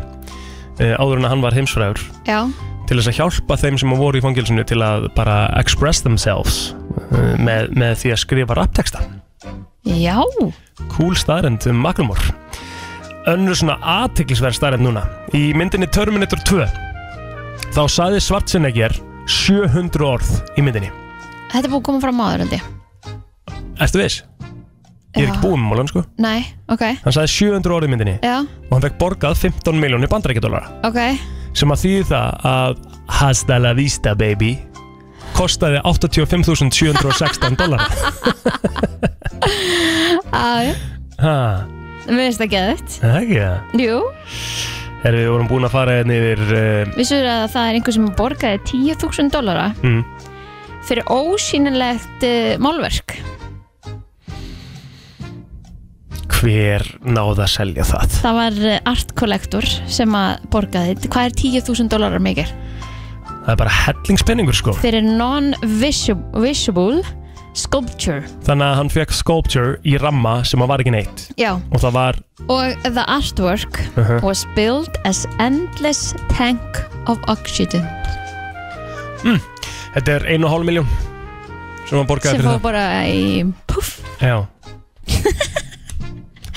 áður en að hann var heimsfræður Já, til þess að hjálpa þeim sem voru í fangilsinu til að bara express themselves eh, með, með því að skrifa rapteksta já, cool staðrend um Magnumor önnur svona aðtiklisverð staðrend núna í myndinni Terminator 2 þá saði Schwarzenegger 700 orð í myndinni þetta er búið að koma fram áður held ég Ertu viss? Ég er Já. ekki búið með málan sko Nei, ok, hann saði 700 orð í myndinni já, og hann fekk borgað 15 miljónir bandarækjadólara ok sem að þýði það að hasta la vista baby kostaði 85.716 [laughs] dólar Já, já, Ha, mér finnst það geðvægt það er ekki það Jú, Herri, við vorum búin að fara hérna yfir uh, vissur að það er einhver sem borgaði 10.000 dollara mm, fyrir ósýnilegt uh, málverk Hver náði að selja það? Það var eh, art collector sem að borgaði Hvað er 10.000 dólarar mikið? Það er bara hellingspenningur sko Fyrir non-visible sculpture Þannig að hann fekk sculpture í ramma sem að var ekki neitt Já, Og það var og the artwork Mhm. was built as endless tank of oxygen Þetta er 1,5 miljón Sem hann borgaði sem fór fyrir bara í puff það Já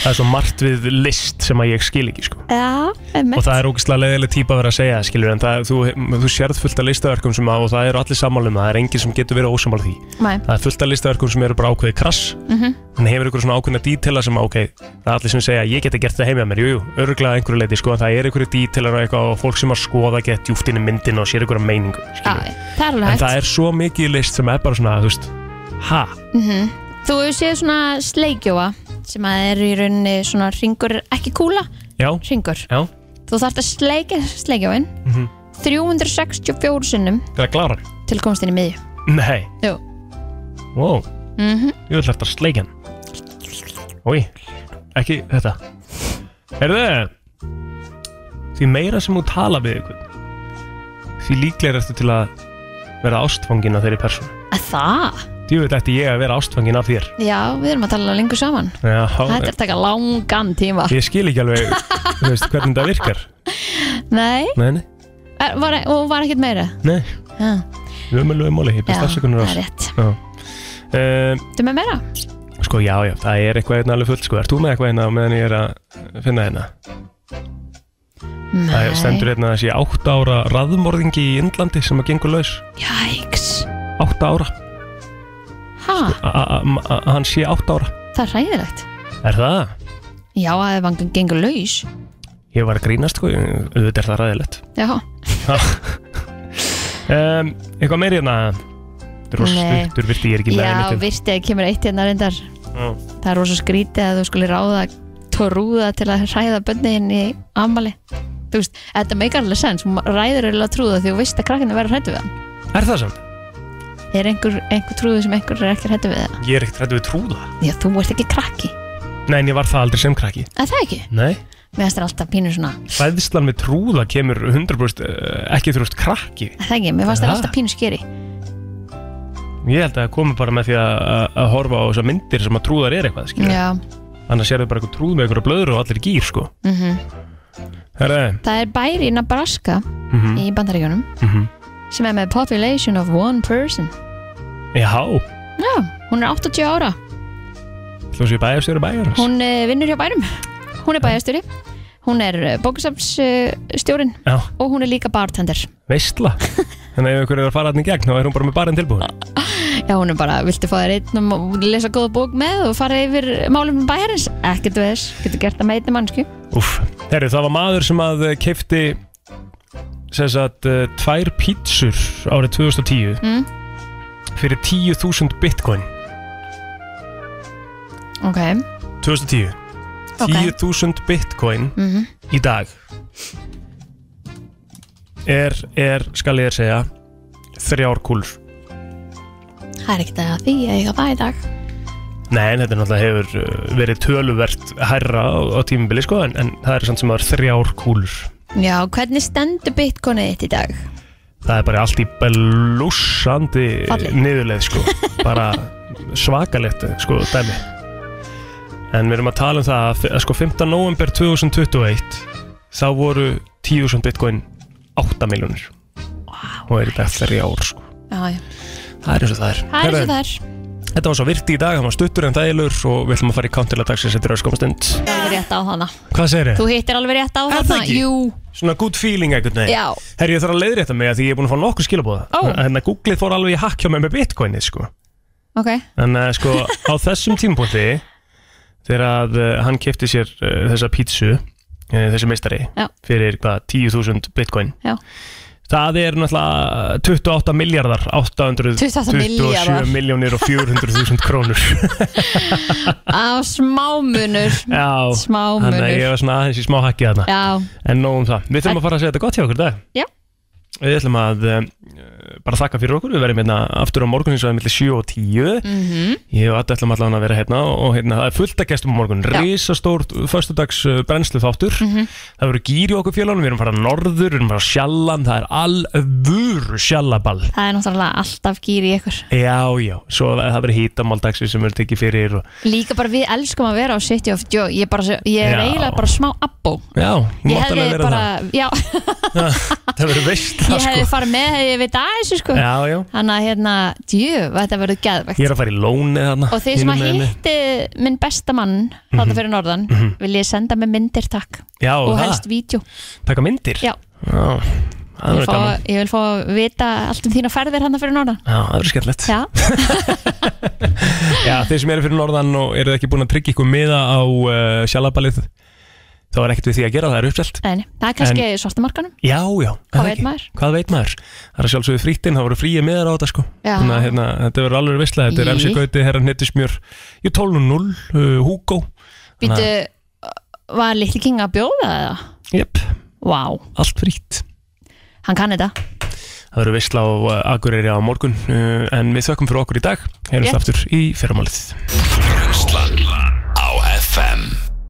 Það er svo margt við list sem að ég skil ekki sko Já, Og emmitt það er ógeðslega leiðileg típa að vera að segja það skilur En það, þú, þú sérð fullt af listaverkum sem að Og það eru allir sammálum Það er enginn sem getur verið ósamál því Nei. Það er fullt af listaverkum sem eru bara ákveði krass Mhm. en hefur ykkur svona ákveðna dítela sem ok, það er allir sem segja ég geti gert það heimja mér, jújú, jú, örgulega einhverju leiti sko, en það er einhverju dítelar og eitthvað og fólk sem að skoða gett djúftinni myndin og sér einhverja meiningu Já, það er alveg en hægt það er svo mikið í list sem er bara svona, þú veist ha, Mhm. Þú hefur séð svona sleikjóa sem að er í rauninni svona ringur, ekki kúla, já, ringur já Þú þarft að sleikja sleikjóin mhm, 364 sinnum Það er klárar til komstinni miðju Nei Jú. Wow, mm ég vil hægt að sleikja hann Ói, ekki þetta Herðu Því meira sem þú tala við ykkur Því líklega ertu til að vera ástfangin af þeirri persónu að Það? Því veit ætti ég að vera ástfangin af þér Já, við erum að tala lengur saman Já, Þetta er að taka langan tíma Ég skil ekki alveg þú veist, hvernig það virkar Nei, Nei, nei, er, var, og var ekkert meira nei Já. Við höfum alveg máli, ég best Ah, Já, afsökunar á það er þessu. Já. Um, Þú með meira? Sko, já, já, það er eitthvað hérna alveg fullt, sko. Ert þú með eitthvað hérna á meðan ég er að finna hérna? Það er- stendur hérna þessi átta ára raðmorðingi í Indlandi sem að gengur laus. Jæks Átta ára. Ha, A- a- a- a- a- Hann sé átta ára. það er ræðilegt Er það? Já, að ef hann gengur laus Ég var að grínast, sko. Auðvitað er það ræðilegt. Já, Ha. um, eitthvað meir hérna? Þetta er rosa Nei. stuttur, virti ég er ekki með já einmitt um- virti að kemur eitt hérna reyndar Já. Það er rosa skrítið að þú skulle ráða trúða til að ræða bönniðin í ammali Þú veist, þetta meikar alveg sens Hún ræður eiginlega trúða því þú veist að krakkinu verður hrættu við hann Er það samt? Er einhver, einhver trúðu sem einhver er ekki hrættu við það? Ég er ekkert rættu við trúða. Já, þú ert ekki krakki Nei, en ég var það aldrei sem krakki. Að það ekki? Nei. Mér finnst það alltaf pínur svona Hræðslan með trúða kemur 100% eh, ekki þrjóðst krakki. Að það ekki, mér finnst það Ha? alltaf pínur skeri Ég held að það komi bara með því að, að, að horfa á þessar myndir sem að trúðar er eitthvað, skilja. Já, Annars sérðu bara eitthvað trúð með eitthvað blöður og allir í gýr, sko. mhm Herra, Það er bæri í Nebraska Mhm. í bandaríkjónum mhm. sem er með population of one person já, Já, hún er 80 ára þú séu bæjarstjóri bæjar. Hún uh, vinnur hjá bærum Hún er bæjarstjóri Hún er bókusafsstjórin Já. og hún er líka bartender Veistla. Þannig að ef ykkur er að fara hann í gegn, þá er hún bara með barinn tilbúin. Já, hún er bara, viltu fá þér einn og lesa góða bók með og fara yfir málum bæjarins Ekkert við þess, getur gert það með einni mannsku Úff. Herru, það var maður sem að kefti, sem sagt, eh, tvær pítsur árið 2010 mm, fyrir 10.000 bitcoin. Ok, 2010. Ok. 10.000 bitcoin Mhm. í dag er, er, skal ég þér segja, þrjár kúlur. það er ekkert að því að ég hafa það í dag Nei, en þetta náttúrulega hefur uh, verið töluvert hærra á, á tímubili, sko, en, en það er samt sem það er þrjár kúlur. Já, hvernig stendur bitcoinið þitt í dag? Það er bara allt í belussandi Falli. niðurleið, [laughs] sko. Bara svakalegt, sko, dæmi. En við erum að tala um það að f- að, sko, 15. november 2021 þá voru 10.000 bitcoin 8 miljónir. Wow. Og eru þetta þrjár, sko. Já, já, Það er eins og það er. það er eins og Herðu, það er Þetta var svo virti í dag, það var stuttur en þægilegur og við ætlum að fara í countilag dagsins eftir öskum stund. Það er rétt á hana Hvað segir Þú hittir alveg rétt á Er það þarna ekki? Jú, Svona good feeling einhvern veginn Já. Herri ég þarf að leiðrétta mig að því ég er búin að fá nokkuð skilabóða Ó. Þannig að Google fór alveg í hakk hjá mig með bitcoinið sko ok Þannig að sko á þessum tímpúti Þegar að uh, hann kefti sér uh, þessa pítsu uh, Þessi meistari Já. Fyrir hvað 10.000 bitcoin Já. Það er náttúrulega 28 miljardar 28 milljarðar. 827 miljónir og 400.000 krónur [laughs] Á [laughs] smámunur Já Þannig að ég Smámunur var svona aðeins í smá hakki þarna Já, En nóg um það, við þurfum að fara að segja þetta gott hjá okkur í dag Já. Við ætlum að uh, bara þakka fyrir okkur, við verðum hérna aftur á morgun eins og það er millir 7 og 10 mm Ég og Adda ætlum allan að vera hérna og hérna það er fullt að gestum á morgun Já. Mhm. Rísastór, föstudags uh, brennslu þáttur Það verður gýr í okkur félagum, við erum að fara norður, við erum að fara á sjallan Það er alvöru sjallaball það er náttúrulega alltaf gýr í ykkur Já, já, svo það verður hítamáldagsvi sem verður tekið fyrir og... Líka bara við elskum að vera á City of Joe Ég, bara, ég Já. er eiginlega bara smá abbó Já, Ég máttalega verður bara það Já, [laughs] Það [laughs] verður veist ég hefði farið með hefði við það þessu sko Já, já, Þannig að hérna, djú, þetta verður geðvegt ég er að fara í lónið þarna Og þið sem að hinum megin við. hitti minn besta mann þarna fyrir norðan, vil ég senda með myndir takk Já, og það. helst vídeo Taka myndir? Já. Já, það ég, verður fá, gaman ég vil fá að vita allt um þína ferðir hann fyrir norðan Já, það verður skemmtilegt Já, [laughs] Já, þeir sem eru fyrir norðan og eru ekki búin að tryggja ykkur miða á uh, sjalabalið þá er ekkert við því að gera, það er uppselt neini, það er kannski en, svartamarkanum Já, já, er Hvað það veit ekki? maður? Hvað veit maður? Það er sjálfsögðu frýttinn, það voru fríi miðar á þetta sko Já. Þannig að hérna, þetta verður alveg veistlega, þetta er Í. MC Gauti, herra Nettismjör Ég 12.0, uh, Hugo Býtu, var Little King að bjóða það? Jep, Vá, allt frýtt Hann kann þetta. Það verður veistla á uh, Akureyri á morgun uh, en við þökkum fyrir okkur í dag heyrjumst Yeah. aftur í fyrramálið